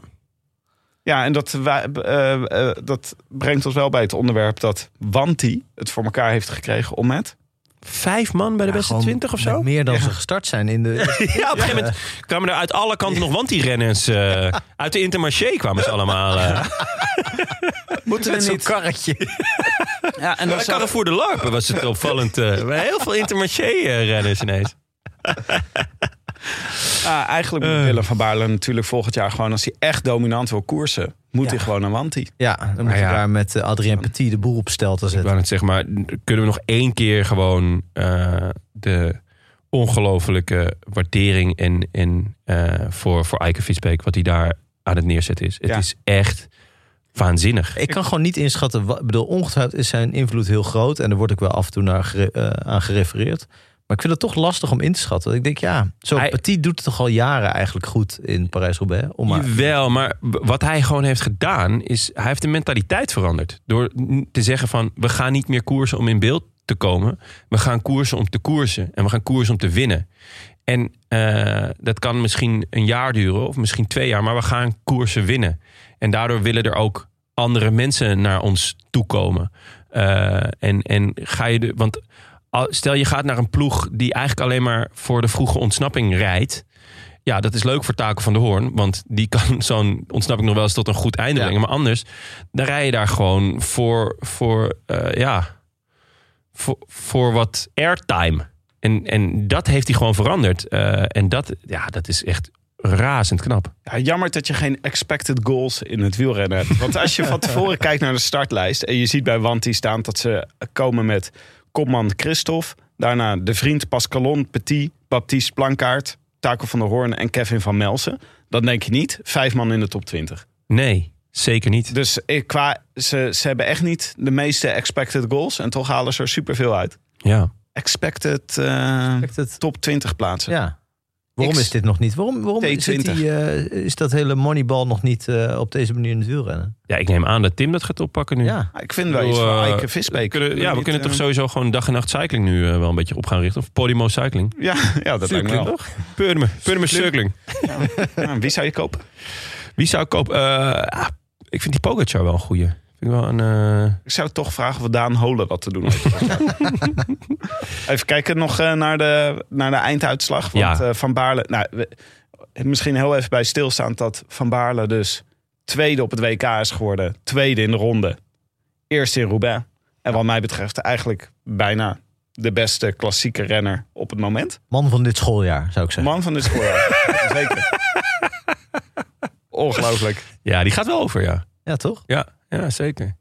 [SPEAKER 2] Ja, en dat, wij, eh, eh, dat brengt ons wel bij het onderwerp dat Wanti het voor elkaar heeft gekregen om met...
[SPEAKER 1] Vijf man bij de
[SPEAKER 3] Ja,
[SPEAKER 1] beste
[SPEAKER 3] gewoon
[SPEAKER 1] twintig of
[SPEAKER 3] met
[SPEAKER 1] zo?
[SPEAKER 3] Meer dan ze gestart zijn in de.
[SPEAKER 1] Ja, op een gegeven moment kwamen er uit alle kanten nog wanti-renners. eh, uit de Intermarché kwamen ze allemaal. eh
[SPEAKER 2] Moeten we niet...
[SPEAKER 3] karretje.
[SPEAKER 2] Ja, en
[SPEAKER 1] bij Carrefour de Larpen was het opvallend. eh, bij heel veel Intermarché-renners ineens.
[SPEAKER 2] Ah, eigenlijk moet Willem van Baarle natuurlijk volgend jaar gewoon... als hij echt dominant wil koersen, moet hij gewoon naar Wanti.
[SPEAKER 3] Ja, dan moet
[SPEAKER 1] Maar
[SPEAKER 3] je
[SPEAKER 1] ja.
[SPEAKER 3] daar met eh, Adrien Petit de boel op stel te
[SPEAKER 1] Ik wou
[SPEAKER 3] zetten.
[SPEAKER 1] net zeggen, maar kunnen we nog één keer gewoon eh, de ongelofelijke waardering en, en, eh, voor, voor Eike Fietsbeek, wat hij daar aan het neerzetten is. Het
[SPEAKER 2] Ja.
[SPEAKER 1] is echt waanzinnig.
[SPEAKER 3] Ik kan gewoon niet inschatten. wa- Ik bedoel, ongetwijfeld is zijn invloed heel groot. En daar word ik wel af en toe naar gere- eh, aan gerefereerd. Maar ik vind het toch lastig om in te schatten. Want Ik denk, ja, zo
[SPEAKER 1] Hij-
[SPEAKER 3] Petit doet het toch al jaren eigenlijk goed in Parijs-Roubaix. Om maar-
[SPEAKER 1] Wel, maar b- wat hij gewoon heeft gedaan is, hij heeft de mentaliteit veranderd. Door n- te zeggen van, we gaan niet meer koersen om in beeld te komen. We gaan koersen om te koersen. En we gaan koersen om te winnen. En eh, dat kan misschien een jaar duren of misschien twee jaar. Maar we gaan koersen winnen. En daardoor willen er ook andere mensen naar ons toekomen. Eh, en, en ga je de, want al- stel je gaat naar een ploeg die eigenlijk alleen maar voor de vroege ontsnapping rijdt. Ja, dat is leuk voor Taken van de Hoorn. Want die kan zo'n ontsnapping nog wel eens tot een goed einde
[SPEAKER 3] Ja.
[SPEAKER 1] brengen. Maar anders, dan rij je daar gewoon voor, voor, eh, ja, voor, voor wat airtime. En, en dat heeft hij gewoon veranderd. Eh, en dat, ja, dat is echt razend knap.
[SPEAKER 2] Ja, jammer dat je geen expected goals in het wielrennen hebt. Want als je van tevoren kijkt naar de startlijst... en je ziet bij Wanti staan dat ze komen met kopman Christophe... daarna de vriend Pascalon, Petit, Baptiste Plankaart... Taco van der Hoorn en Kevin van Melsen. Dan denk je niet, vijf man in de top 20.
[SPEAKER 1] Nee. Zeker niet.
[SPEAKER 2] Dus ik, qua, ze, ze hebben echt niet de meeste expected goals. En toch halen ze er superveel uit.
[SPEAKER 1] Ja.
[SPEAKER 2] Expected, eh,
[SPEAKER 3] het.
[SPEAKER 2] top 20 plaatsen.
[SPEAKER 3] Ja. Waarom
[SPEAKER 2] X-
[SPEAKER 3] is dit nog niet? Waarom, waarom zit
[SPEAKER 2] T20.
[SPEAKER 3] die, eh, is dat hele moneyball nog niet eh, op deze manier in het wielrennen?
[SPEAKER 1] ja, ik neem aan dat Tim dat gaat oppakken nu.
[SPEAKER 3] Ja.
[SPEAKER 2] Ik vind wel iets
[SPEAKER 1] bedoel,
[SPEAKER 2] van
[SPEAKER 1] eh,
[SPEAKER 2] Eike Visbeek.
[SPEAKER 1] We kunnen,
[SPEAKER 2] Wil
[SPEAKER 1] ja, we
[SPEAKER 2] niet,
[SPEAKER 1] kunnen
[SPEAKER 2] eh,
[SPEAKER 1] toch sowieso gewoon dag en nacht cycling nu eh, wel een beetje op gaan richten. Of Podimo Cycling.
[SPEAKER 2] Ja, ja dat lijkt me wel.
[SPEAKER 1] toch? Purmer. Purmer Cycling.
[SPEAKER 2] Ja, wie zou je kopen?
[SPEAKER 1] Wie zou ik kopen? Eh, ah, ik vind die Pogacar wel een goeie. Vind ik wel een... eh,
[SPEAKER 2] Ik zou toch vragen of Daan Holen wat te doen heeft. Even kijken nog eh, naar, de, naar de einduitslag. Want
[SPEAKER 1] Ja.
[SPEAKER 2] eh, Van Baarle... Nou, we- misschien heel even bij stilstaan dat Van Baarle dus tweede op het WK is geworden. Tweede in de ronde. Eerste in Roubaix. En wat mij betreft eigenlijk bijna de beste klassieke renner op het moment.
[SPEAKER 3] Man van dit schooljaar, zou ik zeggen.
[SPEAKER 2] Man van dit schooljaar. Zeker. Ongelooflijk.
[SPEAKER 1] ja, die gaat wel over, ja.
[SPEAKER 3] Ja, toch?
[SPEAKER 1] Ja, ja zeker.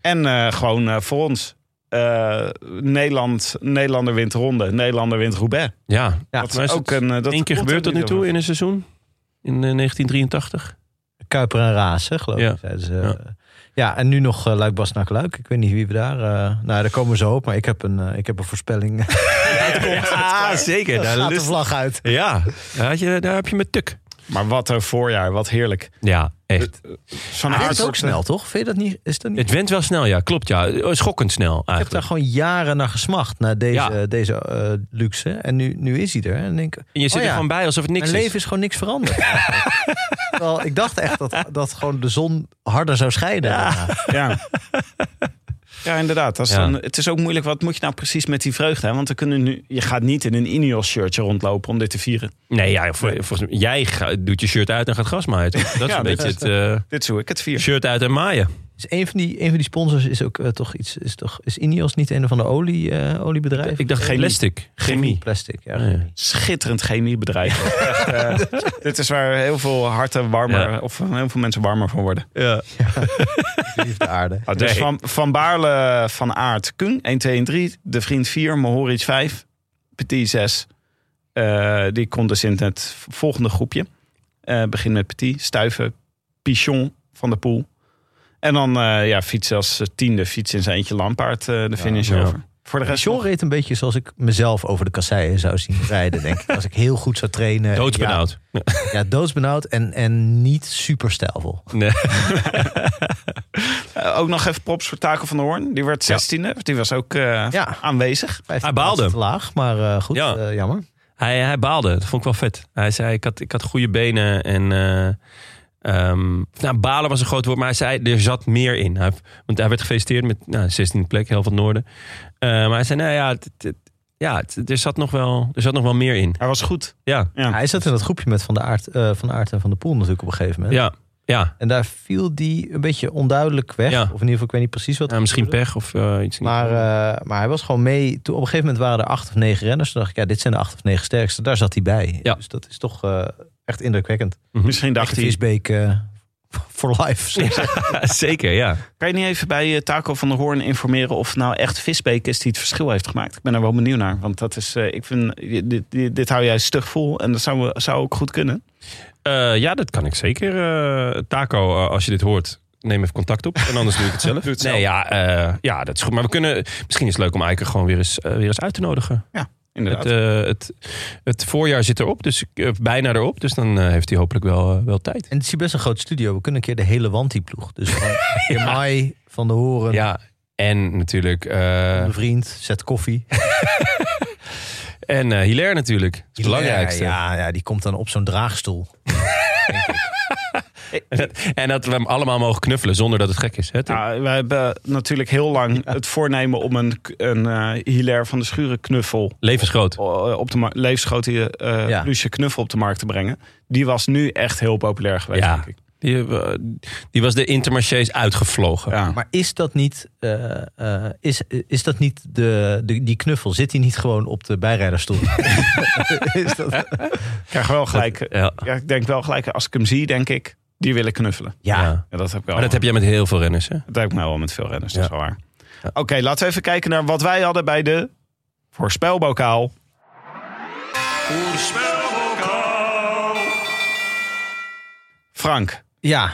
[SPEAKER 2] En eh, gewoon eh, voor ons. eh, Nederland, Nederlander wint de ronde. Nederlander wint Roubaix.
[SPEAKER 1] Ja,
[SPEAKER 3] Ja,
[SPEAKER 1] dat
[SPEAKER 2] Maar
[SPEAKER 1] is
[SPEAKER 2] is
[SPEAKER 1] ook
[SPEAKER 2] het een, eh, dat
[SPEAKER 1] één keer
[SPEAKER 2] komt
[SPEAKER 1] gebeurd tot
[SPEAKER 2] er
[SPEAKER 1] nu
[SPEAKER 2] niet
[SPEAKER 1] toe
[SPEAKER 2] over.
[SPEAKER 1] in een seizoen. In eh, 1983.
[SPEAKER 3] Kuiper en Raas, hè, geloof ik.
[SPEAKER 1] Ja.
[SPEAKER 3] zeiden ze.
[SPEAKER 1] Ja.
[SPEAKER 3] ja. en nu nog eh, Luik Bas naar Luik. Ik weet niet wie we daar... eh nou, daar komen we zo op, maar ik heb een, eh, ik heb een voorspelling.
[SPEAKER 1] Ja, zeker.
[SPEAKER 3] daar
[SPEAKER 1] Daar
[SPEAKER 3] gaat de
[SPEAKER 1] lust-
[SPEAKER 3] vlag uit.
[SPEAKER 1] Ja, daar, had je, daar heb je met tuk.
[SPEAKER 2] Maar wat een voorjaar, wat heerlijk. Ah,
[SPEAKER 1] Ja, echt.
[SPEAKER 2] Zo'n
[SPEAKER 3] Dit
[SPEAKER 2] aard
[SPEAKER 3] is ook snel, toch? Vind je dat niet? Is dat niet?
[SPEAKER 1] Het went wel snel, ja. Klopt, ja. Oh, Schokkend snel
[SPEAKER 3] Ik heb daar
[SPEAKER 1] eigenlijk.
[SPEAKER 3] gewoon jaren naar gesmacht, naar deze,
[SPEAKER 1] Ja.
[SPEAKER 3] deze eh, luxe. En nu, nu is hij er. En, denk, ik,
[SPEAKER 1] En je zit
[SPEAKER 3] oh
[SPEAKER 1] er
[SPEAKER 3] ja,
[SPEAKER 1] gewoon bij alsof het niks
[SPEAKER 3] Mijn
[SPEAKER 1] is.
[SPEAKER 3] leven is gewoon niks veranderd. eigenlijk. Terwijl ik dacht echt dat, dat gewoon de zon harder zou schijnen. daarna.
[SPEAKER 2] Ja. ja, inderdaad. Dat is
[SPEAKER 1] Ja.
[SPEAKER 2] dan- het is ook moeilijk, wat moet je nou precies met die vreugde? Hè? Want we kunnen nu, je gaat niet in een Ineos shirtje rondlopen om dit te vieren.
[SPEAKER 1] Nee, ja, vol- volgens mij, jij ga- doet je shirt uit en gaat gras maaien. toch? Dat is
[SPEAKER 2] Ja,
[SPEAKER 1] een
[SPEAKER 2] dat
[SPEAKER 1] beetje
[SPEAKER 2] is-
[SPEAKER 1] het eh,
[SPEAKER 2] Dit is hoe ik het vier.
[SPEAKER 1] shirt uit en maaien.
[SPEAKER 3] Dus een van die, een van die sponsors is ook eh, toch iets. Is, toch, is Ineos niet een van de olie, eh, oliebedrijven?
[SPEAKER 1] Ik dacht
[SPEAKER 2] Chemie.
[SPEAKER 1] plastic. Chemie.
[SPEAKER 3] Plastic, ja.
[SPEAKER 1] Ah, ja.
[SPEAKER 2] Schitterend chemiebedrijf. Echt, eh, dit is waar heel veel harten warmer,
[SPEAKER 1] Ja.
[SPEAKER 2] of eh, heel veel mensen warmer van worden.
[SPEAKER 3] Liefde aarde.
[SPEAKER 2] Ah, dus
[SPEAKER 1] Nee.
[SPEAKER 2] van, van Baarle, Van Aert, Kung 1, 2 en 3. De Vriend 4, Mohoric 5, Petit 6. Eh, die komt dus in het volgende groepje. Eh begin met Petit, Stuiven, Pichon van de Poel. En dan eh ja, fiets als eh, tiende, fiets in zijn eentje Lampaard eh, de finish
[SPEAKER 1] ja.
[SPEAKER 2] over. Voor de rest
[SPEAKER 3] John reed een beetje zoals ik mezelf over de kasseien zou zien rijden, denk ik. Als ik heel goed zou trainen.
[SPEAKER 1] Doodsbenauwd.
[SPEAKER 3] Ja, ja, doodsbenauwd en, en niet super stijlvol.
[SPEAKER 1] Nee.
[SPEAKER 2] eh, ook nog even props voor Taco van der Hoorn. Die werd 16e, die was ook eh,
[SPEAKER 3] Ja.
[SPEAKER 2] aanwezig.
[SPEAKER 3] Hij
[SPEAKER 1] Hij baalde.
[SPEAKER 3] Te laag, maar eh, goed,
[SPEAKER 1] Ja.
[SPEAKER 3] eh, jammer.
[SPEAKER 1] Hij, hij baalde. Dat vond ik wel vet. Hij zei, ik had, ik had goede benen en... eh, ehm, nou, balen was een groot woord, maar hij zei, er zat meer in. Hij, want hij werd gefeliciteerd met nou, 16e plek, heel van het noorden. Eh, maar hij zei, nou ja, het- het- ja het- er, zat nog wel, er zat nog wel meer in.
[SPEAKER 2] Hij was goed.
[SPEAKER 1] Ja,
[SPEAKER 2] Ja.
[SPEAKER 3] Hij zat in dat groepje met Van de Aert, eh, van Aert en Van de Poel natuurlijk op een gegeven moment.
[SPEAKER 1] ja, ja.
[SPEAKER 3] En daar viel die een beetje onduidelijk weg.
[SPEAKER 1] Ja.
[SPEAKER 3] Of in ieder geval, ik weet niet precies wat.
[SPEAKER 1] Ja, Nou, misschien
[SPEAKER 3] gebeurde.
[SPEAKER 1] pech of eh, iets.
[SPEAKER 3] Maar, eh, maar hij was gewoon mee. Toen, op een gegeven moment waren er acht of negen renners. Toen dacht ik, ja, dit zijn de acht of negen sterkste. Daar zat hij bij.
[SPEAKER 1] Ja.
[SPEAKER 3] Dus dat is toch eh, echt indrukwekkend.
[SPEAKER 1] Hm.
[SPEAKER 2] Misschien dacht
[SPEAKER 3] Echte
[SPEAKER 2] hij,
[SPEAKER 3] Visbeek eh, for life.
[SPEAKER 1] Zeker, ja.
[SPEAKER 2] Kan je niet even bij eh, Taco van der Hoorn informeren of nou echt Visbeek is die het verschil heeft gemaakt? Ik ben er wel benieuwd naar, want dat is, eh, ik vind, dit, dit, dit hou jij stug vol en dat zou, zou ook goed kunnen.
[SPEAKER 1] Eh, ja, dat kan ik zeker. eh, Taco, eh, als je dit hoort, neem even contact op. En anders doe ik het zelf.
[SPEAKER 2] het zelf.
[SPEAKER 1] nee, ja, eh, ja, dat is goed. Maar we kunnen, misschien is het leuk om Eiken gewoon weer eens, eh, weer eens uit te nodigen.
[SPEAKER 2] Inderdaad.
[SPEAKER 1] Het, eh, het, het voorjaar zit erop, dus eh, bijna erop. Dus dan eh, heeft hij hopelijk wel, eh, wel tijd.
[SPEAKER 3] En het is hier best een groot studio. We kunnen een keer de hele Wanti-ploeg. Dus van Jamai, Van de Horen,
[SPEAKER 1] Ja, en natuurlijk. eh,
[SPEAKER 3] een vriend, zet koffie.
[SPEAKER 1] en eh, Hilaire natuurlijk. Dat is het belangrijkste.
[SPEAKER 3] Ja, ja, die komt dan op zo'n draagstoel.
[SPEAKER 1] En dat we hem allemaal mogen knuffelen zonder dat het gek is. Hè, Tim?
[SPEAKER 2] Nou, we hebben natuurlijk heel lang het voornemen om een, een eh, Hilaire van de Schuren knuffel
[SPEAKER 1] Levensgroot.
[SPEAKER 2] eh, op de mar- levensgrote eh
[SPEAKER 3] Ja.
[SPEAKER 2] Lucia knuffel op de markt te brengen. Die was nu echt heel populair geweest,
[SPEAKER 1] Ja.
[SPEAKER 2] denk ik.
[SPEAKER 1] Die, eh, die was de Intermarchés uitgevlogen.
[SPEAKER 2] Ja.
[SPEAKER 3] Maar is dat niet, eh, eh, is, is dat niet de, de, die knuffel? Zit die niet gewoon op de bijrijderstoel? is dat,
[SPEAKER 2] Ik krijg wel gelijk, eh,
[SPEAKER 1] Ja.
[SPEAKER 2] ja, ik denk wel gelijk, als ik hem zie, denk ik, die wil ik knuffelen.
[SPEAKER 3] ja,
[SPEAKER 1] Ja.
[SPEAKER 2] Ja, dat heb ik wel.
[SPEAKER 1] Maar dat heb jij met heel veel renners, hè?
[SPEAKER 2] Dat lijkt me wel met veel renners, dat
[SPEAKER 1] Ja.
[SPEAKER 2] is wel waar.
[SPEAKER 1] Ja.
[SPEAKER 2] Oké, laten we even kijken naar wat wij hadden bij de voorspelbokaal. Frank,
[SPEAKER 3] ja.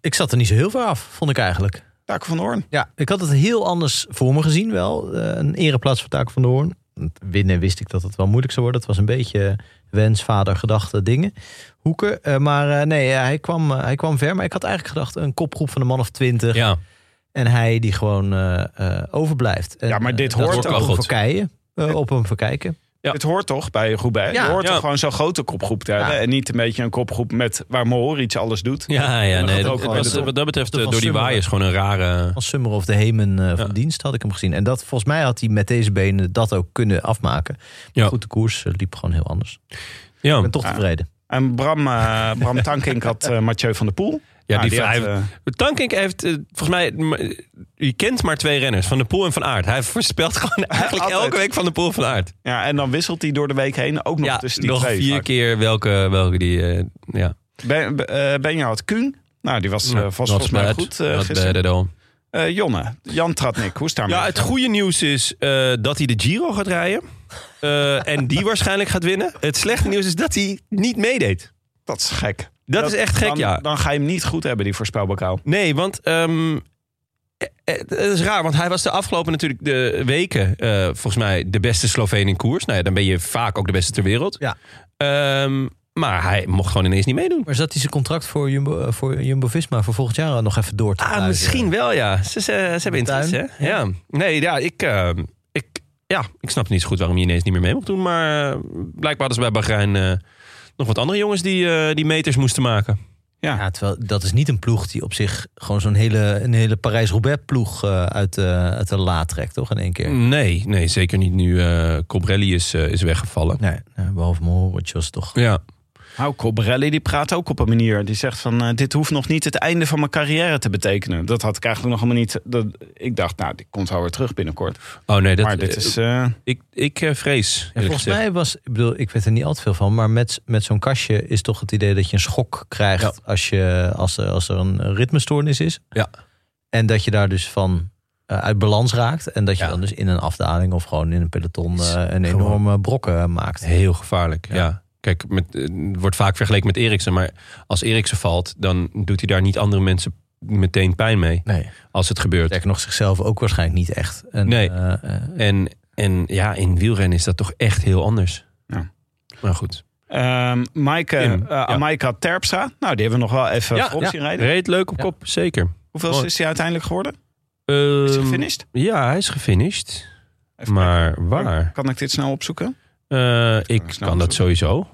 [SPEAKER 3] Ik zat er niet zo heel ver af, vond ik eigenlijk.
[SPEAKER 2] Taco van de Hoorn.
[SPEAKER 3] Ja, ik had het heel anders voor me gezien wel. Eh, een ereplaats voor Taco van de Hoorn. Want Winnen wist ik dat het wel moeilijk zou worden. Het was een beetje wens, vader, gedachte, dingen. Hoeken. Eh, maar eh, nee, ja, hij, kwam, eh, hij kwam ver. Maar ik had eigenlijk gedacht een kopgroep van een man of twintig.
[SPEAKER 1] Ja.
[SPEAKER 3] En hij die gewoon eh, eh, overblijft. En,
[SPEAKER 2] Ja, maar
[SPEAKER 3] eh,
[SPEAKER 2] dit
[SPEAKER 3] dat
[SPEAKER 2] hoort
[SPEAKER 3] wordt
[SPEAKER 1] ook
[SPEAKER 3] op
[SPEAKER 1] wel
[SPEAKER 3] hem
[SPEAKER 1] goed.
[SPEAKER 3] verkijken. Eh, op hem verkijken.
[SPEAKER 1] Ja.
[SPEAKER 2] Het hoort toch bij Roubaix?
[SPEAKER 3] Ja.
[SPEAKER 2] je hoort
[SPEAKER 1] Ja.
[SPEAKER 2] toch gewoon zo'n grote kopgroep te hebben.
[SPEAKER 3] Ja.
[SPEAKER 2] En niet een beetje een kopgroep met waar Mohoric alles doet.
[SPEAKER 1] Ja, ja,
[SPEAKER 2] gaat
[SPEAKER 1] nee.
[SPEAKER 2] het
[SPEAKER 1] Dat,
[SPEAKER 2] ook
[SPEAKER 1] het
[SPEAKER 2] wel
[SPEAKER 1] was,
[SPEAKER 2] weer door.
[SPEAKER 1] wat dat betreft,
[SPEAKER 3] Dat
[SPEAKER 1] eh,
[SPEAKER 3] was
[SPEAKER 1] door die
[SPEAKER 3] Summer.
[SPEAKER 1] waaiers gewoon een rare...
[SPEAKER 3] Als Summer of de Hemen eh, van
[SPEAKER 1] Ja.
[SPEAKER 3] dienst had ik hem gezien. En dat, volgens mij had hij met deze benen dat ook kunnen afmaken. Maar
[SPEAKER 1] Ja. Oh.
[SPEAKER 3] goed, de koers eh, liep gewoon heel anders. Ik
[SPEAKER 1] Ja,
[SPEAKER 3] ben toch
[SPEAKER 2] Ja.
[SPEAKER 3] tevreden.
[SPEAKER 2] En Bram, eh, Bram Tankink had eh, Mathieu van der Poel.
[SPEAKER 1] ja die,
[SPEAKER 2] Nou,
[SPEAKER 1] hij,
[SPEAKER 2] had, eh,
[SPEAKER 1] Tankink heeft, eh, volgens mij, m- je kent maar twee renners, Van de Poel en Van Aert. Hij voorspelt gewoon eigenlijk
[SPEAKER 2] altijd.
[SPEAKER 1] elke week Van de Poel en Van Aert.
[SPEAKER 2] ja, en dan wisselt hij door de week heen ook nog
[SPEAKER 1] Ja,
[SPEAKER 2] tussen die
[SPEAKER 1] nog
[SPEAKER 2] twee.
[SPEAKER 1] vier
[SPEAKER 2] vaak.
[SPEAKER 1] keer welke, welke die, eh, ja.
[SPEAKER 2] Ben, ben- eh, Benja had Kuhn. Nou, die was eh,
[SPEAKER 1] Not
[SPEAKER 2] vast volgens mij
[SPEAKER 1] bad.
[SPEAKER 2] goed eh,
[SPEAKER 1] Not
[SPEAKER 2] gisteren.
[SPEAKER 1] bad at all.
[SPEAKER 2] Eh, Jonne, Jan Tratnik, hoe staan we?
[SPEAKER 1] Ja, het goede nieuws is eh, dat hij de Giro gaat rijden. Eh, en die waarschijnlijk gaat winnen. Het slechte nieuws is dat hij niet meedeed.
[SPEAKER 2] Dat is gek.
[SPEAKER 1] Dat, is echt gek,
[SPEAKER 2] dan,
[SPEAKER 1] ja.
[SPEAKER 2] Dan ga je hem niet goed hebben, die voorspelbokaal.
[SPEAKER 1] Nee, want ehm, eh, eh, het is raar, want hij was de afgelopen natuurlijk de weken eh, volgens mij de beste Sloveen in koers. Nou ja, dan ben je vaak ook de beste ter wereld.
[SPEAKER 3] Ja.
[SPEAKER 1] Ehm, maar hij mocht gewoon ineens niet meedoen.
[SPEAKER 3] Maar zat hij zijn contract voor Jumbo, eh, voor Jumbo Visma voor volgend jaar nog even door te
[SPEAKER 1] Ah,
[SPEAKER 3] pluizen?
[SPEAKER 1] misschien wel, ja. Ze, ze, ze hebben interesse,
[SPEAKER 3] tuin,
[SPEAKER 1] hè? Ja. Nee, ja, ik, ehm, ik, ja, ik snap niet zo goed waarom je ineens niet meer mee mocht doen. Maar eh, blijkbaar hadden ze bij Bahrein eh, nog wat andere jongens die, eh, die meters moesten maken.
[SPEAKER 3] Ja, terwijl dat is niet een ploeg die op zich gewoon zo'n hele, een hele Parijs-Roubaix ploeg eh, uit, de uit de la trekt, toch? In één keer.
[SPEAKER 1] Nee, nee zeker niet nu eh Cobrelli is, eh, is weggevallen.
[SPEAKER 3] Nee, eh, behalve Moritz was toch.
[SPEAKER 1] Ja,
[SPEAKER 2] Nou, Cobrelli die praat ook op een manier. Die zegt van, eh, dit hoeft nog niet het einde van mijn carrière te betekenen. Dat had ik eigenlijk nog helemaal niet. Dat, ik dacht, nou, die komt wel weer terug binnenkort.
[SPEAKER 1] oh nee, dat,
[SPEAKER 2] maar dit is... eh,
[SPEAKER 1] ik, ik eh, vrees.
[SPEAKER 3] En
[SPEAKER 1] eerlijk
[SPEAKER 3] volgens
[SPEAKER 1] gezegd.
[SPEAKER 3] mij was, ik bedoel, ik weet er niet al te veel van, maar met, met zo'n kastje is toch het idee dat je een schok krijgt als, je, als, er, als er een ritmestoornis is.
[SPEAKER 1] Ja.
[SPEAKER 3] En dat je daar dus van eh, uit balans raakt. En dat je
[SPEAKER 1] Ja.
[SPEAKER 3] dan dus in een afdaling of gewoon in een peloton
[SPEAKER 1] Is
[SPEAKER 3] eh, een
[SPEAKER 1] gewoon-
[SPEAKER 3] enorme brokken maakt.
[SPEAKER 1] Heel gevaarlijk, ja. Kijk, met, eh, wordt vaak vergeleken met Eriksen. Maar als Eriksen valt, dan doet hij daar niet andere mensen meteen pijn mee.
[SPEAKER 3] Nee.
[SPEAKER 1] Als het gebeurt.
[SPEAKER 3] Sterker nog, zichzelf ook waarschijnlijk niet echt. En,
[SPEAKER 1] Nee.
[SPEAKER 3] eh, eh,
[SPEAKER 1] En, en ja, in wielrennen is dat toch echt heel anders.
[SPEAKER 2] Ja.
[SPEAKER 1] Maar goed.
[SPEAKER 2] Ehm Maaike,
[SPEAKER 1] Tim,
[SPEAKER 2] eh,
[SPEAKER 1] ja.
[SPEAKER 2] Maaike Terpstra. Nou, die hebben we nog wel even
[SPEAKER 1] Ja,
[SPEAKER 2] voorop zien rijden.
[SPEAKER 1] Reed leuk op
[SPEAKER 3] Ja.
[SPEAKER 1] kop, zeker.
[SPEAKER 2] Hoeveel
[SPEAKER 1] Mooi.
[SPEAKER 2] is hij uiteindelijk geworden? Is hij
[SPEAKER 1] Ehm,
[SPEAKER 2] gefinished?
[SPEAKER 1] Ja, hij is gefinished.
[SPEAKER 2] Even
[SPEAKER 1] maar
[SPEAKER 2] kijken.
[SPEAKER 1] waar?
[SPEAKER 2] Kan ik dit snel opzoeken?
[SPEAKER 1] Eh, ik
[SPEAKER 2] ik snel
[SPEAKER 1] kan dat
[SPEAKER 2] opzoeken.
[SPEAKER 1] sowieso.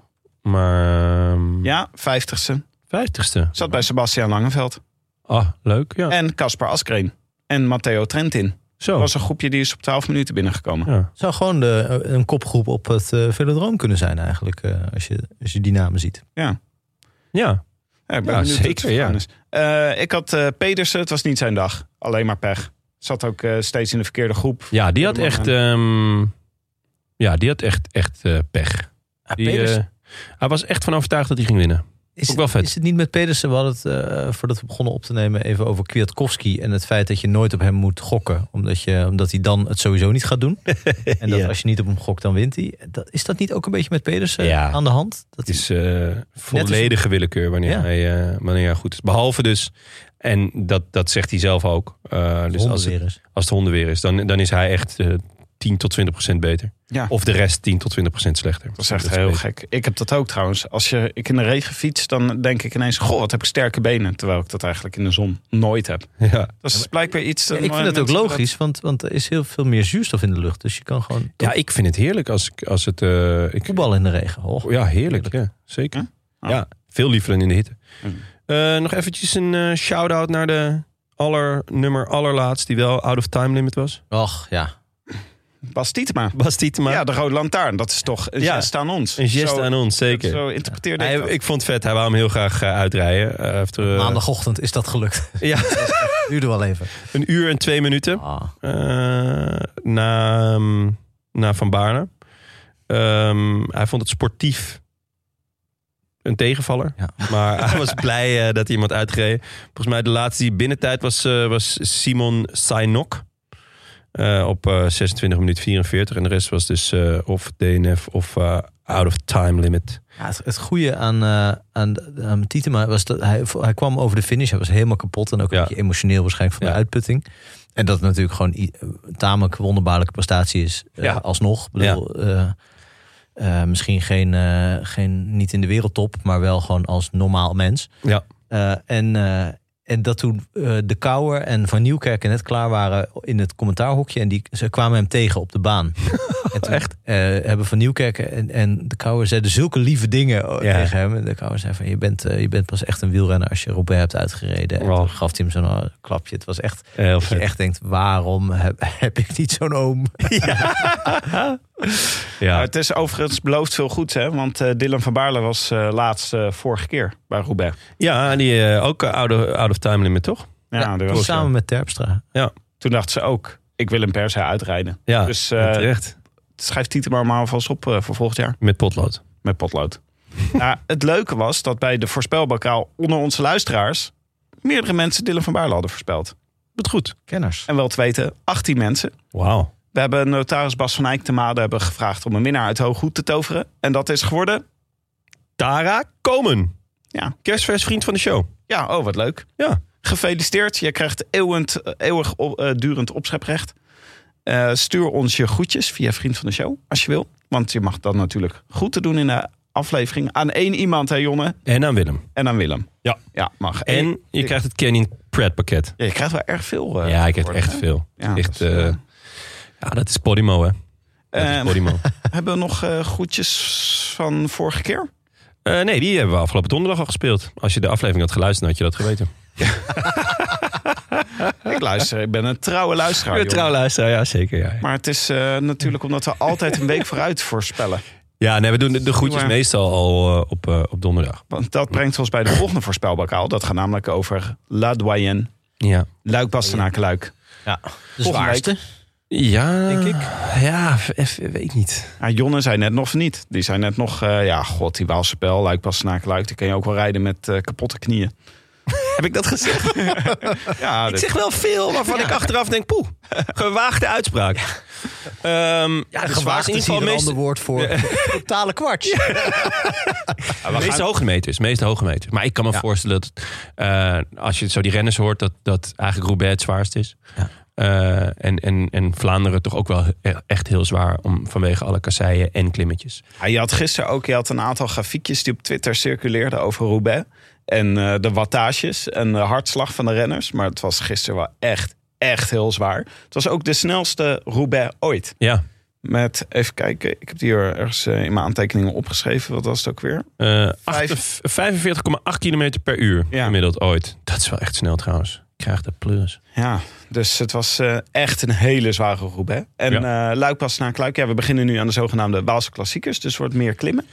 [SPEAKER 1] Maar ehm,
[SPEAKER 2] Ja, vijftigste.
[SPEAKER 1] vijftigste.
[SPEAKER 2] Zat bij Sebastian Langeveld.
[SPEAKER 1] Ah, leuk. Ja.
[SPEAKER 2] En Caspar Askreen. En Matteo Trentin.
[SPEAKER 1] Zo.
[SPEAKER 2] Dat was een groepje die is op 12 minuten binnengekomen.
[SPEAKER 1] ja.
[SPEAKER 3] zou gewoon de, eh, een kopgroep op het eh, velodroom kunnen zijn eigenlijk. eh, als, je, als je die namen ziet.
[SPEAKER 1] ja.
[SPEAKER 2] Ja, ik ben
[SPEAKER 1] Ja,
[SPEAKER 2] benieuwd hoe het
[SPEAKER 1] zeker, ja.
[SPEAKER 2] gegaan is. Eh, ik had eh, Pedersen, het was niet zijn dag. Alleen maar pech. Zat ook eh, steeds in de verkeerde groep.
[SPEAKER 1] Ja, die had echt, ehm, ja, die had echt, echt eh, pech. Die,
[SPEAKER 3] Pedersen-
[SPEAKER 1] eh, hij was echt van overtuigd dat hij ging winnen.
[SPEAKER 3] Is,
[SPEAKER 1] Ook wel vet.
[SPEAKER 3] is het niet met Pedersen? We hadden het eh, voordat we begonnen op te nemen even over Kwiatkowski. En het feit dat je nooit op hem moet gokken. Omdat, je, omdat hij dan het sowieso niet gaat doen. en dat
[SPEAKER 1] Ja.
[SPEAKER 3] als je niet op hem gokt, dan wint hij. Dat, is dat niet ook een beetje met Pedersen
[SPEAKER 1] Ja.
[SPEAKER 3] aan de hand? Dat
[SPEAKER 1] Het is eh, volledige willekeur wanneer,
[SPEAKER 3] Ja.
[SPEAKER 1] hij, eh, wanneer hij goed is. Behalve dus, en dat, dat zegt hij zelf ook. eh, dus als het,
[SPEAKER 3] hondenweer is.
[SPEAKER 1] als het hondenweer is, dan, dan is hij echt eh, 10 tot 20 procent beter.
[SPEAKER 2] Ja.
[SPEAKER 1] Of de rest 10 tot 20 procent slechter.
[SPEAKER 2] Dat is echt heel
[SPEAKER 1] beter.
[SPEAKER 2] gek. Ik heb dat ook trouwens. Als je, ik in de regen fiets, dan denk ik ineens... Goh, wat heb ik sterke benen. Terwijl ik dat eigenlijk in de zon nooit heb.
[SPEAKER 1] Ja.
[SPEAKER 2] Dat is blijkbaar iets...
[SPEAKER 3] Ja, ik vind dat ook logisch, want, want er is heel veel meer zuurstof in de lucht. Dus je kan gewoon
[SPEAKER 1] ja, ik vind het heerlijk als, ik- als het... eh, ik,
[SPEAKER 3] voetballen in de regen. Oh,
[SPEAKER 1] ja, heerlijk. Ja, Oh. zeker.
[SPEAKER 2] Ah.
[SPEAKER 1] Ja, veel liever dan in de hitte.
[SPEAKER 2] Mhm.
[SPEAKER 1] Eh, nog eventjes een eh, shout-out naar de aller, nummer allerlaatst... die wel out of time limit was.
[SPEAKER 3] Ach ja.
[SPEAKER 2] Bas Tietema.
[SPEAKER 1] Bas Tietema.
[SPEAKER 2] Ja, de Rode Lantaarn. Dat is toch een
[SPEAKER 1] Ja.
[SPEAKER 2] geste aan ons.
[SPEAKER 1] een geste
[SPEAKER 2] Zo-
[SPEAKER 1] aan ons, zeker.
[SPEAKER 2] Zo interpreteerde
[SPEAKER 1] Hij-
[SPEAKER 2] ik dat.
[SPEAKER 1] ik vond het vet. Hij wou hem heel graag eh, uitrijden. Eh, heeft er, eh,
[SPEAKER 3] Maandagochtend is dat gelukt.
[SPEAKER 1] Ja,
[SPEAKER 3] Duurde wel even.
[SPEAKER 1] een uur en twee minuten
[SPEAKER 3] Ah.
[SPEAKER 1] eh, na, ehm, na Van Baarne. Ehm, hij vond het sportief een tegenvaller.
[SPEAKER 3] Ja.
[SPEAKER 1] Maar hij was blij eh, dat hij iemand uitreed. Volgens mij de laatste die binnentijd was, eh, was Simon Sainok. eh, op eh, 26 minuut 44. En de rest was dus eh, of DNF of eh, out of time limit.
[SPEAKER 3] Ja, het, het goede aan, eh, aan, aan Tietema was dat hij, hij kwam over de finish. Hij was helemaal kapot en ook een
[SPEAKER 1] Ja.
[SPEAKER 3] beetje emotioneel waarschijnlijk van
[SPEAKER 1] Ja.
[SPEAKER 3] de uitputting. En dat het natuurlijk gewoon i- een tamelijk wonderbaarlijke prestatie is eh,
[SPEAKER 1] Ja.
[SPEAKER 3] alsnog. Ik bedoel, eh, eh, misschien geen, eh, geen, niet in de wereldtop, maar wel gewoon als normaal mens.
[SPEAKER 1] Ja.
[SPEAKER 3] Eh, en, eh, en dat toen eh, de Kouwer en Van Nieuwkerk net klaar waren in het commentaarhokje. En die, ze kwamen hem tegen op de baan. en toen, Echt? hebben Van Nieuwkerk en, en de Kouwer zeiden zulke lieve dingen o-
[SPEAKER 1] Ja.
[SPEAKER 3] tegen hem. En de Kouwer zei van, je bent, eh, je bent pas echt een wielrenner als je Roubaix hebt uitgereden. En
[SPEAKER 1] Oh.
[SPEAKER 3] toen gaf hij hem zo'n eh, klapje. Het was echt,
[SPEAKER 1] Heel
[SPEAKER 3] dat je echt denkt, waarom heb, heb ik niet zo'n oom?
[SPEAKER 2] Maar
[SPEAKER 1] Ja.
[SPEAKER 2] Nou, het is overigens beloofd veel goeds, hè? Want eh, Dylan van Baarle was eh, laatst eh, vorige keer bij Roubaix.
[SPEAKER 1] ja, en die eh, ook eh, out of, out of time limit, toch?
[SPEAKER 2] Ja, dat was- eh,
[SPEAKER 3] Samen met Terpstra.
[SPEAKER 2] Toen dacht ze ook, ik wil een Persa uitrijden.
[SPEAKER 1] Ja,
[SPEAKER 2] Dus, eh,
[SPEAKER 1] terecht.
[SPEAKER 2] Schrijf Tieter maar maar alvast op eh, voor volgend jaar
[SPEAKER 1] Met potlood.
[SPEAKER 2] met potlood. Nou, het leuke was dat bij de voorspelbokaal onder onze luisteraars... meerdere mensen Dylan van Baarle hadden voorspeld.
[SPEAKER 1] Wat goed.
[SPEAKER 3] Kenners.
[SPEAKER 2] En wel te weten, 18 mensen.
[SPEAKER 1] Wauw.
[SPEAKER 2] We hebben notaris Bas van Eyck te Maden hebben gevraagd om een winnaar uit Hooghoed te toveren. En dat is geworden,
[SPEAKER 1] Tara Komen.
[SPEAKER 2] ja,
[SPEAKER 1] Kerstvers vriend van de show.
[SPEAKER 2] ja oh wat leuk.
[SPEAKER 1] Ja.
[SPEAKER 2] Gefeliciteerd, je krijgt eeuwend, eeuwig op- eh, durend opscheprecht. Eh, stuur ons je groetjes via Vriend van de Show, als je wil. Want je mag dan natuurlijk groeten doen in de aflevering. Aan één iemand, hè Jonne,
[SPEAKER 1] En aan Willem.
[SPEAKER 2] en aan Willem.
[SPEAKER 1] Ja.
[SPEAKER 2] Ja, mag.
[SPEAKER 1] En je krijgt het Canyon Pret pakket.
[SPEAKER 2] Ja, je krijgt wel erg veel. eh,
[SPEAKER 1] ja, ik heb
[SPEAKER 2] voor,
[SPEAKER 1] echt
[SPEAKER 2] hè?
[SPEAKER 1] veel.
[SPEAKER 2] Ja,
[SPEAKER 1] echt,
[SPEAKER 2] dat is,
[SPEAKER 1] eh,
[SPEAKER 2] eh,
[SPEAKER 1] ja, dat is Podimo, hè. Dat is
[SPEAKER 2] Ehm.
[SPEAKER 1] Podimo.
[SPEAKER 2] Hebben we nog eh, groetjes van vorige keer?
[SPEAKER 1] Eh, nee, die hebben we afgelopen donderdag al gespeeld. Als je de aflevering had geluisterd, dan had je dat geweten.
[SPEAKER 2] Ik luister, ik ben een trouwe luisteraar.
[SPEAKER 1] Een
[SPEAKER 2] Jonne.
[SPEAKER 1] trouw luisteraar, ja, zeker. Ja,
[SPEAKER 2] Maar het is eh, natuurlijk omdat we altijd een week vooruit voorspellen.
[SPEAKER 1] ja nee, we doen de, de groetjes
[SPEAKER 2] Maar-
[SPEAKER 1] meestal al eh, op, eh, op donderdag.
[SPEAKER 2] Want dat brengt ons bij de volgende voorspelbokaal. Dat gaat namelijk over La Doyenne.
[SPEAKER 1] Ja.
[SPEAKER 2] Luik Bastenaken-Luik.
[SPEAKER 3] De
[SPEAKER 2] Volgende week.
[SPEAKER 3] zwaarste.
[SPEAKER 1] Ja, denk ik. Ja, v- eh, weet niet.
[SPEAKER 2] Ja, Jonne zei net nog niet. Die zei net nog, eh, ja, god, die Waalse pijl, Luik Bastenaken-Luik. Die kan je ook wel rijden met eh, kapotte knieën.
[SPEAKER 1] Heb ik dat gezegd?
[SPEAKER 2] Ja,
[SPEAKER 1] Ik
[SPEAKER 2] dit-
[SPEAKER 1] zeg wel veel waarvan ik achteraf denk, poeh, gewaagde uitspraak. Ja, ja de
[SPEAKER 3] Gewaagd
[SPEAKER 1] zwaarste
[SPEAKER 3] is hier
[SPEAKER 1] inval,
[SPEAKER 3] een
[SPEAKER 1] meest,
[SPEAKER 3] ander woord voor. Totale kwarts.
[SPEAKER 1] De meeste hoge meters, meeste hoge meters. Maar ik kan me voorstellen dat eh, als je zo die renners hoort, dat, dat eigenlijk Roubaix het zwaarst is.
[SPEAKER 3] Ja.
[SPEAKER 1] Eh, en, en, en Vlaanderen toch ook wel e- echt heel zwaar om, vanwege alle kasseien en klimmetjes.
[SPEAKER 2] Ja, je had gisteren ook je had een aantal grafiekjes die op Twitter circuleerden over Roubaix. En eh, de wattages en de hartslag van de renners. Maar het was gisteren wel echt, echt heel zwaar. Het was ook de snelste Roubaix ooit.
[SPEAKER 1] Ja,
[SPEAKER 2] Met, even kijken, ik heb het hier ergens eh, in mijn aantekeningen opgeschreven. Wat was het ook weer?
[SPEAKER 1] eh,
[SPEAKER 2] Vijf.
[SPEAKER 1] 48 45,8 kilometer per uur
[SPEAKER 2] Ja.
[SPEAKER 1] gemiddeld ooit. Dat is wel echt snel trouwens. Ik krijg de plus.
[SPEAKER 2] Ja, dus het was eh, echt een hele zware groep. Hè? En eh Luik pas na Kluik. Ja, we beginnen nu aan de zogenaamde Waalse klassiekers. Dus wordt meer klimmen.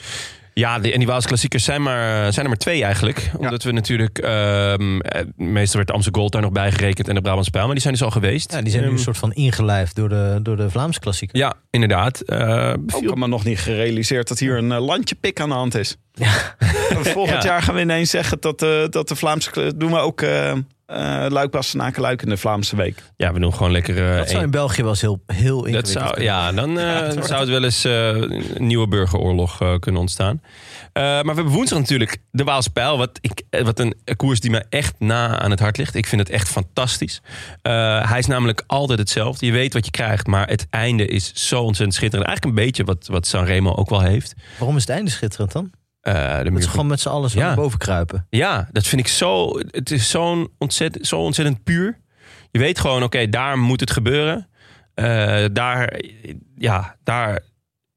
[SPEAKER 1] Ja, de, en die Waalse klassiekers zijn, maar, eh, zijn er maar twee eigenlijk. Omdat we natuurlijk, ehm, eh, meestal werd de Amstel Gold daar nog bij gerekend en de Brabantse Pijl. Maar die zijn dus al geweest.
[SPEAKER 3] Ja, die
[SPEAKER 2] Ehm.
[SPEAKER 3] zijn nu een soort van ingelijfd door de, door de Vlaamse klassieker.
[SPEAKER 1] Ja, inderdaad. Eh,
[SPEAKER 2] Ook
[SPEAKER 3] Oh.
[SPEAKER 1] beviel-
[SPEAKER 2] allemaal nog niet gerealiseerd dat hier een eh, landje pik aan de hand is. En Volgend
[SPEAKER 1] Ja.
[SPEAKER 2] jaar gaan we ineens zeggen dat, eh, dat de Vlaamse... kle- Doen we ook eh eh Luik pas na Kluik in de Vlaamse week.
[SPEAKER 1] Ja, we doen gewoon lekker. eh,
[SPEAKER 3] Dat zou in
[SPEAKER 1] één-
[SPEAKER 3] België wel eens heel, heel
[SPEAKER 1] dat
[SPEAKER 3] ingewikkeld
[SPEAKER 1] zou,
[SPEAKER 3] kunnen.
[SPEAKER 1] ja, dan eh, zou het wel eens eh, een nieuwe burgeroorlog eh, kunnen ontstaan. Eh, maar we hebben woensdag natuurlijk de Waalse Pijl. Wat, ik, eh, wat een koers die mij echt na aan het hart ligt. Ik vind het echt fantastisch. Eh, hij is namelijk altijd hetzelfde. Je weet wat je krijgt, maar het einde is zo ontzettend schitterend. Eigenlijk een beetje wat, wat Sanremo ook wel heeft.
[SPEAKER 3] Waarom is het einde schitterend dan?
[SPEAKER 1] Eh, de
[SPEAKER 3] Dat
[SPEAKER 1] muur
[SPEAKER 3] ze
[SPEAKER 1] van-
[SPEAKER 3] gewoon met z'n allen zo
[SPEAKER 1] Ja.
[SPEAKER 3] naar boven kruipen.
[SPEAKER 1] Ja, dat vind ik zo. Het is zo'n ontzettend, zo ontzettend puur. Je weet gewoon, oké, daar moet het gebeuren. Eh, daar, ja, daar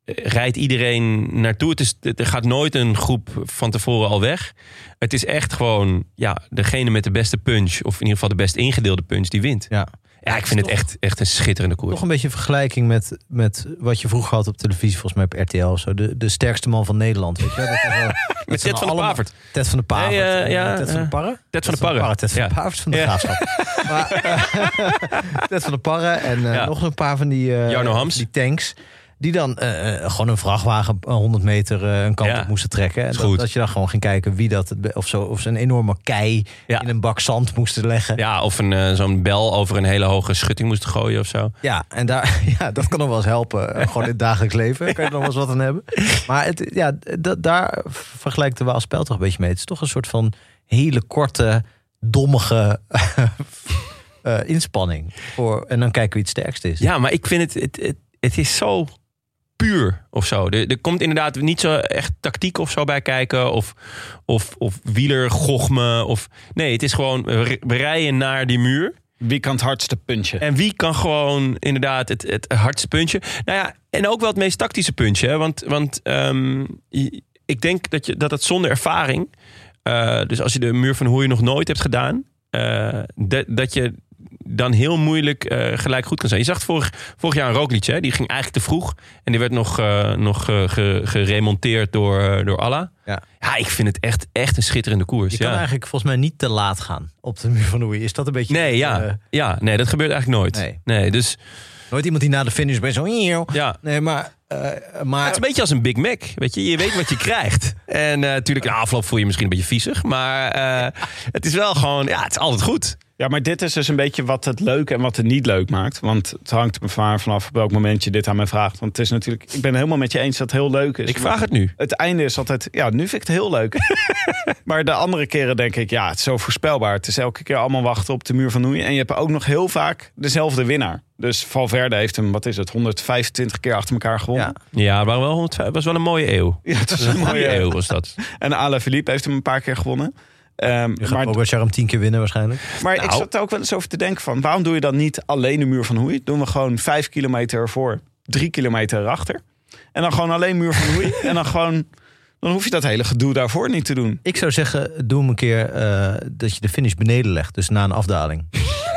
[SPEAKER 1] rijdt iedereen naartoe. Het is, er gaat nooit een groep van tevoren al weg. Het is echt gewoon, ja, degene met de beste punch, of in ieder geval de best ingedeelde punch, die wint.
[SPEAKER 3] Ja.
[SPEAKER 1] Ja, ik vind het echt, echt een schitterende koers.
[SPEAKER 3] Toch een beetje een vergelijking met, met wat je vroeger had op televisie, volgens mij op RTL of zo. De, de sterkste man van Nederland. Weet je? wel? Dat was wel- dat
[SPEAKER 1] Met
[SPEAKER 3] ze
[SPEAKER 1] Ted van de
[SPEAKER 3] allemaal-
[SPEAKER 1] Pavert.
[SPEAKER 3] Ted van de Pavert.
[SPEAKER 1] Nee, eh,
[SPEAKER 3] eh,
[SPEAKER 1] ja,
[SPEAKER 3] Ted van de
[SPEAKER 1] eh,
[SPEAKER 3] Parre.
[SPEAKER 1] Ted van de Parre.
[SPEAKER 3] Ted van
[SPEAKER 1] Ja.
[SPEAKER 3] de Pavert van de Graafschap. Maar, eh, Ted van de Parre en eh,
[SPEAKER 1] Ja.
[SPEAKER 3] nog een paar van die, eh,
[SPEAKER 1] Jarno Hams.
[SPEAKER 3] die tanks. Die dan eh, eh, gewoon een vrachtwagen eh, 100 meter eh, een kant
[SPEAKER 1] Ja.
[SPEAKER 3] op moesten trekken. En
[SPEAKER 1] Is
[SPEAKER 3] dat,
[SPEAKER 1] goed.
[SPEAKER 3] dat je dan gewoon ging kijken wie dat... het be- Of, zo, of ze een enorme kei
[SPEAKER 1] Ja.
[SPEAKER 3] in een bak zand moesten leggen.
[SPEAKER 1] Ja, of een, eh, zo'n bel over een hele hoge schutting moest gooien of zo.
[SPEAKER 3] Ja, en daar, ja, dat kan nog wel eens helpen. Eh, Gewoon in het dagelijks leven kan je er nog wel eens wat aan hebben. Maar het, ja, dat, daar vergelijkt de Waalspel toch een beetje mee. Het is toch een soort van hele korte, dommige eh, inspanning. Voor, en dan kijken wie het sterkst is.
[SPEAKER 1] Ja, maar ik vind het, het, het, het is zo puur of zo. Er, er komt inderdaad niet zo echt tactiek of zo bij kijken. Of, of, of wielergochme. Of, nee, het is gewoon we we rijden naar die muur.
[SPEAKER 2] Wie kan het hardste punchen?
[SPEAKER 1] En wie kan gewoon inderdaad het, het hardste puntje. Nou ja, en ook wel het meest tactische puntje. Hè? Want, want ehm, je- ik denk dat, je, dat het zonder ervaring... eh, dus als je de muur van hoe je nog nooit hebt gedaan... eh, dat, dat je dan heel moeilijk eh, gelijk goed kan zijn. Je zag het vorig, vorig jaar een Roglic, hè? die ging eigenlijk te vroeg. En die werd nog, eh, nog eh, ge- geremonteerd door, eh, door Allah.
[SPEAKER 3] Ja.
[SPEAKER 1] ja, ik vind het echt, echt een schitterende koers.
[SPEAKER 3] Je
[SPEAKER 1] ja.
[SPEAKER 3] kan eigenlijk volgens mij niet te laat gaan op de muur van Oei. Is dat een beetje...
[SPEAKER 1] Nee, ja.
[SPEAKER 3] eh,
[SPEAKER 1] ja, nee, dat gebeurt eigenlijk nooit.
[SPEAKER 3] Nee.
[SPEAKER 1] nee dus
[SPEAKER 3] nooit iemand die na de finish bij zo'n...
[SPEAKER 1] ja,
[SPEAKER 3] Nee, maar... eh, maar
[SPEAKER 1] Het is een beetje als een Big Mac. Weet je, je weet wat je krijgt. En eh, natuurlijk, na afloop voel je je misschien een beetje viezig. Maar eh, het is wel gewoon, ja, het is altijd goed.
[SPEAKER 2] Ja, maar dit is dus een beetje wat het leuk en wat het niet leuk maakt. Want het hangt er me van- vanaf op welk moment je dit aan mij vraagt. Want het is natuurlijk, ik ben het helemaal met je eens dat het heel leuk is.
[SPEAKER 1] Ik
[SPEAKER 2] Maar
[SPEAKER 1] vraag het nu.
[SPEAKER 2] het einde is altijd, ja, nu vind ik het heel leuk. maar de andere keren denk ik, ja, het is zo voorspelbaar. Het is elke keer allemaal wachten op de muur van Noei. En je hebt ook nog heel vaak dezelfde winnaar. Dus Valverde heeft hem, wat is het, 125 keer achter elkaar gewonnen.
[SPEAKER 3] Ja.
[SPEAKER 1] Ja, het waren wel 105 het was wel een mooie eeuw.
[SPEAKER 2] Ja, het is een mooie
[SPEAKER 1] eeuw
[SPEAKER 2] eeuw.
[SPEAKER 1] was dat.
[SPEAKER 2] En Alain Philippe heeft hem een paar keer gewonnen. Ehm,
[SPEAKER 3] je gaat
[SPEAKER 2] maar
[SPEAKER 3] Pogacar hem tien keer winnen waarschijnlijk.
[SPEAKER 2] maar ik
[SPEAKER 1] Nou.
[SPEAKER 2] zat er ook wel eens over te denken van... waarom doe je dan niet alleen de muur van Hoei? Doen we gewoon vijf kilometer ervoor, drie kilometer erachter. En dan gewoon alleen muur van Hoei. en dan gewoon... Dan hoef je dat hele gedoe daarvoor niet te doen.
[SPEAKER 3] Ik zou zeggen, doe hem een keer eh, dat je de finish beneden legt. Dus na een afdaling.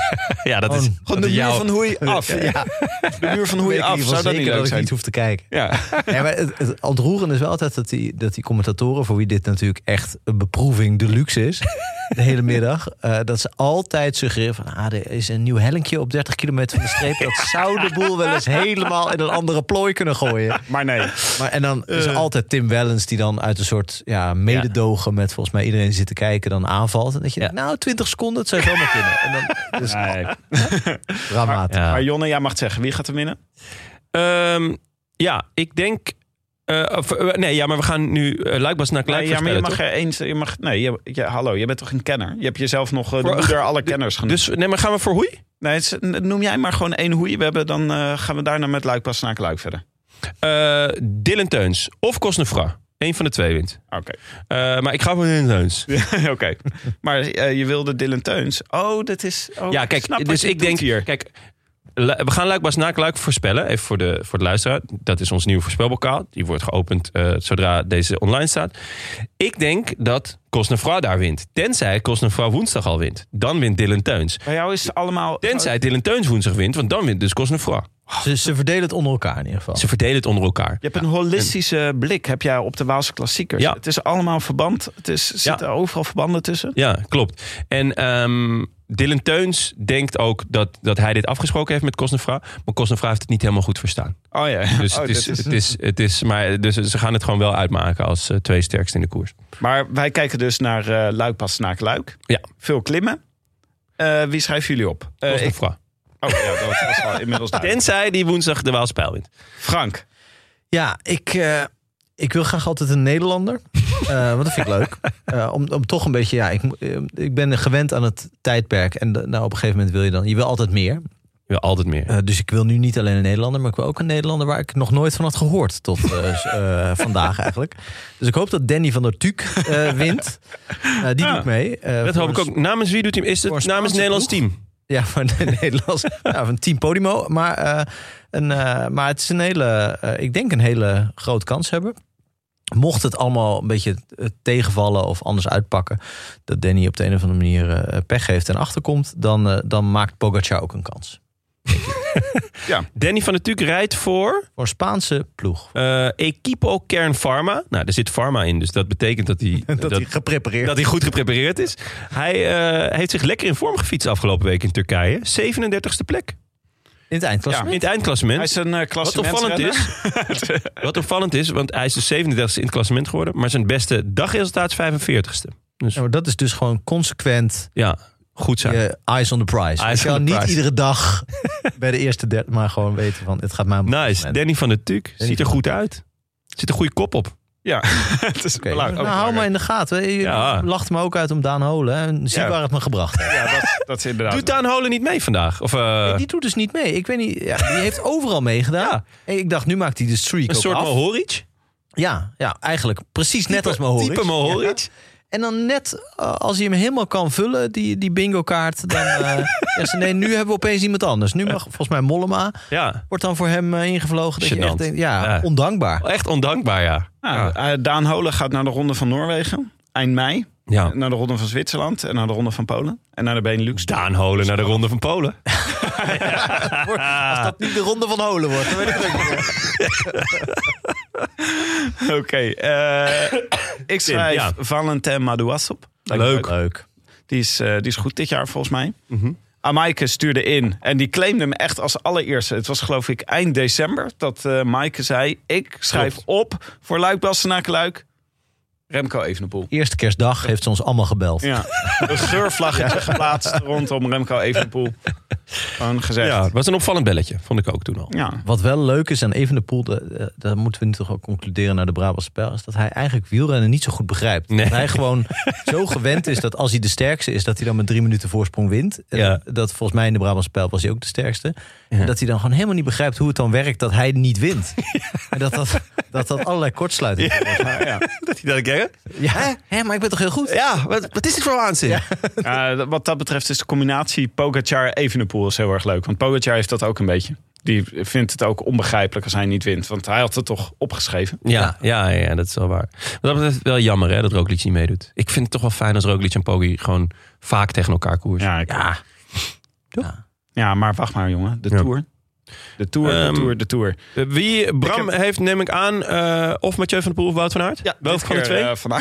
[SPEAKER 1] Ja, dat is,
[SPEAKER 3] Gewoon-
[SPEAKER 1] dat
[SPEAKER 2] Gewoon de
[SPEAKER 1] is
[SPEAKER 2] muur
[SPEAKER 1] jouw-
[SPEAKER 2] van Hoei af. De muur van Hoei
[SPEAKER 3] weet ik
[SPEAKER 2] af.
[SPEAKER 3] in ieder geval
[SPEAKER 2] Zou dat niet
[SPEAKER 3] zeker
[SPEAKER 2] leuk
[SPEAKER 3] dat ik
[SPEAKER 2] zijn?
[SPEAKER 3] niet hoef te kijken.
[SPEAKER 2] Ja.
[SPEAKER 3] Ja, maar het, het ontroerende is wel altijd dat die, dat die commentatoren, voor wie dit natuurlijk echt een beproeving deluxe is, de hele middag, eh, dat ze altijd suggereren van, ah, er is een nieuw hellinkje op 30 kilometer van de streep. Dat zou de boel wel eens helemaal in een andere plooi kunnen gooien.
[SPEAKER 2] Maar nee. Eh.
[SPEAKER 3] Maar, en dan is er altijd Tim Wellens die dan uit een soort ja, mededogen met volgens mij iedereen die zit te kijken dan aanvalt. En dat je denkt, nou, 20 seconden, dat zou zomaar kunnen. En dan, dus dramatisch.
[SPEAKER 1] Ja.
[SPEAKER 2] Maar Jonne, jij mag het zeggen. Wie gaat er winnen?
[SPEAKER 1] Ehm, ja, ik denk... eh, of, eh, nee, ja, maar we gaan nu uh, Luikbas naar Kluik
[SPEAKER 2] Nee, ja, maar je
[SPEAKER 1] voorspellen,
[SPEAKER 2] mag
[SPEAKER 1] toch?
[SPEAKER 2] er eens... Je mag, nee, je, je- hallo. Je bent toch een kenner? Je hebt jezelf nog eh, de
[SPEAKER 1] Voor-
[SPEAKER 2] moeder alle kenners genoemd.
[SPEAKER 1] Dus nee, maar gaan we voor Hoei?
[SPEAKER 2] nee, het is- noem jij maar gewoon één Hoei. We hebben, dan eh, gaan we daarna met Luikpas naar Luik verder.
[SPEAKER 1] Eh, Dylan Teuns of Kosnefra. Eén van de twee wint.
[SPEAKER 2] Oké.
[SPEAKER 1] Eh, maar ik ga voor Dylan Teuns.
[SPEAKER 2] Oké, maar eh, je wilde Dylan Teuns. Oh, dat is. oh,
[SPEAKER 1] Ja,
[SPEAKER 2] ik snap
[SPEAKER 1] kijk,
[SPEAKER 2] wat
[SPEAKER 1] dus
[SPEAKER 2] je
[SPEAKER 1] ik
[SPEAKER 2] doet
[SPEAKER 1] denk
[SPEAKER 2] hier.
[SPEAKER 1] Kijk, lu- we gaan Luikbaas na Luik voorspellen. Even voor de, voor de luisteraar. Dat is ons nieuwe voorspelbokaal. Die wordt geopend eh, zodra deze online staat. Ik denk dat Cosnefra daar wint. Tenzij Cosnefra woensdag al wint. Dan wint Dylan Teuns.
[SPEAKER 2] Bij jou is het allemaal. Oh,
[SPEAKER 1] Tenzij Dylan Teuns woensdag wint, want dan wint dus Cosnefra.
[SPEAKER 3] Ze, ze verdelen het onder elkaar in ieder geval.
[SPEAKER 1] Ze verdelen het onder elkaar.
[SPEAKER 2] Je hebt een holistische blik heb jij op de Waalse klassiekers.
[SPEAKER 1] Ja.
[SPEAKER 2] Het is allemaal verband. Het is, zitten overal verbanden tussen.
[SPEAKER 1] Ja, klopt. En ehm, Dylan Teuns denkt ook dat, dat hij dit afgesproken heeft met Cosnefra. Maar Cosnefra heeft het niet helemaal goed verstaan.
[SPEAKER 2] Oh ja.
[SPEAKER 1] Dus,
[SPEAKER 2] Oh,
[SPEAKER 1] het, is,
[SPEAKER 2] dit is-
[SPEAKER 1] Het, is, het is, maar dus ze gaan het gewoon wel uitmaken als eh, twee sterkste in de koers.
[SPEAKER 2] Maar wij kijken dus naar eh Luik pas naar Luik.
[SPEAKER 1] Ja.
[SPEAKER 2] Veel klimmen. Eh, wie schrijven jullie op? Eh, ik-
[SPEAKER 1] Cosnefra.
[SPEAKER 2] oh ja, dat was al inmiddels duidelijk.
[SPEAKER 1] Tenzij die woensdag de Waalspijl wint.
[SPEAKER 2] Frank.
[SPEAKER 3] Ja, ik, eh, ik wil graag altijd een Nederlander. Eh want dat vind ik leuk. Eh, om, om toch een beetje, ja, ik, mo- eh, ik ben gewend aan het tijdperk. En de- nou, op een gegeven moment wil je dan, je wil altijd meer.
[SPEAKER 1] Ja, altijd meer.
[SPEAKER 3] Eh, dus ik wil nu niet alleen een Nederlander, maar ik wil ook een Nederlander waar ik nog nooit van had gehoord tot eh, s- eh, vandaag eigenlijk. Dus ik hoop dat Danny van der Tuuk eh, wint. Eh, die doet mee. Eh,
[SPEAKER 1] dat
[SPEAKER 3] voor
[SPEAKER 1] hoop ik
[SPEAKER 3] een
[SPEAKER 1] ook. Namens wie doet hij hem? Is het
[SPEAKER 3] voor een
[SPEAKER 1] namens
[SPEAKER 3] Spaanse
[SPEAKER 1] Nederlands
[SPEAKER 3] ploeg?
[SPEAKER 1] team?
[SPEAKER 3] Ja, van de Nederlands. ja, van Team Podimo. Maar, eh, een, eh, maar het is een hele, eh, ik denk een hele grote kans hebben. Mocht het allemaal een beetje eh, tegenvallen of anders uitpakken, dat Danny op de een of andere manier eh, pech heeft en achterkomt, dan, eh, dan maakt Pogacar ook een kans.
[SPEAKER 1] Danny van der Tuuk rijdt voor
[SPEAKER 3] Voor een Spaanse ploeg.
[SPEAKER 1] eh, Equipo Kern Pharma. Nou, daar zit Pharma in, dus dat betekent dat hij, dat, dat,
[SPEAKER 3] geprepareerd.
[SPEAKER 1] hij goed geprepareerd is. Hij eh, heeft zich lekker in vorm gefietst afgelopen week in Turkije. 37ste plek.
[SPEAKER 3] In het eindklassement.
[SPEAKER 1] In het
[SPEAKER 2] Hij
[SPEAKER 1] eindklassement.
[SPEAKER 2] is een uh,
[SPEAKER 1] Wat opvallend is, wat opvallend is, want hij is de 37e in het klassement geworden, maar zijn beste dagresultaat is 45e. Dus
[SPEAKER 3] Ja, maar dat is dus gewoon consequent
[SPEAKER 1] ja, goed zijn.
[SPEAKER 3] je eyes on the prize.
[SPEAKER 1] Eyes
[SPEAKER 3] je kan
[SPEAKER 1] on the
[SPEAKER 3] niet
[SPEAKER 1] prize.
[SPEAKER 3] iedere dag bij de eerste derde, maar gewoon weten van het gaat mij om het
[SPEAKER 1] Nice.
[SPEAKER 3] klassement.
[SPEAKER 1] Danny van der Tuuk
[SPEAKER 3] Danny
[SPEAKER 1] ziet er
[SPEAKER 3] van-
[SPEAKER 1] goed uit. Zit een goede kop op.
[SPEAKER 2] Ja, het is
[SPEAKER 3] Oké,
[SPEAKER 2] belangrijk.
[SPEAKER 3] Nou,
[SPEAKER 2] ook
[SPEAKER 3] hou maar
[SPEAKER 2] belangrijk.
[SPEAKER 3] in de gaten. Je
[SPEAKER 1] Ja.
[SPEAKER 3] lacht me ook uit om Daan Holen. hè. En zie
[SPEAKER 2] Ja.
[SPEAKER 3] waar het me gebracht heeft.
[SPEAKER 2] Ja, dat, dat is inderdaad.
[SPEAKER 1] Doet Daan Holen niet mee vandaag? Of, eh,
[SPEAKER 3] Die doet dus niet mee. Ik weet niet. Ja, die heeft overal meegedaan.
[SPEAKER 1] Ja.
[SPEAKER 3] En Ik dacht, nu maakt hij de streak
[SPEAKER 1] een
[SPEAKER 3] ook
[SPEAKER 1] soort
[SPEAKER 3] af.
[SPEAKER 1] Mohoric?
[SPEAKER 3] Ja, ja, eigenlijk precies net als Mohoric.
[SPEAKER 1] Type Mohoric?
[SPEAKER 3] Ja. En dan net eh, als hij hem helemaal kan vullen, die, die bingo kaart. Dan eh, zeggen ze, nee, nu hebben we opeens iemand anders. Nu mag volgens mij Mollema.
[SPEAKER 1] Ja.
[SPEAKER 3] Wordt dan voor hem eh, ingevlogen. Dat je
[SPEAKER 1] Gênant.
[SPEAKER 3] echt denkt, ja,
[SPEAKER 1] Ja.
[SPEAKER 3] ondankbaar.
[SPEAKER 1] Echt ondankbaar, ja.
[SPEAKER 2] Nou, eh, Daan Holen gaat naar de ronde van Noorwegen. Eind mei.
[SPEAKER 1] ja.
[SPEAKER 2] Naar de ronde van Zwitserland. En naar de ronde van Polen. En naar de Benelux.
[SPEAKER 1] Daan Holen naar de Ronde van Polen.
[SPEAKER 3] Als dat niet de ronde van Holen wordt, dan weet ik het ook niet meer.
[SPEAKER 2] Oké. eh, ik schrijf
[SPEAKER 1] ja.
[SPEAKER 2] Valentin Madouas op. Lijkt me
[SPEAKER 1] Leuk. Mhm.
[SPEAKER 3] Leuk.
[SPEAKER 2] Die is, eh, die is goed dit jaar volgens mij. Amaike stuurde in en die claimde hem echt als allereerste. Het was geloof ik eind december dat eh Maaike zei... ik schrijf
[SPEAKER 1] Klopt.
[SPEAKER 2] op voor Luik Bastenakeluik Remco Evenepoel.
[SPEAKER 3] Eerste kerstdag heeft ze ons allemaal gebeld.
[SPEAKER 2] Ja, een geurvlaggetje geplaatst rondom Remco Evenepoel. Gewoon gezegd.
[SPEAKER 1] Ja,
[SPEAKER 2] Ja.
[SPEAKER 1] was een opvallend belletje, vond ik ook toen al.
[SPEAKER 3] Wat wel leuk is aan Evenepoel, de, daar moeten we nu toch ook concluderen naar de Brabantse pijl, is dat hij eigenlijk wielrennen niet zo goed begrijpt.
[SPEAKER 1] Nee.
[SPEAKER 3] Dat hij gewoon zo gewend is dat als hij de sterkste is, dat hij dan met drie minuten voorsprong wint. En
[SPEAKER 1] Ja.
[SPEAKER 3] Dat volgens mij in de Brabantse pijl was hij ook de sterkste. En dat hij dan gewoon helemaal niet begrijpt hoe het dan werkt dat hij niet wint. En dat dat, dat, dat allerlei kortsluitingen wordt.
[SPEAKER 2] Ja, ja.
[SPEAKER 1] Dat hij dat kennen?
[SPEAKER 3] Ja, hè? Hè, maar ik ben toch heel goed?
[SPEAKER 1] Ja, wat, wat is dit voor waanzin?
[SPEAKER 2] Ja, Eh, dat- wat dat betreft is de combinatie Pogacar-Evenepoel is heel erg leuk. Want Pogacar heeft dat ook een beetje. Die vindt het ook onbegrijpelijk als hij niet wint. Want hij had het toch opgeschreven.
[SPEAKER 1] Ja, ja, ja, dat is wel waar. Wat dat betreft wel jammer hè, dat Roglic niet meedoet. Ik vind het toch wel fijn als Roglic en Poggi gewoon vaak tegen elkaar koersen.
[SPEAKER 2] Ja, ik-
[SPEAKER 3] Ja.
[SPEAKER 2] Ja, maar wacht maar, jongen. De
[SPEAKER 1] Ja.
[SPEAKER 2] Tour. De Tour,
[SPEAKER 1] Ehm,
[SPEAKER 2] de Tour, de Tour.
[SPEAKER 1] Eh, Wie Bram
[SPEAKER 2] Ik
[SPEAKER 1] heeft, neem ik aan, eh, of Mathieu van der Poel of Wout van Aert? Welke van de twee?
[SPEAKER 2] eh,
[SPEAKER 1] van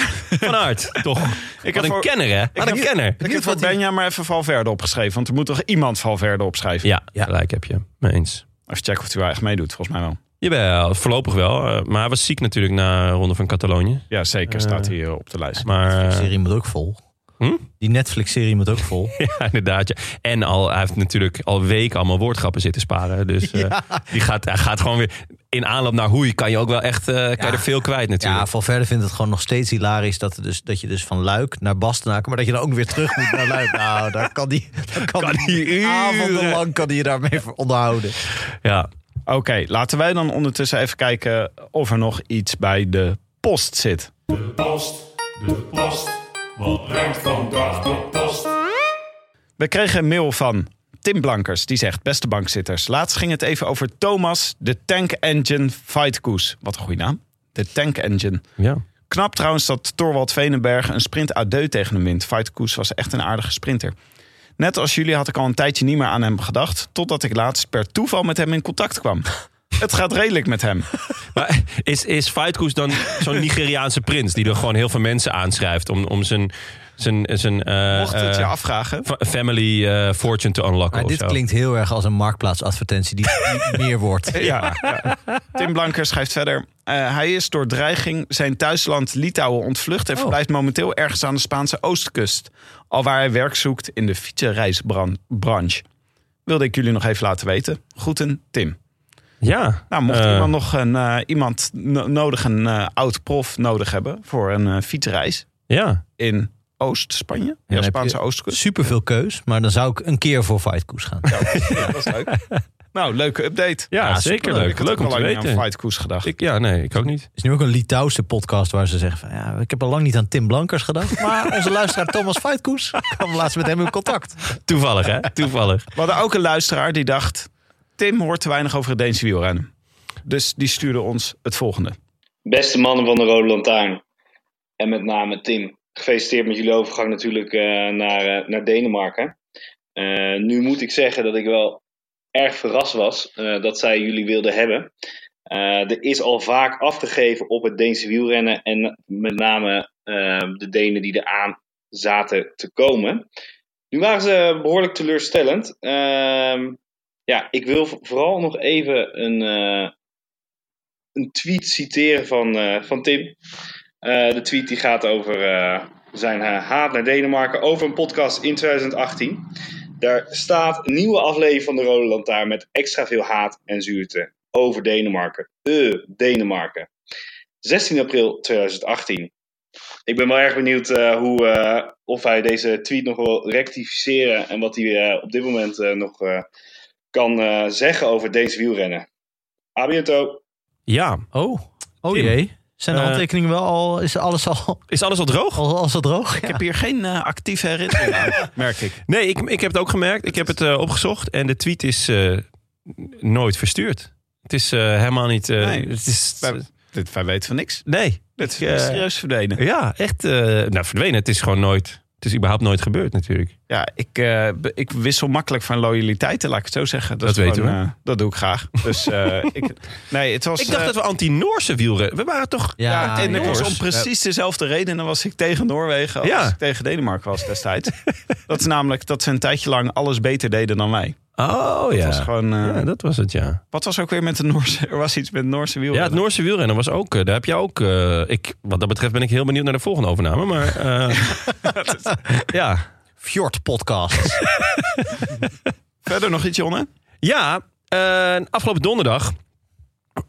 [SPEAKER 1] Aert, toch? Ik
[SPEAKER 2] heb
[SPEAKER 1] had een
[SPEAKER 2] voor-
[SPEAKER 1] kenner, hè? Wat een
[SPEAKER 2] heb-
[SPEAKER 1] kenner.
[SPEAKER 2] ik heb voor Benja maar even Valverde opgeschreven. Want er moet toch iemand Valverde opschrijven?
[SPEAKER 1] Ja, gelijk heb je. Mee eens.
[SPEAKER 2] Even checken of hij wel echt meedoet, volgens mij wel.
[SPEAKER 1] Jawel, voorlopig wel. eh, maar hij was ziek natuurlijk na de Ronde van Catalonië.
[SPEAKER 2] Ja, zeker staat hij eh, op de lijst.
[SPEAKER 1] Maar eh,
[SPEAKER 3] Serie moet ook vol.
[SPEAKER 1] Hm?
[SPEAKER 3] Die Netflix-serie moet ook vol.
[SPEAKER 1] ja, inderdaad. Ja. En al, hij heeft natuurlijk al weken allemaal woordgrappen zitten sparen. Dus eh, die gaat, hij gaat gewoon weer in aanloop naar hoei. Kan je ook wel echt eh, kan je er veel kwijt natuurlijk.
[SPEAKER 3] Ja, Valverde vindt het gewoon nog steeds hilarisch dat, er dus, dat je dus van Luik naar Bastenaken, maar dat je dan ook weer terug moet naar Luik. Nou, daar kan die, daar kan die
[SPEAKER 1] die uren.
[SPEAKER 3] avondenlang kan die je daarmee voor onderhouden.
[SPEAKER 1] Ja.
[SPEAKER 2] Oké, laten wij dan ondertussen even kijken of er nog iets bij de post zit.
[SPEAKER 6] post, de post. Wat brengt vandaag de post?
[SPEAKER 2] We kregen een mail van Tim Blankers. Die zegt, beste bankzitters. Laatst ging het even over Thomas, de Tank Engine Fight Koes. Wat een goede naam. De Tank Engine.
[SPEAKER 1] ja.
[SPEAKER 2] Knap trouwens dat Torwald Venenberg een sprint à deux tegen hem wint. Fight Koes was echt een aardige sprinter. Net als jullie had ik al een tijdje niet meer aan hem gedacht... totdat ik laatst per toeval met hem in contact kwam. Het gaat redelijk met hem.
[SPEAKER 1] Maar is, is Fightkoes dan zo'n Nigeriaanse prins die er gewoon heel veel mensen aanschrijft om, om zijn, zijn, zijn eh,
[SPEAKER 2] Mocht het je
[SPEAKER 1] eh,
[SPEAKER 2] afvragen...
[SPEAKER 1] fa- family eh, fortune te unlocken?
[SPEAKER 3] Maar
[SPEAKER 1] of
[SPEAKER 3] dit
[SPEAKER 1] zo.
[SPEAKER 3] klinkt heel erg als een marktplaatsadvertentie die die meer wordt.
[SPEAKER 2] Ja, ja. Tim Blanker schrijft verder. eh, hij is door dreiging zijn thuisland Litouwen ontvlucht... en
[SPEAKER 1] Oh.
[SPEAKER 2] verblijft momenteel ergens aan de Spaanse oostkust. Al waar hij werk zoekt in de fietsenreisbranche. Wilde ik jullie nog even laten weten. Groeten, Tim.
[SPEAKER 1] Ja.
[SPEAKER 2] Nou, mocht
[SPEAKER 1] Eh,
[SPEAKER 2] iemand nog een, eh, iemand no- nodig, een eh, oud prof nodig hebben voor een eh, fietsreis
[SPEAKER 1] Ja.
[SPEAKER 2] in Oost-Spanje,
[SPEAKER 3] dan
[SPEAKER 2] ja,
[SPEAKER 3] heb
[SPEAKER 2] Spaanse
[SPEAKER 3] je-
[SPEAKER 2] Oostkust.
[SPEAKER 3] Super veel keus, maar dan zou ik een keer voor Fightkoes gaan.
[SPEAKER 2] Ja, dat is leuk. nou, leuke update.
[SPEAKER 1] Ja, zeker
[SPEAKER 2] superleuk.
[SPEAKER 1] leuk.
[SPEAKER 2] Ik had
[SPEAKER 1] Leuk
[SPEAKER 2] ook
[SPEAKER 1] om
[SPEAKER 2] al
[SPEAKER 1] te
[SPEAKER 2] lang niet aan
[SPEAKER 1] weten.
[SPEAKER 2] Fight Koes gedacht.
[SPEAKER 1] Ik, ja, nee, ik ook niet.
[SPEAKER 3] Er is nu ook een Litouwse podcast waar ze zeggen van... Ja, ik heb al lang niet aan Tim Blankers gedacht, maar onze luisteraar Thomas Fightkoes kwam laatst met hem in contact.
[SPEAKER 1] Toevallig, hè? Toevallig.
[SPEAKER 2] We hadden ook een luisteraar die dacht: Tim hoort te weinig over het Deense wielrennen. Dus die stuurde ons het volgende.
[SPEAKER 7] Beste mannen van de Rode Lantaarn. En met name Tim. Gefeliciteerd met jullie overgang natuurlijk eh, naar, eh, naar Denemarken. Eh, nu moet ik zeggen dat ik wel erg verrast was eh, dat zij jullie wilden hebben. Eh, er is al vaak afgegeven op het Deense wielrennen. En met name eh, de Denen die eraan zaten te komen. Nu waren ze behoorlijk teleurstellend. Ehm, ja, ik wil v- vooral nog even een, eh, een tweet citeren van, eh, van Tim. Eh, de tweet die gaat over eh, zijn eh, haat naar Denemarken over een podcast in 2018. Daar staat een nieuwe aflevering van de Rode Lantaarn met extra veel haat en zuurte over Denemarken. Eh, Denemarken. 16 april 2018. Ik ben wel erg benieuwd eh, hoe, eh, of hij deze tweet nog wil rectificeren en wat hij eh, op dit moment eh, nog eh, kan eh, zeggen over deze wielrennen. Abiento.
[SPEAKER 1] Ja,
[SPEAKER 3] Oh, oh
[SPEAKER 1] Tim.
[SPEAKER 3] jee. Zijn de
[SPEAKER 1] Eh,
[SPEAKER 3] handtekeningen wel al... Is alles al,
[SPEAKER 1] is alles al droog?
[SPEAKER 3] al, al zo droog?
[SPEAKER 2] Ik heb hier geen eh, actieve herinnering aan, merk ik.
[SPEAKER 1] Nee, ik, ik heb het ook gemerkt. Ik heb het eh, opgezocht en de tweet is eh, nooit verstuurd. Het is eh, helemaal niet... eh,
[SPEAKER 2] Nee.
[SPEAKER 1] het is,
[SPEAKER 2] Wij, dit, wij weten van niks.
[SPEAKER 1] nee.
[SPEAKER 2] Dit is
[SPEAKER 1] Ik, eh,
[SPEAKER 2] serieus verdwenen.
[SPEAKER 1] Ja, echt eh, nou, verdwenen. Het is gewoon nooit... Het is überhaupt nooit gebeurd natuurlijk.
[SPEAKER 2] Ja, ik, eh, be- ik wissel makkelijk van loyaliteiten, laat ik het zo zeggen.
[SPEAKER 1] Dat
[SPEAKER 2] is
[SPEAKER 1] weten
[SPEAKER 2] gewoon,
[SPEAKER 1] we.
[SPEAKER 2] eh, dat doe ik graag. Dus eh, ik, nee, het was.
[SPEAKER 1] Ik dacht
[SPEAKER 2] eh,
[SPEAKER 1] dat we anti-Noorse wielrennen... We waren toch...
[SPEAKER 3] Ja,
[SPEAKER 2] ja, en dat
[SPEAKER 3] jongens.
[SPEAKER 2] was om precies dezelfde redenen was ik tegen Noorwegen als
[SPEAKER 1] Ja.
[SPEAKER 2] ik tegen Denemarken was destijds. dat is namelijk dat ze een tijdje lang alles beter deden dan wij.
[SPEAKER 1] Oh ja.
[SPEAKER 2] Dat was gewoon, eh,
[SPEAKER 1] ja, dat was het, ja.
[SPEAKER 2] Wat was ook weer met de Noorse? Er was iets met Noorse
[SPEAKER 1] Ja,
[SPEAKER 2] wielrennen.
[SPEAKER 1] het Noorse wielrennen was ook. eh, Daar heb je ook. eh, ik, wat dat betreft ben ik heel benieuwd naar de volgende overname. Maar eh, ja.
[SPEAKER 3] Fjord podcast.
[SPEAKER 2] Verder nog iets, Jonne?
[SPEAKER 1] Ja, eh, afgelopen donderdag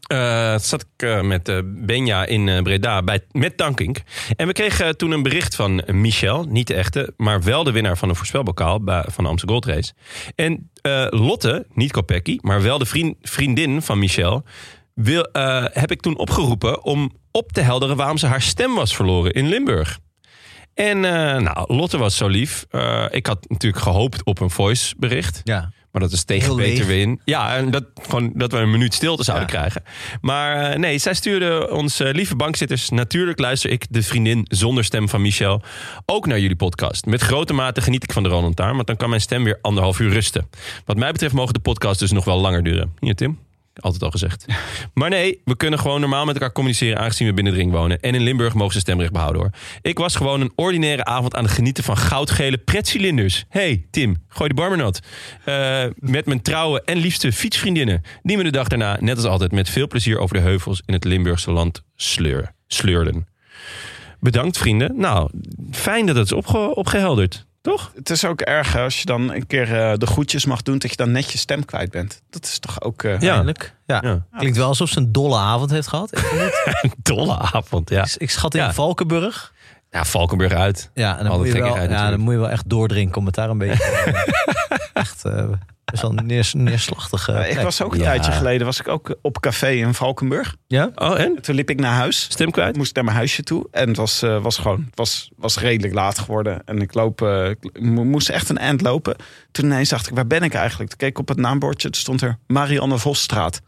[SPEAKER 1] eh, zat ik eh, met eh, Benja in eh, Breda bij, met Tankink. En we kregen eh, toen een bericht van Michel, niet de echte, maar wel de winnaar van een voorspelbokaal bij, van de Amsterdam Gold Race. En eh, Lotte, niet Kopecky, maar wel de vriend, vriendin van Michel, wil, eh, heb ik toen opgeroepen om op te helderen waarom ze haar stem was verloren in Limburg. En eh, nou, Lotte was zo lief. Eh, ik had natuurlijk gehoopt op een voice bericht.
[SPEAKER 3] ja.
[SPEAKER 1] Maar dat is tegen
[SPEAKER 3] Heel
[SPEAKER 1] beter
[SPEAKER 3] leeg.
[SPEAKER 1] win. Ja, en dat, gewoon, dat we een minuut stilte zouden krijgen. Maar eh, nee, zij stuurde ons eh, lieve bankzitters. Natuurlijk luister ik, de vriendin zonder stem van Michel, ook naar jullie podcast. Met grote mate geniet ik van de Roland Taar, want dan kan mijn stem weer anderhalf uur rusten. Wat mij betreft mogen de podcasts dus nog wel langer duren. Hier, Tim. Altijd al gezegd. Maar nee, we kunnen gewoon normaal met elkaar communiceren aangezien we binnen de ring wonen. En in Limburg mogen ze stemrecht behouden hoor. Ik was gewoon een ordinaire avond aan het genieten van goudgele pretcilinders. hey, Tim, gooi de barmenot. Eh, met mijn trouwe en liefste fietsvriendinnen. Die me de dag daarna, net als altijd, met veel plezier over de heuvels in het Limburgse land sleur, sleurden. Bedankt vrienden. Nou, fijn dat het is opge- opgehelderd. Toch?
[SPEAKER 2] Het is ook erg hè, als je dan een keer eh, de groetjes mag doen, dat je dan net je stem kwijt bent. Dat is toch ook. eh,
[SPEAKER 1] Ja.
[SPEAKER 3] Eindelijk. Ja.
[SPEAKER 1] Ja.
[SPEAKER 3] Klinkt wel alsof ze een dolle avond heeft gehad. Ik,
[SPEAKER 1] Dolle avond, ja.
[SPEAKER 3] ik- ik schat in
[SPEAKER 1] Ja.
[SPEAKER 3] Valkenburg.
[SPEAKER 1] Ja, Valkenburg uit.
[SPEAKER 3] Ja, en
[SPEAKER 1] Al
[SPEAKER 3] dan, moet
[SPEAKER 1] die
[SPEAKER 3] je, wel,
[SPEAKER 1] gekkigheid
[SPEAKER 3] ja, dan
[SPEAKER 1] natuurlijk.
[SPEAKER 3] moet je wel echt doordrinken om het daar een beetje... echt eh, best wel een neers, neerslachtige
[SPEAKER 2] eh, ik
[SPEAKER 3] plek.
[SPEAKER 2] was ook een
[SPEAKER 1] Ja.
[SPEAKER 2] tijdje geleden was ik ook op café in Valkenburg.
[SPEAKER 3] Ja?
[SPEAKER 1] Oh, en?
[SPEAKER 2] En toen liep ik naar huis.
[SPEAKER 1] Stem kwijt?
[SPEAKER 2] Moest ik naar mijn huisje toe. En het was, eh, was gewoon het was, was redelijk laat geworden. En ik, loop, eh, ik mo- moest echt een eind lopen. Toen ineens dacht ik, waar ben ik eigenlijk? Toen keek ik op het naambordje. Toen stond er Marianne Vosstraat.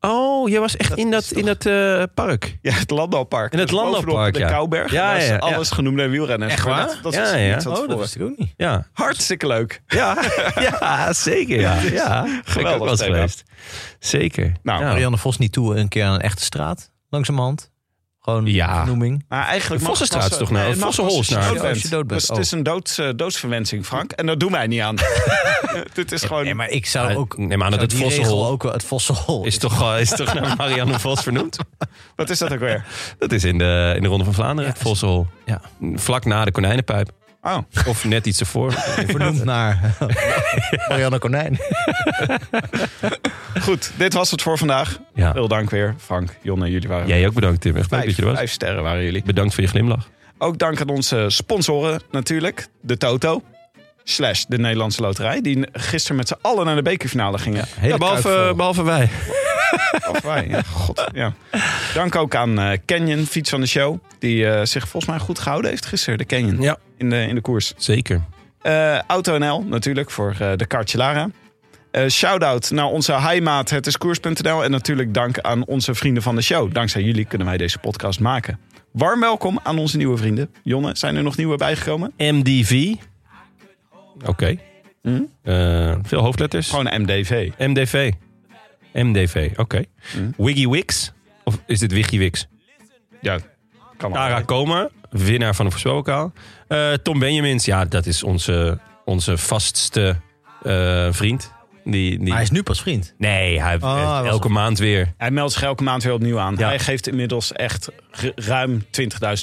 [SPEAKER 1] Oh, jij was echt in dat, in dat eh, park.
[SPEAKER 2] Ja, het landbouwpark.
[SPEAKER 1] In het
[SPEAKER 2] Dus bovenop
[SPEAKER 1] landbouwpark,
[SPEAKER 2] de
[SPEAKER 1] ja.
[SPEAKER 2] Kouwberg.
[SPEAKER 1] Ja,
[SPEAKER 2] Ja,
[SPEAKER 1] ja, ja.
[SPEAKER 2] alles genoemde wielrenners.
[SPEAKER 1] Echt
[SPEAKER 2] Maar
[SPEAKER 1] waar?
[SPEAKER 2] Dat, dat
[SPEAKER 1] Ja,
[SPEAKER 2] is
[SPEAKER 1] ja.
[SPEAKER 2] iets wat
[SPEAKER 3] Oh, dat
[SPEAKER 2] voor-
[SPEAKER 3] wist ik ook niet.
[SPEAKER 1] Ja.
[SPEAKER 2] Hartstikke leuk.
[SPEAKER 1] Ja, ja zeker. Ja. Ja. Geweldig ook wel eens
[SPEAKER 2] thema.
[SPEAKER 1] geweest. Zeker.
[SPEAKER 2] Nou,
[SPEAKER 1] ja.
[SPEAKER 3] Marianne Vos niet toe een keer aan een echte straat. Langzamerhand. Gewoon
[SPEAKER 1] Ja.
[SPEAKER 3] ja. vernoeming.
[SPEAKER 2] Maar eigenlijk
[SPEAKER 1] De
[SPEAKER 2] mag
[SPEAKER 1] Vossenstraat
[SPEAKER 2] pas-
[SPEAKER 1] is toch nou-
[SPEAKER 2] het mag pas
[SPEAKER 1] Vossenholsnaar.
[SPEAKER 2] als je
[SPEAKER 3] Ja,
[SPEAKER 2] dood
[SPEAKER 3] als je
[SPEAKER 2] bent.
[SPEAKER 3] dood bent.
[SPEAKER 2] Dus het
[SPEAKER 1] oh.
[SPEAKER 2] is een doods, eh, doodsverwensing, Frank. En dat doen wij niet aan. Dit is gewoon...
[SPEAKER 3] Nee, maar ik zou
[SPEAKER 1] Maar
[SPEAKER 3] ook...
[SPEAKER 1] ik neem aan dat
[SPEAKER 3] zou
[SPEAKER 1] het
[SPEAKER 3] die regel
[SPEAKER 1] Vossenhol
[SPEAKER 3] ook wel het Vossenhol
[SPEAKER 1] is toch, eh, is toch naar Marianne Vos vernoemd?
[SPEAKER 2] Wat is dat ook weer?
[SPEAKER 1] Dat is in de, in de Ronde van Vlaanderen, het Vossenhol.
[SPEAKER 3] Ja.
[SPEAKER 1] Vlak na de konijnenpijp.
[SPEAKER 2] Oh,
[SPEAKER 1] Of net iets ervoor.
[SPEAKER 3] vernoemd naar Marianne Konijn.
[SPEAKER 2] goed. Dit was het voor vandaag.
[SPEAKER 1] Ja.
[SPEAKER 2] Veel dank weer, Frank, Jonne. Jullie waren
[SPEAKER 1] Jij ook bedankt, Tim. Echt leuk dat
[SPEAKER 2] vijf,
[SPEAKER 1] je er was.
[SPEAKER 2] vijf sterren waren jullie.
[SPEAKER 1] Bedankt voor je glimlach.
[SPEAKER 2] Ook dank aan onze sponsoren natuurlijk. De Toto. Slash de Nederlandse Loterij. Die gisteren met z'n allen naar de bekerfinale gingen.
[SPEAKER 1] Ja, behalve, behalve wij.
[SPEAKER 2] Of wij, ja, god. Ja. Dank ook aan eh, Canyon, fiets van de show. Die eh, zich volgens mij goed gehouden heeft gisteren, de Canyon.
[SPEAKER 1] Ja.
[SPEAKER 2] In, de, in de koers.
[SPEAKER 1] Zeker.
[SPEAKER 2] Eh AutoNL natuurlijk voor eh, de Cartelara. Eh Shout-out naar onze heimaat, het is koers.nl. En natuurlijk dank aan onze vrienden van de show. Dankzij jullie kunnen wij deze podcast maken. Warm welkom aan onze nieuwe vrienden. Jonne, zijn er nog nieuwe bijgekomen?
[SPEAKER 1] MDV. Oké.
[SPEAKER 2] Hm?
[SPEAKER 1] Eh, veel hoofdletters.
[SPEAKER 2] Gewoon MDV.
[SPEAKER 1] MDV. MDV, oké.
[SPEAKER 2] Hm.
[SPEAKER 1] Wiggy Wix. Of is dit Wiggy Wix?
[SPEAKER 2] Ja, kan wel.
[SPEAKER 1] Tara Koma, winnaar van de voorspelbokaal. Eh, Tom Benjamins, ja, dat is onze, onze vastste eh, vriend. Die, die...
[SPEAKER 3] Maar hij is nu pas vriend.
[SPEAKER 1] Nee, hij
[SPEAKER 3] Oh, hij was
[SPEAKER 1] elke
[SPEAKER 3] al-
[SPEAKER 1] maand weer.
[SPEAKER 2] Hij meldt zich elke maand weer opnieuw aan.
[SPEAKER 1] Ja.
[SPEAKER 2] Hij geeft inmiddels echt r- ruim 20.000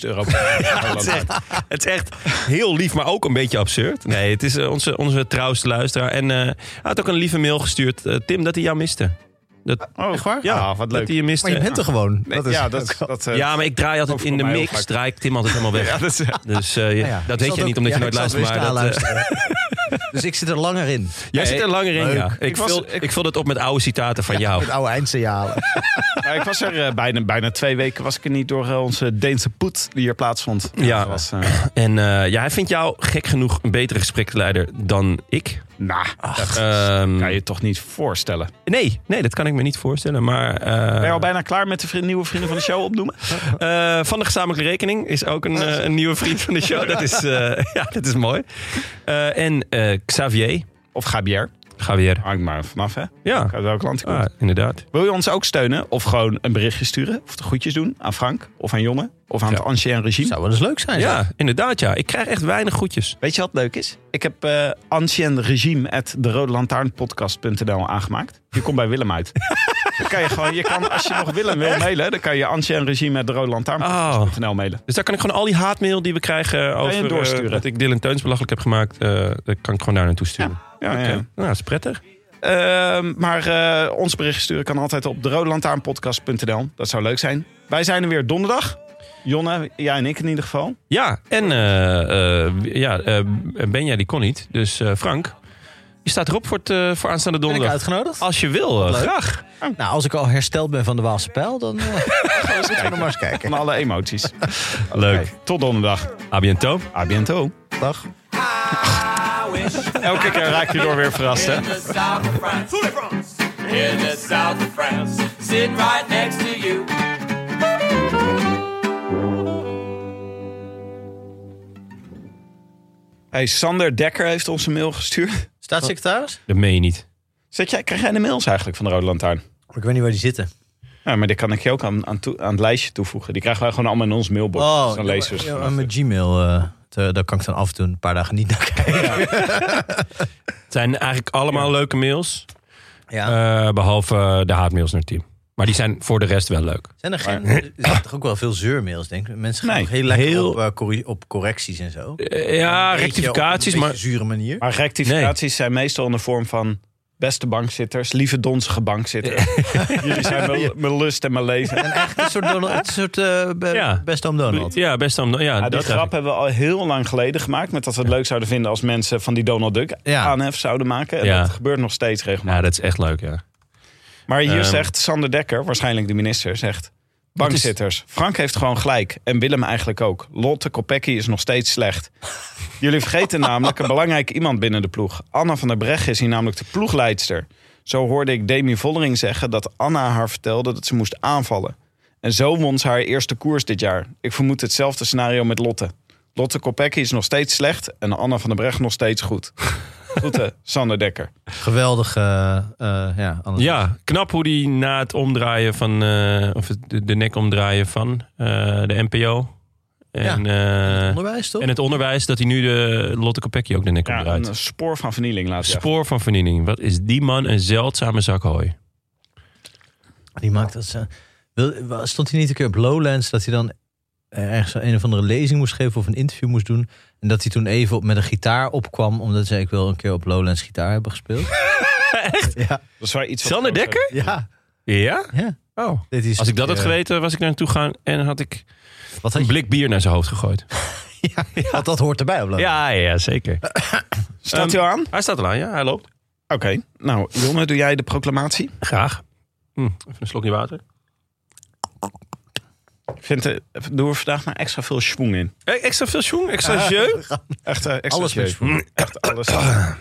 [SPEAKER 2] euro per maand.
[SPEAKER 1] Het is, echt, het is echt heel lief, maar ook een beetje absurd. Nee, het is eh, onze, onze trouwste luisteraar. En eh, hij had ook een lieve mail gestuurd, eh, Tim, dat hij jou miste. Dat,
[SPEAKER 2] Oh, echt waar?
[SPEAKER 1] ja,
[SPEAKER 2] Ja, wat leuk.
[SPEAKER 1] dat hij je miste.
[SPEAKER 3] Maar je bent er gewoon.
[SPEAKER 2] Nee,
[SPEAKER 3] dat is,
[SPEAKER 2] ja, dat, dat, eh,
[SPEAKER 1] ja, maar ik draai altijd
[SPEAKER 2] Over
[SPEAKER 1] in de
[SPEAKER 2] voor mij ook
[SPEAKER 1] mix,
[SPEAKER 2] vaak.
[SPEAKER 1] draai ik Tim altijd helemaal weg.
[SPEAKER 2] dat is-
[SPEAKER 1] Dus eh,
[SPEAKER 3] Ja, ja.
[SPEAKER 1] dat weet
[SPEAKER 3] Ik zat
[SPEAKER 1] je niet,
[SPEAKER 3] ook-
[SPEAKER 1] omdat je
[SPEAKER 3] ja,
[SPEAKER 1] nooit
[SPEAKER 3] ik zat
[SPEAKER 1] luistert. Maar
[SPEAKER 3] weer staan
[SPEAKER 1] dat, eh,
[SPEAKER 3] luisteren. dus ik zit er langer in.
[SPEAKER 1] jij zit er langer in,
[SPEAKER 3] Leuk.
[SPEAKER 1] ja. Ik,
[SPEAKER 2] was-
[SPEAKER 1] vul, ik vul het op met oude citaten van jou.
[SPEAKER 3] Met oude eindsignalen.
[SPEAKER 2] Maar ik was er eh, bijna, bijna twee weken was ik er niet door eh, onze Deense poet die hier plaatsvond.
[SPEAKER 1] Ja.
[SPEAKER 2] Dat was, eh, nou,
[SPEAKER 1] En eh, ja, hij vindt jou gek genoeg een betere gespreksleider dan ik.
[SPEAKER 2] dat eh,
[SPEAKER 1] Ehm,
[SPEAKER 2] kan je toch niet voorstellen.
[SPEAKER 1] nee, nee, dat kan ik me niet voorstellen. Maar eh,
[SPEAKER 2] Ben je al bijna klaar met de vriend- nieuwe vrienden van de show opnoemen?
[SPEAKER 1] eh, van de gezamenlijke rekening is ook een, eh, een nieuwe vriend van de show. Dat is, eh, ja, dat is mooi. Eh, en eh, Xavier.
[SPEAKER 2] Of Gabier?
[SPEAKER 1] Javier.
[SPEAKER 2] Hangt maar vanaf, hè?
[SPEAKER 1] Ja,
[SPEAKER 2] Uit welk land je komt.
[SPEAKER 1] ah, inderdaad.
[SPEAKER 2] Wil je ons ook steunen? Of gewoon een berichtje sturen? Of de groetjes doen aan Frank? Of aan Jongen? Of aan
[SPEAKER 1] Ja.
[SPEAKER 2] het ancien regime?
[SPEAKER 3] Zou wel eens leuk zijn. zeg.
[SPEAKER 1] Ja, inderdaad ja. Ik krijg echt weinig goedjes.
[SPEAKER 2] Weet je wat leuk is? Ik heb eh ancien regime at de rode aangemaakt. Je komt bij Willem uit. dan kan je gewoon, je kan, als je nog Willem wil mailen, dan kan je ancien regime at de rode
[SPEAKER 1] Oh.
[SPEAKER 2] mailen.
[SPEAKER 1] Dus daar kan ik gewoon al die haatmail die we krijgen
[SPEAKER 2] je
[SPEAKER 1] over eh,
[SPEAKER 2] doorsturen?
[SPEAKER 1] dat ik Dylan Teuns belachelijk heb gemaakt, eh, dat kan ik gewoon daar naartoe sturen.
[SPEAKER 2] Ja,
[SPEAKER 1] Oké.
[SPEAKER 2] Ah. ja.
[SPEAKER 1] Nou, dat is prettig.
[SPEAKER 2] Ehm, maar eh, ons bericht sturen kan altijd op derodelantaarnpodcast.nl. Dat zou leuk zijn. Wij zijn er weer donderdag. Jonne, jij en ik in ieder geval.
[SPEAKER 1] Ja, en eh, eh, ja, eh, Benja die kon niet. Dus eh, Frank, je staat erop voor, het, eh, voor aanstaande
[SPEAKER 3] Ben ik
[SPEAKER 1] donderdag.
[SPEAKER 3] uitgenodigd?
[SPEAKER 1] Als je wil, eh,
[SPEAKER 3] leuk.
[SPEAKER 1] graag.
[SPEAKER 3] Nou, als ik al hersteld ben van de Waalse pijl, dan eh, gaan we nog maar eens kijken.
[SPEAKER 2] Van alle emoties.
[SPEAKER 1] Leuk.
[SPEAKER 2] Oké, tot donderdag.
[SPEAKER 1] A bientôt.
[SPEAKER 2] A biento.
[SPEAKER 3] Dag.
[SPEAKER 5] I wish
[SPEAKER 2] Elke keer raak je door weer verrast, hè?
[SPEAKER 5] in the south of France. In the south of France. Sitting right next to you.
[SPEAKER 2] Hey, Sander Dekker heeft ons een mail gestuurd.
[SPEAKER 3] Staatssecretaris?
[SPEAKER 1] Dat meen je niet.
[SPEAKER 2] Zet jij, krijg jij de mails eigenlijk van de Rode Lantaarn?
[SPEAKER 3] Ik weet niet waar die zitten.
[SPEAKER 1] Oh,
[SPEAKER 2] Ja, maar die kan ik je ook aan, aan, toe- aan het lijstje toevoegen. Die krijgen wij gewoon allemaal in ons mailbox.
[SPEAKER 3] Oh,
[SPEAKER 2] dus dan lezen we ze
[SPEAKER 3] ja,
[SPEAKER 2] vanaf.
[SPEAKER 3] mijn Gmail, eh, te- daar kan ik dan af en toe een paar dagen niet naar kijken.
[SPEAKER 1] Het zijn eigenlijk allemaal leuke mails.
[SPEAKER 3] Ja.
[SPEAKER 1] eh, behalve eh, de haatmails naar het team. Maar die zijn voor de rest wel leuk.
[SPEAKER 3] Zijn er geen... Er zijn toch ook wel veel zeurmails, denk ik? Mensen gaan
[SPEAKER 2] Nee,
[SPEAKER 3] toch heel lekker
[SPEAKER 1] heel-
[SPEAKER 3] op, eh, corri- op correcties en zo.
[SPEAKER 1] Eh, ja,
[SPEAKER 3] Een beetje
[SPEAKER 1] rectificaties.
[SPEAKER 3] Op een
[SPEAKER 1] Maar
[SPEAKER 3] beetje zure manier.
[SPEAKER 2] Maar rectificaties zijn meestal in de vorm van... beste bankzitters, lieve donzige bankzitters. Jullie zijn mijn, mijn lust en mijn leven. Nou,
[SPEAKER 3] En eigenlijk een soort, Donald, een soort eh, be-
[SPEAKER 1] Ja.
[SPEAKER 3] beste oom Donald.
[SPEAKER 1] ja, best dan. Ja,
[SPEAKER 2] Ja, die
[SPEAKER 1] dat
[SPEAKER 2] grap hebben we al heel lang geleden gemaakt. Met dat we het leuk zouden vinden als mensen van die Donald Duck
[SPEAKER 3] Ja.
[SPEAKER 2] aanhef zouden maken. En
[SPEAKER 1] Ja.
[SPEAKER 2] dat gebeurt nog steeds regelmatig.
[SPEAKER 1] Ja, dat is echt leuk, ja.
[SPEAKER 2] Maar hier
[SPEAKER 1] Ehm.
[SPEAKER 2] zegt Sander Dekker, waarschijnlijk de minister, zegt... Bankzitters, Frank heeft gewoon gelijk. En Willem eigenlijk ook. Lotte Kopecky is nog steeds slecht. Jullie vergeten namelijk een belangrijk iemand binnen de ploeg. Anna van der Breggen is hier namelijk de ploegleidster. Zo hoorde ik Demi Vollering zeggen dat Anna haar vertelde dat ze moest aanvallen. En zo won ze haar eerste koers dit jaar. Ik vermoed hetzelfde scenario met Lotte. Lotte Kopecky is nog steeds slecht en Anna van der Breggen nog steeds goed. Groeten, Sander Dekker.
[SPEAKER 3] Geweldig, eh, eh, ja. Anders.
[SPEAKER 1] Ja, knap hoe die na het omdraaien van, eh, of het- de, de nek omdraaien van eh, de NPO. En, eh,
[SPEAKER 3] Onderwijs, toch?
[SPEAKER 1] en het onderwijs, dat hij nu de Lotte Kopecky ook de nek
[SPEAKER 2] Ja,
[SPEAKER 1] omdraait.
[SPEAKER 2] een spoor van vernieling laat je
[SPEAKER 1] Spoor van vernieling. Wat is die man een zeldzame zak hooi?
[SPEAKER 3] Die maakt dat ze... Wil, wa- stond hij niet een keer op Lowlands dat hij dan ergens een of andere lezing moest geven of een interview moest doen? En dat hij toen even op, met een gitaar opkwam omdat ze ik wil een keer op Lowlands gitaar hebben gespeeld.
[SPEAKER 2] Dat is wel iets wat
[SPEAKER 1] Sander
[SPEAKER 2] groter-
[SPEAKER 1] Dekker?
[SPEAKER 3] Ja.
[SPEAKER 1] Ja?
[SPEAKER 3] ja.
[SPEAKER 1] Oh.
[SPEAKER 3] Dit is
[SPEAKER 1] Als ik dat had
[SPEAKER 3] eh,
[SPEAKER 1] geweten, was ik naar hem toe gegaan en had ik
[SPEAKER 3] Wat had
[SPEAKER 1] een
[SPEAKER 3] je-
[SPEAKER 1] blik bier naar zijn hoofd gegooid.
[SPEAKER 3] Ja, want dat hoort erbij op Lowlands.
[SPEAKER 1] Ja, ja, zeker.
[SPEAKER 2] Staat hij al aan?
[SPEAKER 1] Hij staat al aan, ja. Hij loopt.
[SPEAKER 2] Oké. Nou, Jonne, doe jij de proclamatie?
[SPEAKER 1] Graag. Hm, even een slokje water.
[SPEAKER 2] Ik vind het, doe er vandaag maar extra veel schwung in.
[SPEAKER 1] Eh, Extra veel schoen, extra jeu.
[SPEAKER 2] Echt eh, extra
[SPEAKER 3] Alles met
[SPEAKER 2] jeu.
[SPEAKER 3] schwung.
[SPEAKER 2] Echt alles.